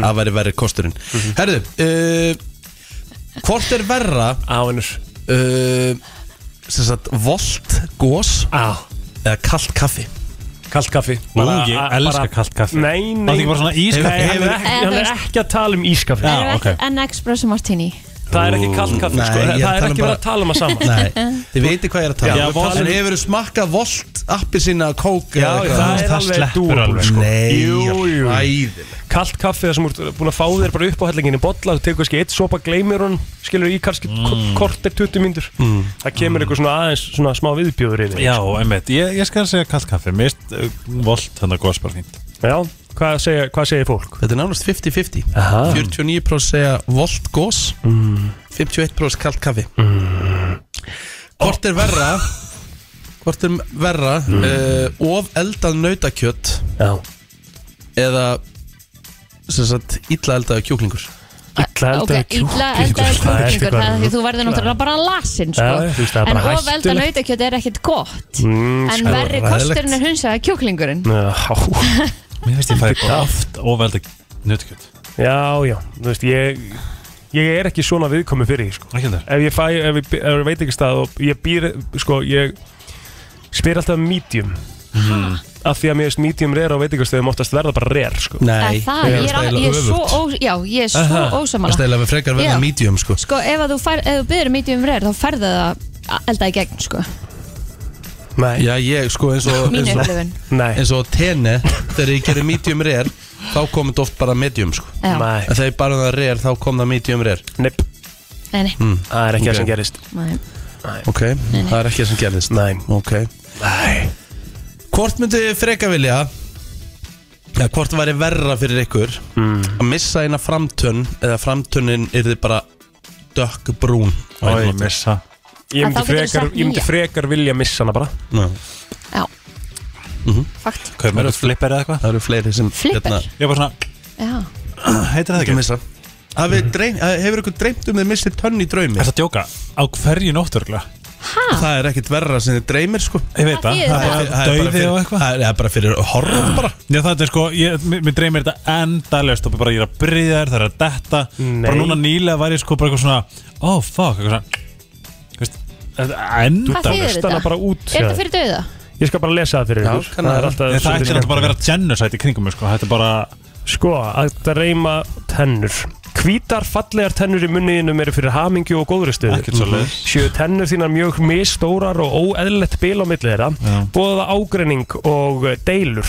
Að veri verið kosturinn Herðu uh, Hvort er verra
Ánur.
uh, sem sagt, Volt, gós
Á,
Eða kalt kaffi
kallt kaffi.
Ú, ég elska kallt kaffi
Nei, nei.
Það er ekki bara svona ískaffi?
Nei, hann er ekki,
Hefur-
hann er ekki að tala um ískaffi.
Já,
En
ok.
en espresso martini
Það er ekki kallt kaffi,
Nei,
sko,
ég er
það
að
er
tala um
ekki verið
bara-
að tala um að sama.
Nei, <laughs> þið veitir hvað ég er að
Já,
tala
við
um
tala
En
um-
hefur smakkað Volt, appi sína, kók
Já,
eða
já,
hvað?
það er
það
alveg
sleppur
dúabúl
alveg,
sko.
Nei,
Jú, jú.
æðileg.
Kallt kaffi það sem úr búin að fá þér bara upp á hellingin í bolla, þú tekur kannski eitt sopa, gleymir hún skilur í kannski mm. kortir 20 myndur
Mm.
það kemur eitthvað svona aðeins svona smá viðbjóður yfir
Já, einmitt, ég, ég skal segja kallt kaffi Mér finnst uh, volt, þannig að góðs bara fínt
Já, hvað segir, hvað segir fólk?
Þetta er nánast 50-50
Aha.
49% segja volt, gós 51% kalt kaffi Hvort er verra Hvort er verra uh, Of eldað nautakjött
Já,
eða sem sagt illa eldaðu kjúklingur
illa eldaði
Ok, illa eldaði
það er
kjúklingur
eitthvað-
það er því þú verður náttúrulega bara lasinn sko.
Já, þú veist, það er
en
bara
of elda
hættulegt.
nautakjöt er ekkert gott
Mm,
en
sko,
verri
hræðilegt.
kosturinn er hunsaða kjúklingurinn
Já,
<laughs> Mér finnst ég fæði bara oft ofvelda nutkjöt
já, já, þú veist, ég ég er ekki svona viðkomi fyrir því sko.
Ekki heldur
ef ég fæ, ef ég, ef ég veit ekki stað og ég býr, sko, ég spyr alltaf um medium
Mhm.
af því að mér veist medium rare á veitingastöðum oftast verða bara rare, sko
Nei, það, ég er, al- ég er svo, ó, já, ég er svo
Það
ósamála
stæla við frekar verða
Já.
medium sko
sko ef að þú, fær, ef þú byrður mítið um reyr þá færðu það elda í gegn sko
Nei,
Já ég sko eins og
mínu
eins og,
upplifun
nei,
eins og tene þegar ég gerði medium rare þá kom þetta oft bara medium sko
Já,
nei,
en þegar ég bara það rare þá kom það medium rare
nepp
nei, nei,
Það er ekki það
Ok.
sem gerist
nei.
Ok, það er ekki það sem gerðist
Nei.
Ok
Nei
Hvort myndi þið freka vilja eða hvort væri verra fyrir ykkur að missa eina framtönn eða framtönnin er þið bara dökk brún
Ó, ég missa
Ég
En þá
myndi,
geturðu
frekar,
sett
ég myndi
nýja.
frekar vilja missa hana bara
Já.
já fakt,
Hvað er þetta flipper eða eitthvað?
Það eru fleiri sem
flipper
hérna,
Ég er bara svona,
já,
heitir það
ekki
ekki?
missa eh, Hafið dreym- hafið- Hefur ykkur dreymt um þið missið tönn í draumi?
Er það djóka? Á hverju nótturgla?
ha, það?
það er ekkit verra sem þið dreymir sko
Ég veit
Það
það
þýðir
Það
það.
er bara dauði og eitthvað
Það er- það er bara fyrir horror bara
Já það er sko, ég, mér, mér dreymir þetta endalist og bara ég er að bryðja þér, það er að detta
Nei.
bara núna nýlega var ég sko bara eitthvað svona oh fuck, eitthvað svona Þú veist, þetta er
Hvað
endalist
þýðir
hlusta hana
þetta?
bara út,
er
sagði.
þetta fyrir dauða?
Ég skal bara lesa það fyrir
Já,
ykkur
kann að-
er alltaf
Ég, það ætti
svolítið
náttúrulega bara að vera genocide í kringum mig sko, þetta er bara
Sko, að reyma tennur Hvítar fallegar tennur í munniðinum eru fyrir hamingju og góðri stuðu
ekkert svo leiðis
Sjöu tennur þínar mjög misstórar og óeðlilegt bil á milli þeirra
Já. Mhm.
Bóða ágreining og eh, deilur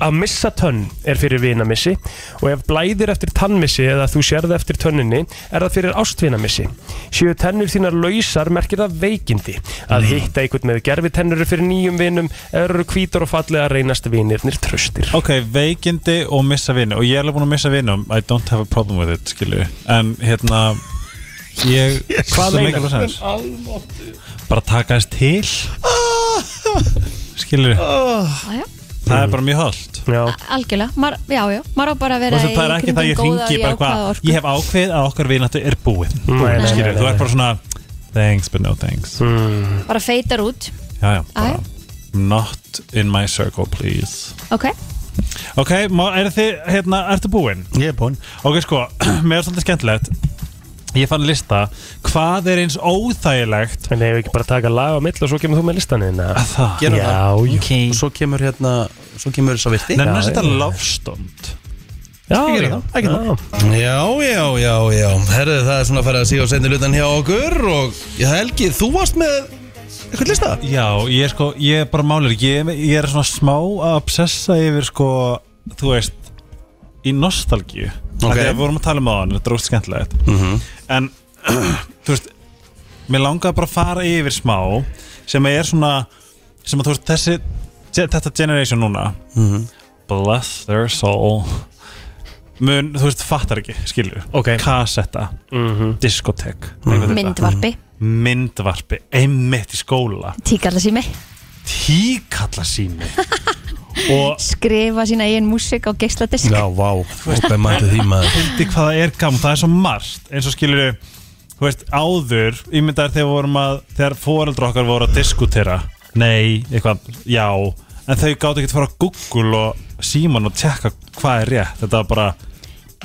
Að missa tönn er fyrir vinamissi Og ef blæðir eftir tannmissi eða þú sérð eftir tönninni Er það fyrir ástvinamissi Sjöu tennur þínar lausar merkir það veikindi
Mhm.
Að hitta einhvern með gerfi tennur fyrir nýjum vinum eða Eru hvítar og fallega reynast vinirnir tröstir
Ok, veikindi og missa vini og ég er alveg búin að missa vinum I don't have a problem with it, skilju en hérna <laughs> ég,
Hvað
það
meinar?
meikar alveg sens? bara taka þess <laughs> til skilju
Jæja.
það er bara mjög holdt
Já
Algjörlega, Mar, já, já, maður á bara að vera
Þú veist, það er ekki það ég
kringum góða
ringi bara
jákvæða
hvað,
orku.
ég hef ákveðið að okkar vinatu er búið
Mm.
Nei, nei,
skilur,
nei,
þú
nei.
ert bara svona thanks but no thanks
bara feitar út
já, já, bara,
Æ.
not in my circle please
ok,
ok, má- er þið, hérna, ertu búin?
Ég er búinn
ok, sko, <clears throat> mér er svolítið skemmtilegt ég fann lista hvað er eins óþægilegt
En hefur ekki bara að taka lag á mill og svo kemur þú með listaninn eða?
að það
Gerum það
Já, jú.
Og svo kemur hérna Svo kemur þess að virti
nefnir að
Já,
setja
já.
lofstund
Já,
Ég geri
já,
það, ekki
já.
Já, já, já, já Herðu það er svona að fara að síða og senda lutan hjá okkur Og ég helgi, þú varst með Eitthvað lista
já, ég er sko, ég er bara málur ég, ég er svona smá að obsessa yfir sko, þú veist í nostalgíu
Ok.
okay. þegar við vorum að tala um það þetta er óst skemmtilegt en <clears throat> þú veist mér langaði bara að fara yfir smá sem er svona sem að þú veist þessi ge- þetta generation núna bless their soul mun, þú veist, fattar ekki, skilju
Ok.
kassetta, diskotek Mhm.
myndvarpi,
myndvarpi, einmitt í skóla
tíkalla sími
tíkalla sími og
skrifa sína eigin músik á geisladisk
Já, vá, óbæmandi því maður
fyndi hvað það er gaman, það er svo margt eins og skilur þú veist, áður, ímyndaður þegar við vorum að þegar foreldra okkar voru að diskutera nei, eitthvað, já en þau gáttu ekki að fara á Google og síman og tjekka hvað er rétt þetta var bara,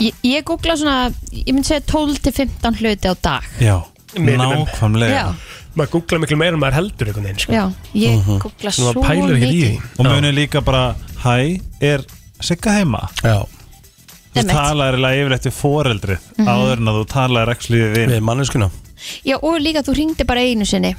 ég, ég googla svona, ég myndi segja 12-15 hluti á dag
já,
Minimum.
nákvæmlega
já,
Maður googla miklu meira en maður heldur einhvern veginn sko.
já, ég
Mhm.
googla
Nú,
svo
maður pælir ekki í
mikið
því
og munið líka bara, hæ, er Sigga heima?
Já,
Þú
Einmitt. Mhm.
talaðir eiginlega yfirleitt við foreldrið áður en að þú talaðir ekki við vin
við manneskuna
já, og líka þú ringdi bara einu sinni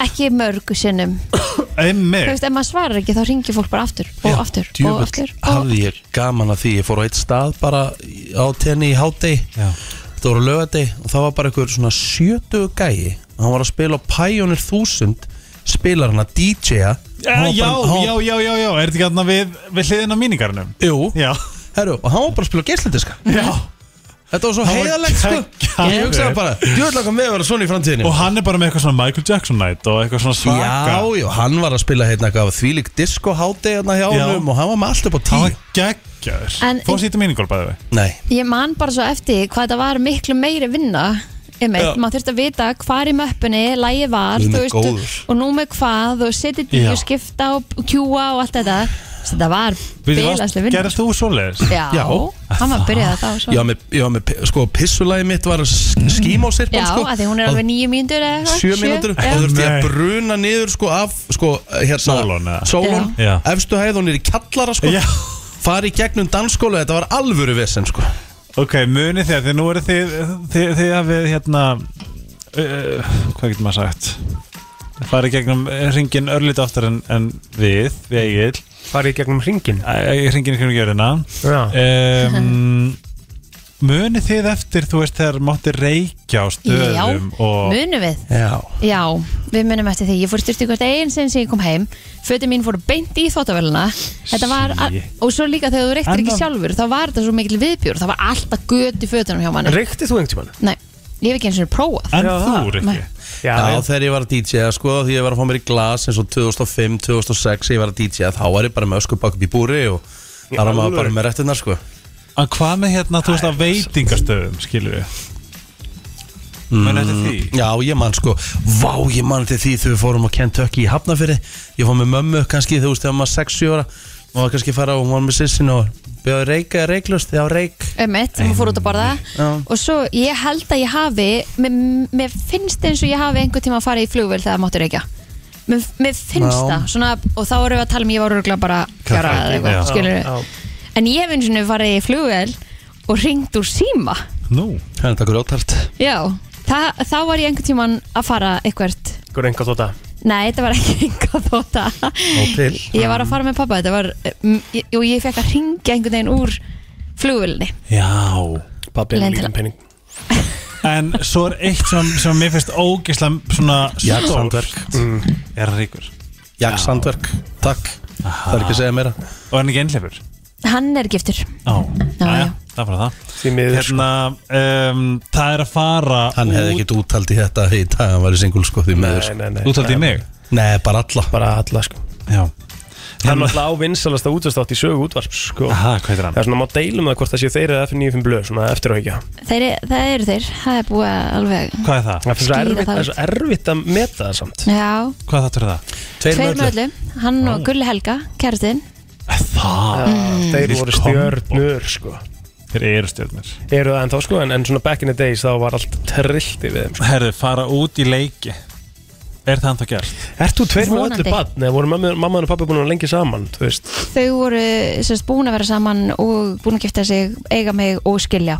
ekki mörgu sinnum þú
einmitt,
veist, ef maður svarar ekki þá ringir fólk bara aftur og aftur og
Djöfull
aftur og...
hafði ég gaman að því Ég fór á eitt stað bara í- á tenni í hátegi
Já.
Þetta voru lögati Og það var bara einhver svona sjötu gæi Hann var að spila á Pioneer 1000 Spilar hann að DJ-a
Eh, já, já, já, já, já, er þetta ekki aðna við, við hliðin á míningarnum?
Jú,
Já,
herru, og hann var bara að spila geisladiska
já.
Þetta var svo
Hann var
heiðalegt sko
geggjaður.
Ég hugsaði bara, djúðlagan við að vera svona í framtíðinu
Og hann er bara með eitthvað svona Michael Jackson night og eitthvað svona svaka
Já, já, hann var að spila hérna eitthvað Þvílík disco háti hérna hjá
Já.
honum Og hann var með allt upp á
Hann
tíu
var geggjör
En-
Fór sýttu míningól bæði við
Nei,
ég man bara svo eftir því hvað þetta var miklu meiri vinna
Já.
Einmitt, maður þurfti að vita hvað er í möppunni lægi var,
Guð
þú
minn
veist
góður.
og nú með hvað og setja því
Já.
og skipta og kjúa og allt þetta Þessi, þetta var bilaslega vinna
Gerðist þú svoleiðis?
já,
Já.
hann var að byrja þetta
ég
svo.
var með, ég var með sko, pissulagi mitt var skímósirpan
já,
sko
að því hún er alveg nýju mínútur eða eitthvað,
Sjö mínútur og
já.
þurfti ég
Nei.
að bruna niður sko af sko, hérna,
Sólon, eða?
sólon
Já.
efstu hæð, hún er í kjallara sko
Já.
fari í gegnum dansskóla, þetta var alvöru vesen sko
Ok, munið þið að þið nú eru þið Þið, þið hafið hérna uh, Hvað getur maður sagt? Það farið gegnum ringin örlítið oftar en, en við Við eigil
Farið í gegnum hringin
Ringin í kringum gjörina
Já,
um, Munið þið eftir, þú veist, þegar mátti reykja
já,
á stöðum og
munum við
Já,
Já, við munum eftir því. Ég fór styrst ykkur einn sinn sem ég kom heim. Fötin mín fór beint í þóttavöluna. Þetta var,
Sí.
og svo líka þegar þú reyktir ekki
Annað-
sjálfur, þá var þetta svo mikil viðbjörn. Það var alltaf göt í fötunum hjá manni.
reykti þú einhvern tímann?
Nei, ég hef ekki eins og prófað.
En
Já,
þú,
það.
Rikki?
Nei.
Já,
Já,
já.
þegar ég var að DJ -a, sko, því ég var að fá mér í glas eins og 2005, 2006 ég var að DJ -a, þá var ég bara með ösku bak upp í búri og þar var maður
alvöru.
bara með réttunar sko
En hvað með hérna, þú veist, á veitingastöðum, skilur við? menn eftir því
Já, ég man sko, vá, ég man til því þegar við fórum á Kentucky í Hafnafyrri Ég fór með mömmu, kannski, þú veist, þegar maður 6-7 ára Má var kannski fara og hún var með sissin og Beða reyka, reyklust, já, reyk
Ömmit, sem fór út að borða
Já.
og svo ég held að ég hafi mér, mér finnst eins og ég hafi einhvern tíma að fara í flugvél þegar máttur ekki mér, mér finnst
Já.
það svona, og þá erum við að tala um ég var örgulega bara fjara eða
já.
eitthvað, skilur en ég hef eins og nefnir farið í flugvél og ringt úr síma
Nú,
Það er takkur ótart
já, Þa, þá var ég einhvern tíman að fara eitthvert
Hver enga þótt að
Nei, þetta var ekki <laughs> einhvað þóta
til.
Ég var að fara með pappa Þetta var, mm, ég- og ég fekk að ringja einhvern veginn úr flugvélni
já
Pabbi er
Lendi-
líka penning
En svo er eitt sem, sem mér finnst ógislega svona
Jaxandverk.
stórt. Er hann ríkur?
Jax Sandverk, takk Það er ekki að segja meira
Og er hann ekki einhleifur?
Hann er giftur
Já,
Já,
Jæja,
já.
það er bara það
Því miður sko.
Hérna, um, það er að fara
Hann hefði
út-
ekkert úttalt í þetta í dag, hann var í singul sko því meður
Nei,
sko.
nei, nei
Úttaldi í mig?
Nei, bara alla
Bara alla sko
Já
Það er náttúrulega á vinsalasta útastátt í sögu útvarps sko
Hérna. Aha, hvað heitir
Það
hann?
er svona, má deilum það hvort það séu þeir eða F95 blöð Svona eftir og ekki
Þeir, það eru þeir, það er búið að alveg
Hvað er það?
Það er svo
Skýra
erfitt-
það
það er svo erfitt að meta það samt
Já,
Hvað þáttur er það?
tveir með öllum Hann og Gulli Helga, kærastinn
Það
Þeir voru
Kombo.
stjörnur sko
Þeir eru stjórnir
Eru það ennþá sko En, en svona back in the days þá var allt trillti við þeim sko.
Herðu, fara út í leiki Er það hann þá gert?
Ert þú tveir með
Vonandi.
öllu badn Eða voru mamma mamma og pappi búin að lengi saman Þú veist
Þau voru sérst búin að vera saman og búin að gifta sig, eiga mig og skilja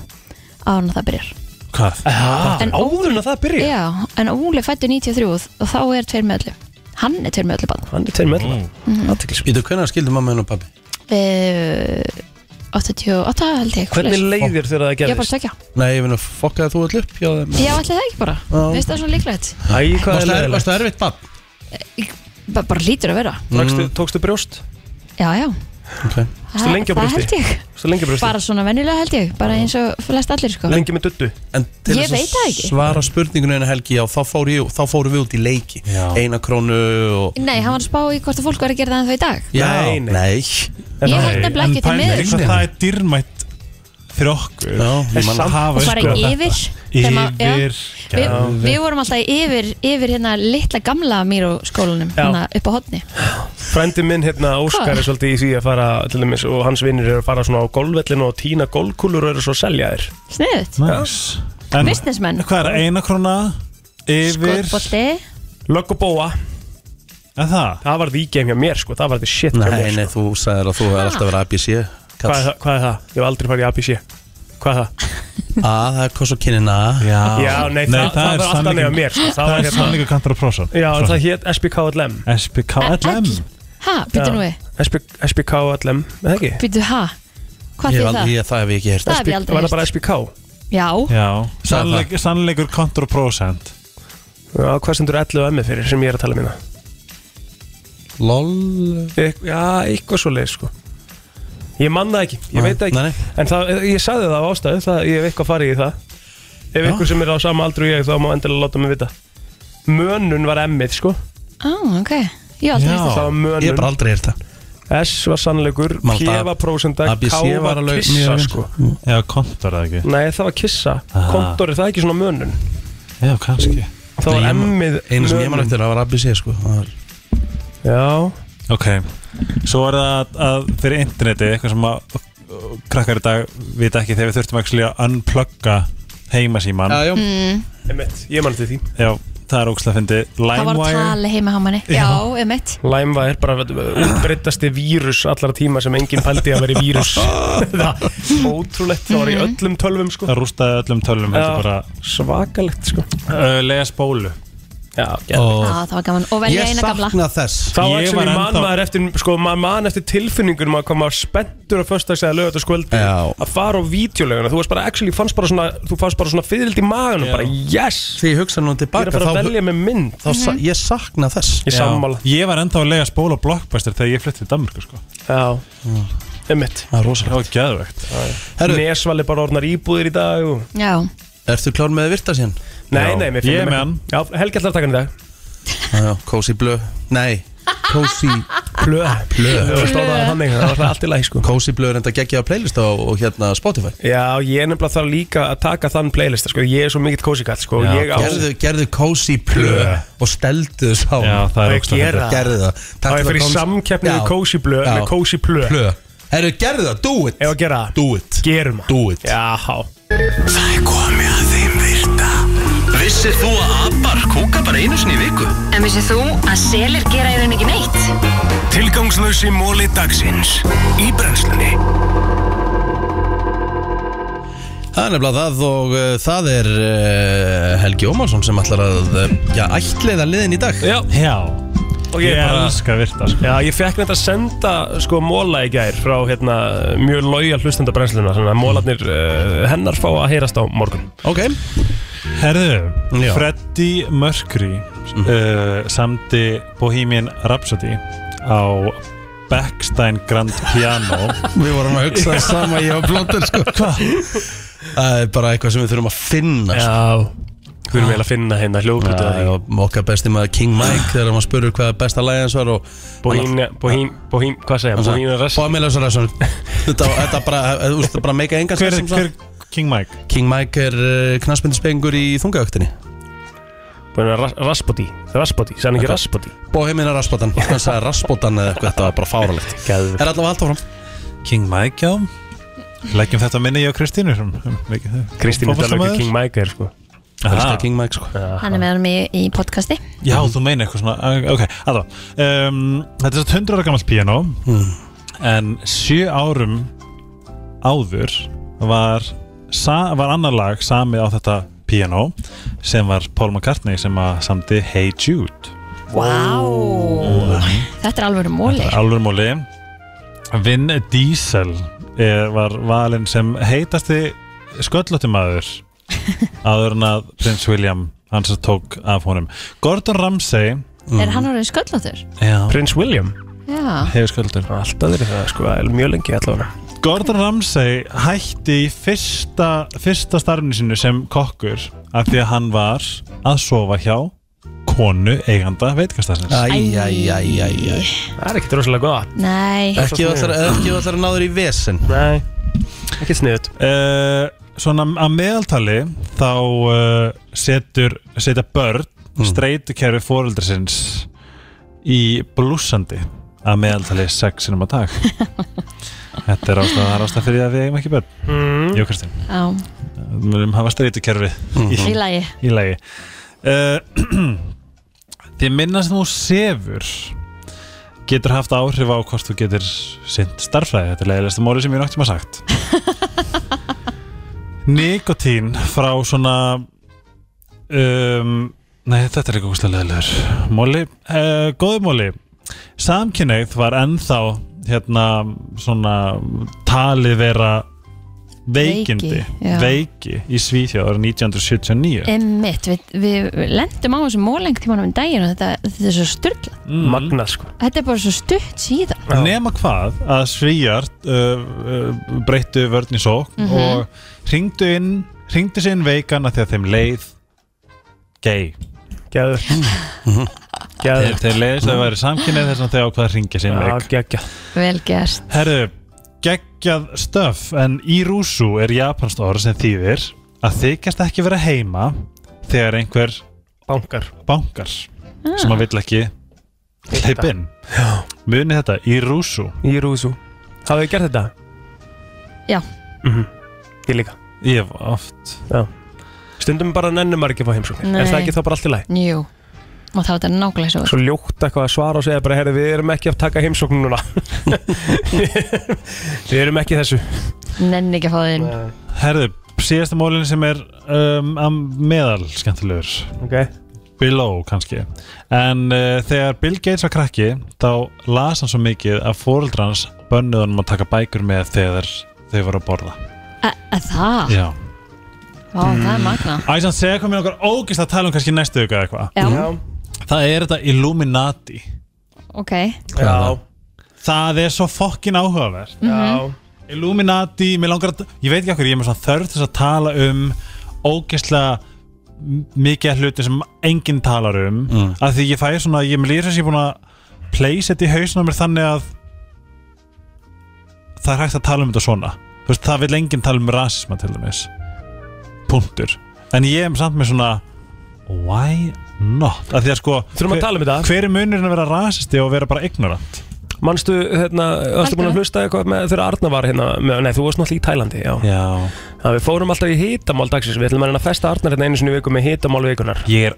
án að það byrjar
Hvað?
En
Áður en að það byrja
Já, en Óli fættu 93 og þá er tveir með öllum Hann er tveir með öllu bann
Hann er tveir með
Mm.
öllu Mm-hmm. Athyglisvert.
Ítu, hvernig skildi mamma henn og pabbi?
uh, 88 held ég
Hvernig
svoleiðis.
leiðir þér
Ég er bara
að það
að
gerðist?
tökja
Nei, ég finn að fokkaði þú öll upp hjá þeim
Já, ætli það ekki bara
Já.
Veist það svona líklegt
Æ, hvað er
Varstu er-
leiðilegt?
varstu erfitt bann?
ba Bara lítur að vera
Tókstu,
Mm.
tókstu brjóst?
Já, já
Okay.
Það,
lengi
það
á brjósti?
held ég
Tókstu lengi brjóst?
Bara svona venjulega held ég Bara eins og flest allir sko
Lengi með duttu?
En til
Ég
þess
veit það
að
ekki.
svara spurningunni henni Helgi Já, þá, fór ég, þá fórum við út í leiki
Já.
Eina krónu og
Nei, hann var að spá í hvort að fólk var að gera það en þau í dag
Já,
Nei, nei.
nei
Ég held nefnilega ekki það
En
miður
pælir hvað það er dýrmætt fyrir okkur
Já, ég
Að
man
hafa
Og fara
eitthvað-
yfir þegar maður- já.
Yfir
Við, við vorum alltaf í yfir, yfir hérna litla gamla mýru skólanum
Já.
hérna upp á hotni
Frændi minn hérna Óskar er svolítið í því að fara til dæmis og hans vinnir eru að fara svona á golfvellinu og týna golfkúlur og eru svo að selja þér
Sniðut,
Nice. En
businessmenn
hvað er eina króna yfir
Skotbótti
Lögg og bóa,
En það?
það var því game hjá mér sko, það var því shit
Nei,
hjá mér
nei,
sko.
þú sagðir að þú hefur alltaf verið ABC
hvað, er
Kall.
það, hvað er það? Ég hef aldrei farið í ABC Hvað er það?
A, það er kos og kynina
Já,
Já, nei, það, það,
Ah. er
var alltaf
sannleikur-
nefn á mér sko.
Það er
hérna,
sannleika kantar og prósan
Já, en það hétt SBKLM
SPKLM
Ha, býttu nú við,
SB, SBKLM, eða ekki?
býttu ha Hvað
Ég hef
fyrir það?
aldrei, ég, það hef ég ekki heyrt
Það hef ég aldrei
Var það
heyrt.
bara SBK?
Já,
Já,
Sagði
sannleik, sannleikur kantar og prósent
Já, hvað stendur 11 og M fyrir sem ég er að tala um hérna? minna?
LOL
Eitth- Já, eitthvað svo leið sko Ég man það ekki, ég
Nei,
veit það ekki
nei, nei.
En það, ég sagði það á ástæðu, það, ég hef eitthvað farið í það Ef ykkur sem er á sama aldru og ég þá má endilega láta mig vita Mönun var emmið sko
á, ok Ég hef aldrei heyrt það
Það
Ég hef
var mönun,
bara aldrei heyrt það
S var sannleikur
Man,
P
það-
var prósenda,
ABC
K var
var alveg
kissa
mjög vel.
sko
Já, kontor eða ekki
Nei, það var kissa,
Aha.
kontor er það ekki svona mönun
Já, kannski
Það
Nei, ég
var
man-
emmið
Einu sem ég man
mönun
eftir, það var ABC sko Það var-
Já,
Ok, svo er það að, að fyrir interneti eitthvað sem að uh, krakkar í dag vita ekki þegar við þurftum actually að unplugga heimasíman
Já, já.
Mm.
emitt, ég man eftir því
Já, það er ógslag að fyndi
Það var að
LimeWire
tala heima hjá manni Já, um eitt
Læmva er bara útbreyttasti vírus allara tíma sem enginn pældi að
<laughs>
vera vírus Það ótrúlegt, það var í öllum tölvum sko
Það rústaði öllum tölum heldur bara
Svakalegt sko
uh, Lega spólu
Já,
Og-
Já, það var gaman Og velja
Ég
eina gamla
sakna þess
Það var
Ég
ekki sem
var
ég man
ennþá-
maður eftir, sko, maður man eftir tilfinningunum að koma spenntur á föstags eða lögat og skvöldi
Já.
að fara á vídeoleguna, þú varst bara, actually, fannst bara svona, þú fannst bara svona fyrld í maganum, bara yes,
Þegar ég hugsa nú
ég er
tilbaka
að fara að
þá,
velja með mynd,
þá sa, ég sakna þess
ég sammála,
Ég var enda að lega spólu á Blockbuster þegar ég flytti í Danmarku sko
já, emitt,
Það er rosalega
Það var geðvegt
Herru,
nesvali bara orðnar íbúðir í dag og
Já,
ertu klár með að virta síðan?
Nei,
Já.
nei, mér
Ég er
finnum
með hann.
Já, Helgi ætlar að taka hann í dag
Já, já, kósi blö Nei, Cozy
Plö Ah, Plö Það var stáðaðið þannig, það var allt í læg sko
Cozy blöður enda geggja á playlist á og hérna Spotify
Já, ég er nefnilega þarf líka að taka þann playlista sko Ég er svo mikill kósikall sko Já, ég á
Gerðu, gerðu Cozy blöð og steldu þess á
Já,
Á
það er
ég
ógeðslega
gera
fyndið.
það?
Gerðu það
Á
Takk
ég fyrir
að komst-
samkeppni
Já.
við kósi blö
Já.
Með kósi blö
Plö Herru, gerðu það, do it
Ef að gera það
Do it
Gerum það
Do it
Já,
Það er komið að þeim virta Vissir þú að abar kúka bara einu sinni í viku?
En vissið þú að selir gera í rauninni ekki neitt?
Tilgangslösi móli dagsins Í brennslunni
Það er nefnilega það og uh, það er uh, Helgi Ómarsson sem ætlar að uh, já, ætliða liðin í dag
já
Já,
Og
ég
ég bara
elska virta sko.
Já, ég fekk neitt að senda sko móla í gær frá hérna mjög lojal hlustendabrennsluna þannig að mólarnir uh, hennar fá að heyrast á morgun
Ok,
Herðu,
Já.
Freddie Mercury uh, samdi Bohemian Rhapsody á Beckstein Grand Piano
við vorum að hugsa það sama ég og blóttur sko Hvað? Það er bara eitthvað sem við þurfum að finna sko.
Já Við erum eiginlega að finna hérna hljóðbútið
Það er okkar besti maður King Mike þegar maður spurur hvað er besta lægans var og
Bohín, bohín, bohín, hvað segja, bohín er rest
Bóðmíla svo ræsson Þetta þetta bara, þú veist, þetta bara meika engan
Hver
sens
er
um það.
hver King Mike?
King Mike er knastmyndispengur í þungaöktinni
Bohín er raspoti, raspoti, sann ekki raspoti
Bóheimina Raspotan, hann sagði Raspotan eða eitthvað, þetta var bara fáralegt
Gæður
Er allavega allt áfram
King Mike, já Leggjum þetta að minni ég og Kristínu sem- sem mikið þau-
Kristín er alveg
fótboltamaður.
ekki King Mike er sko
Elskar
Aha.
King Mike sko
Hann er með hann í, í podcasti
Já, þú meina eitthvað svona Ok, allavega um, Þetta er satt 100 ára gammalt piano En sjö árum áður var, sa, var annar lag samið á þetta piano sem var Paul McCartney sem að samdi Hey Jude
Vá Þetta er alveg móli
Það er alveg múli Vin Diesel er, var valinn sem heitasti sköllóttumæður áður en að prins William hans að tók af honum Gordon Ramsay
Er hann orðin sköllóttur?
Já.
Prince William,
Já
hefur sköldur
alltaf þeir það sko, el- mjög lengi allavega
Gordon Ramsay hætti í fyrsta, fyrsta starfni sinu sem kokkur af því að hann var að sofa hjá konu eiganda veitkastasins
Æjæjæjæjæ
Það er ekkert rosalega gott
Nei
Ekki ef ætlar- ef ekki allar að náður í vesen
Nei, ekki sniðut
uh, Svona að meðaltali þá uh, setur, setja börn mm. streytukerfi fóreldrisins í blúsandi að meðaltali sex sinum á dag Þetta er ástæða, það er ástæða fyrir því að við eigum ekki börn mm. Jó Kristinn,
Já
við viljum hafa streytukerfi í,
Í lagi
í lagi <clears throat> uh, Því minna sem þú sefur getur haft áhrif á hvort þú getur sinnt starfræði, þetta er leiðilegsta móli sem ég náttúrulega sagt <laughs> Nikotín frá svona um, Nei, þetta er ekki ógustlega leiðilegur Móli, uh, góðu móli Samkynneið var ennþá hérna svona talið vera veikindi,
Veiki, já.
veiki í Svíþjóð árið 1979
Emmitt, við, við lendum á þessum móleng tímanum um daginn og þetta, þetta er svo styrla
Magnað sko
Þetta er bara svo stutt síðan
Já.
Mm. nema hvað að svíjar uh, uh, breyttu vörn í sók og ringdu inn ringdu sér inn veikan að því að þeim leið gay
Gæður
þeir,
Gæður
þeir leiðist að það væri samkynnið þess að þeir ákvaða að ringja sér inn
Já,
veik
geggja
Vel gert
herru, geggjað stöf en írúsu er japanskt orð sem þýðir að þykjast ekki vera heima þegar einhver
Bankar
bankar sem að vill ekki hleyp inn muni þetta, írúsu
Í rúsu Hafið þið gert þetta?
Já.
Mhm. Ég líka
ég hef oft
Stundum bara nennum maður ekki að fá heimsóknir
Nei.
Er það ekki þá bara allt í lagi?
Jú Og þá er þetta nákvæmlega svo
Svo ljótt eitthvað að svara og segja bara Herri, við erum ekki að taka heimsóknir núna <laughs> Við erum ekki í þessu
Nenni ekki að fá þinn
Herðu, síðasta mólin sem er um, að meðal skemmtilegur
Ok
below kannski en uh, þegar Bill Gates var krakki þá las hann svo mikið að fóreldra hans bönnuðu hann að taka bækur með þegar þau voru að borða
Að að það?
Já.
Vá, það er magna
Æsan segja komið okkur ógist að tala um kannski næstu ykkur eitthvað
Já,
Það er þetta Illuminati
ok
Já
Það er svo fokkin áhugaverð
Mhm.
Já
Illuminati, mér langar að ég veit ekki okkur, ég er með svona þörf til þess að tala um ógeðslega m- mikið af hluti sem enginn talar um mm. að því ég fæ svona, ég mér líður þess að ég er búin að place þetta í hausnum mér þannig að það er hægt að tala um þetta svona þú veist, það vil enginn tala um rasisma til dæmis punktur en ég er samt með svona why not að því að sko
Þurfum að
hver-
tala um þetta.
hver er munurinn að vera rasisti og vera bara ignorant
Manstu, hérna, varstu búin að hlusta eitthvað með þegar Arna var hérna, með, nei, þú varst náttúrulega í Tælandi, já.
já
Það við fórum alltaf í hitamál dagsins, við ætlum að reyna að festa Arnar hérna einu sinni í viku með hitamál vikunar.
ég er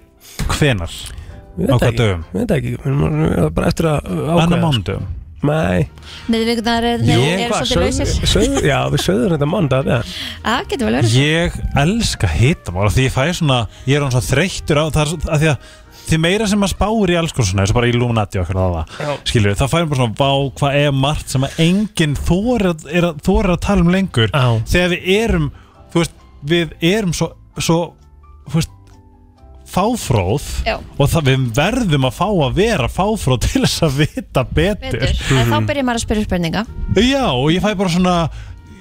hvenar á hvað dögum
Við veit ekki, við erum við erum bara eftir að ákvæða.
annar mándum
Nei.
Miðvíkundar er, er svolítið lausir
sögð, já, við sögðum þetta mandag, já.
Það getur vel verið
Ég elska hitamál af Því ég fæ svona, ég er hann svo þreyttur á það er svo- af Því að því meira sem maður spáir í alls konar svona eins og bara Illuminati og okkur það
Já.
var skilur við, þá færum bara svona vá hvað er margt sem að enginn þorir að, er að, þorir að tala um lengur
Já.
þegar við erum, þú veist, við erum svo, svo þú veist, fáfróð
Já.
og það, við verðum að fá að vera fáfróð til þess að vita betur,
Betur. En Þá byrjar maður að spyrja spurninga
Já, og ég fæ bara svona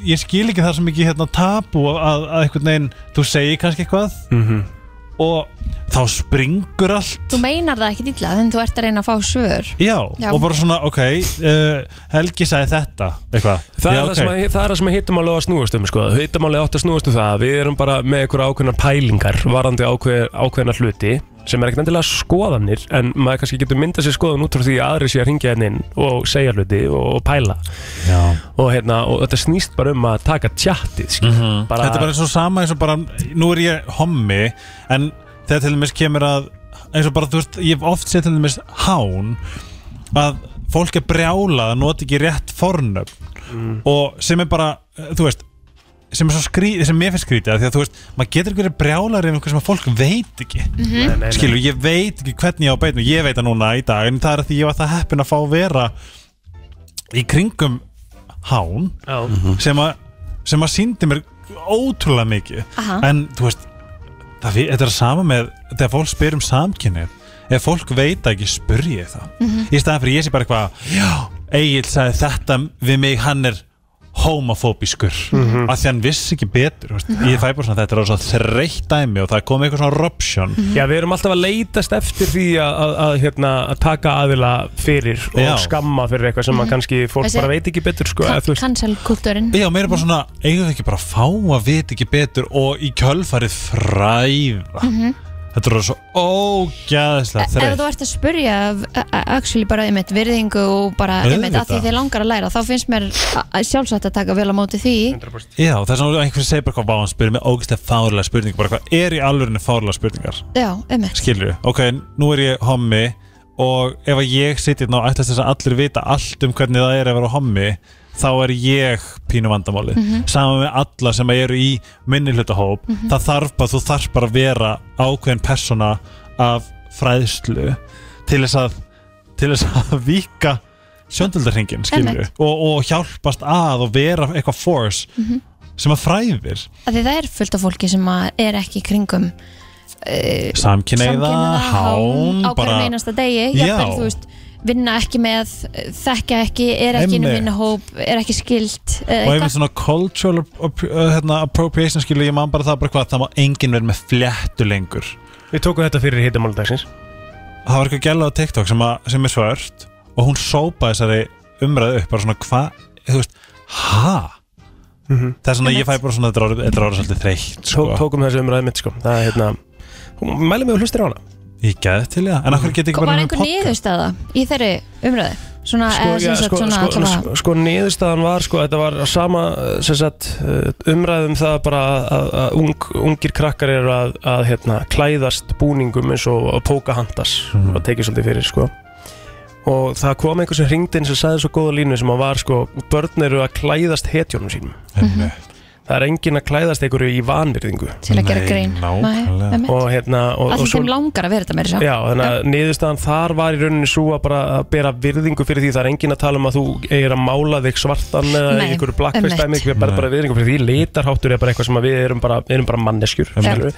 ég skil ekki það sem ekki hérna tabu að, að einhvern veginn, þú segir kannski eitthvað
Mhm.
-hmm. og þá springur allt um-
Þú meinar það ekki dýla en þú ert að reyna að fá svör
Já,
Já.
og bara svona, ok uh, Helgi sagði þetta, eitthvað
Það,
Já,
er það, sem að, það er það sem að hittamáli á að snúast um sko. hittamáli átt að snúast um það að við erum bara með einhverja ákveðna pælingar varandi ákveð, ákveðna hluti sem er ekkert endilega skoðanir en maður kannski getur myndað sér skoðan út frá því að aðri sé að ringja henn inn og segja hluti og, og pæla
Já.
og, hérna, og þetta snýst bara um að taka tjattið mm -hmm. bara,
Mhm. Þetta er bara eins og sama eins og bara nú er ég hommi, en þegar til dæmis kemur að eins og bara, þú veist, ég hef oft séð til dæmis hán að fólk er brjálað að nota ekki rétt fornöfn og sem er bara, eh, þú veist sem er svo skrítið, sem mér finnst skrítið af því að þú veist, maður getur ekki verið brjálar ef einhver sem að fólk veit ekki
nei, nei, nei.
skilur, ég veit ekki hvernig ég á beinu ég veit það núna í dag, en það er að því ég var það heppin að fá að vera í kringum hán
Já.
sem að, sem að síndi mér ótrúlega mikið
Aha.
en þú veist það, við- þetta er sama með þegar fólk spyr um samkynni ef fólk veit ekki spurji ég það
Mhm.
í staðan fyrir ég sé bara eitthvað já, Egil sagði þetta við mig hann er homofóbískur af því hann vissi ekki betur þú veist, ég fæ bara svona þetta er á svo þreytt dæmi og það kom eitthvað svona ruption
Mhm.
Já, við erum alltaf að leitast eftir því að, að, að, hérna, að taka aðila fyrir og
Já.
skamma fyrir eitthvað sem að kannski fólk
Þessi-
bara veit ekki betur sko, eða, þú veist,
Cancel kultúrin
Já, mér er bara svona, eigum við ekki bara að fá að vita ekki betur og í kjölfarið fræða Þetta er svo
Mhm. E,
ógæðislega
Ef
þreytt
þú ert að spyrja af- a- a- actually bara einmitt virðingu og bara einmitt að því
Auðvitað.
þið langar að læra þá finnst mér a- a- sjálfsagt að taka vel á móti því
Já, það er svona einhver segir bara hvað váðan spyrir með ógæðislega fárlega spurningar bara hvað er í alvörinu fárlega spurningar
Já, einmitt
Skilur við, ok, nú er ég hommi og ef að ég sitja ná ætlast þess að allir vita allt um hvernig það er að vera hommi þá er ég pínu vandamáli saman með alla sem eru í minni hlutahóp það þarf bara, þú þarf bara að vera ákveðin persóna af fræðslu til þess að til þess að <laughs> vika sjöndöldarhingin skilju
Einmitt.
og, og hjálpast að og vera eitthvað force sem að fræðir
að Því það er fullt af fólki sem að er ekki í kringum
samkyneiða, hán
á hverjum einasta degi
Já.
jafnvel, þú veist, vinna ekki með þekka ekki, er ekki inn
Einmitt.
um vinnahóp er ekki skilt eða
og
eitthvað.
einmitt svona cultural app- uh, hérna, appropriation skilur ég man bara það bara hvað það má enginn verið með fléttu lengur
Við tókum þetta fyrir hittamáli dagsins
það var eitthvað gæla á TikTok sem, að, sem er svört og hún sópaði þessari umræðu upp bara svona hvað, þú veist, ha það er svona, ég fæ bara svona þetta er orðið- þetta er orðið svolítið þreytt sko.
Tó, Tókum þessu umræðið mitt sko. Það er hérna hún- Mælum við að hlustir á hana
ég gæði til ég, en okkur get ekki
Og var
bara
einhver niðurstaða í þeirri umröðu svona, eða, sem sagt,
sko,
svona
sko,
allavega-
sko, sko niðurstaðan var sko, Þetta var sama sem sagt, umræðum það bara að- að, að ung, Ungir krakkar eru að, að hérna, klæðast búningum eins og að póka handas og tekið svolítið fyrir sko. Og það kom einhver sem hringdi inn sem sagði svo góða línu sem að var sko, börn eru að klæðast hetjónum sínum Það er enginn að klæðast einhverju í vanvirðingu
til að gera
Nei,
grín
nákvæmlega.
Nei, einmitt.
og hérna og,
að
og
því þeim langar að vera þetta meira
Já, þannig að niðurstaðan þar var í rauninni svo að bara að bera virðingu fyrir því það er engin að tala um að þú eigir að mála þig svartan eða
Nei,
einhverju blackface-dæmi
einmitt.
við bara,
Nei.
bara virðingu fyrir því, litarháttur er bara eitthvað sem að við erum bara, við erum bara manneskjur
Einmitt.
skilurðu.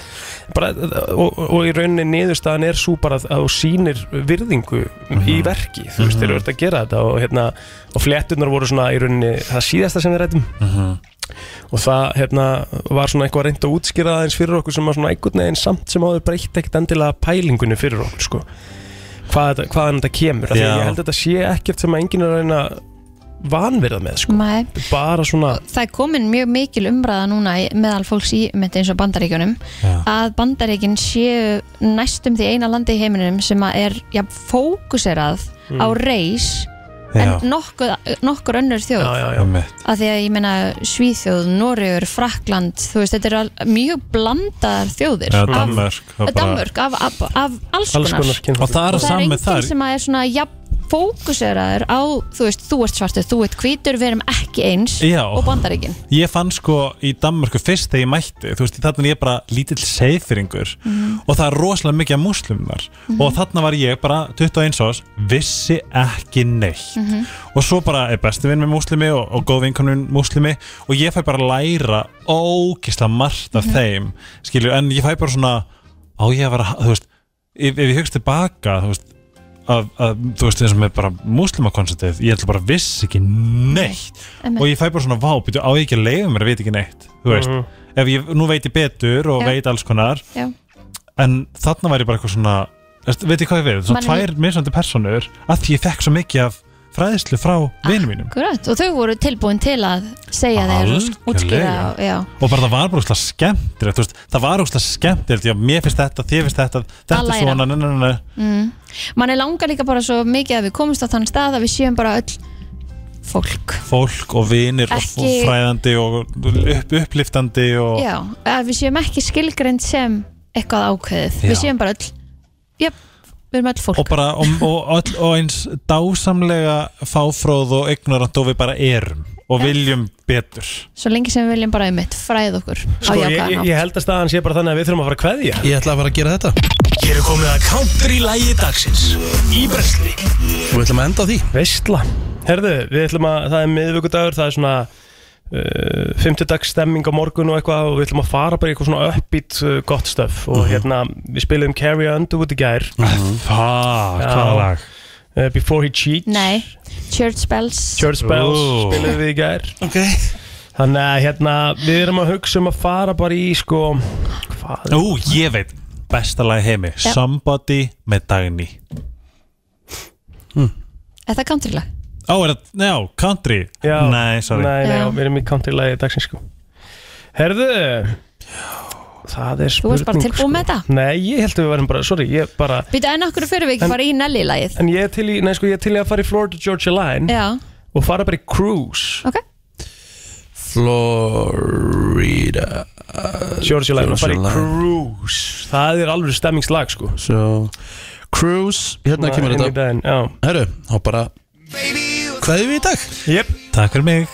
bara, og, og í rauninni niðurstaðan er svo bara að- að þú sýnir virðingu í
Mhm.
verki þú veist, þeir eru að gera þetta og, hérna, og fléttunar voru svona í rauninni það síðasta sem við rættum og það hérna, var svona eitthvað reynd að útskýra það eins fyrir okkur sem var svona einhvern veginn samt sem áður breytt ekkert endilega pælingunni fyrir okkur sko. hvað þetta, hvaðan þetta kemur af því að
Já.
ég held að þetta sé ekkert sem að enginn er að reyna að vanvirða með sko.
Nei.
bara svona
það er komin mjög mikil umræða núna í- meðal fólks í myndi eins og bandaríkjunum að bandaríkin séu næstum því eina landi í heiminum sem að er já, fókuserað á
Mm.
reis en
Já.
nokkuð, nokkur önnur þjóð
já, já, já.
Einmitt.
að því að ég meina Svíþjóð, Noregur, Frakland þú veist, þetta eru al- mjög blandaðar þjóðir
Já,
Af-
Danmörk, það bara-
Danmörk, af, af, af alls
alls
konar,
konar
Og það
það
er
er
saman
enginn
með þar
sem að er svona ja, fókuseraður á, þú veist, þú ert svartur þú ert hvítur, við erum ekki eins
Já.
og bandaríkin
Ég fann sko í Danmörku fyrst þegar ég mætti Þú veist, þarna er ég bara lítill seyðfyringur Og það er rosalega mikið af múslumnar Og þarna var ég bara 21 ás Vissi ekki neitt Og svo bara er besti vinn með múslimi Og, og góð vinkonun múslimi Og ég fæ bara að læra ógisla margt af þeim Skilju, en ég fæ bara svona Á ég að vera, þú veist Ef, ef ég hugst tilbaka, þú veist Að, að, þú veist, eins og með bara múslimakonsertið ég ætla bara að vissi ekki neitt
Einmitt.
og ég fæ bara svona vá, býtu, á ég ekki að leiða mér að veit ekki neitt, þú veist ef ég, nú veit ég betur og
Já.
veit alls konar
Já.
en þarna var ég bara eitthvað svona veist, veit ég hvað ég við,
Manni-
svona tvær misandi personur að því ég fekk svo mikið af fræðislu frá
Ah.
vinum mínum
Akkurat, og þau voru tilbúin til að segja þeir og
Algjörlega.
útskýra og- já.
og bara það var bara úrslega skemmtilegt þú veist, það var úrslega skemmtilegt, já, mér finnst þetta þér finnst þetta,
Að
þetta er
læra.
svona ne, ne, ne, ne.
Manni langar líka bara svo mikið að við komumst á þann stað að við séum bara öll fólk
fólk og vinir og
Ekki-
fræðandi og upp, uppliftandi og
Já, að við séum ekki skilgrind sem eitthvað ákveðið,
Já.
við séum bara öll Jöp, við erum öll fólk
og bara og, og, öll- og eins dásamlega fáfróð og ignorant og við bara erum og viljum betur
Svo lengi sem við viljum bara um mitt, fræð okkur á
Sko, ég, ég,
jákaðan
ég held að staðan sé bara þannig að við þurfum að fara að kveðja
Ég ætla að fara að gera þetta
Hér er komið að kántur í lægi dagsins Í brensli
Og við ætlum að enda á því
Veistla Herðu, við ætlum að, það er miðvikudagur Það er svona uh, Fymtudags stemming á morgun og eitthvað Og við ætlum að fara bara í eitthvað svona uppbít uh, gott stöf Og hérna, við spilum Carrie Underwood í gær
Það,
Já.
hvaða lag?
uh, Before He Cheats
Nei, church bells
Church Bells
Ú.
spilum við í gær
Ok
Þannig að hérna, við erum að hugsa um að fara bara í sko Hvað?
Ú, ég veit, besta lag í heimi
Já.
Somebody með Dagný
Er það countrylag?
Ó, er það, já, country
Já.
Nei, sorry
Nei, nei,
Já.
já. við erum í countrylagi dagsins sko Herðu Það er
Þú
spurning sko.
varst bara tilbúin með þetta?
Nei, ég held að við varum bara, sorry, ég bara
Býta enn okkur fyrir við ekki bara í Nelly-lagið
En ég er til í, nei sko, ég er til í að fara í Florida Georgia Line
Já,
og fara bara í cruise
ok
Florida
Georgia Line og fara í
Georgia Line.
cruise Það er alveg stemmingslag sko
So Cruise Hérna kemur
Inn í
þetta
daginn, Já
Herru, þá bara Hvað er við í dag?
Jep
Takk fyrir mig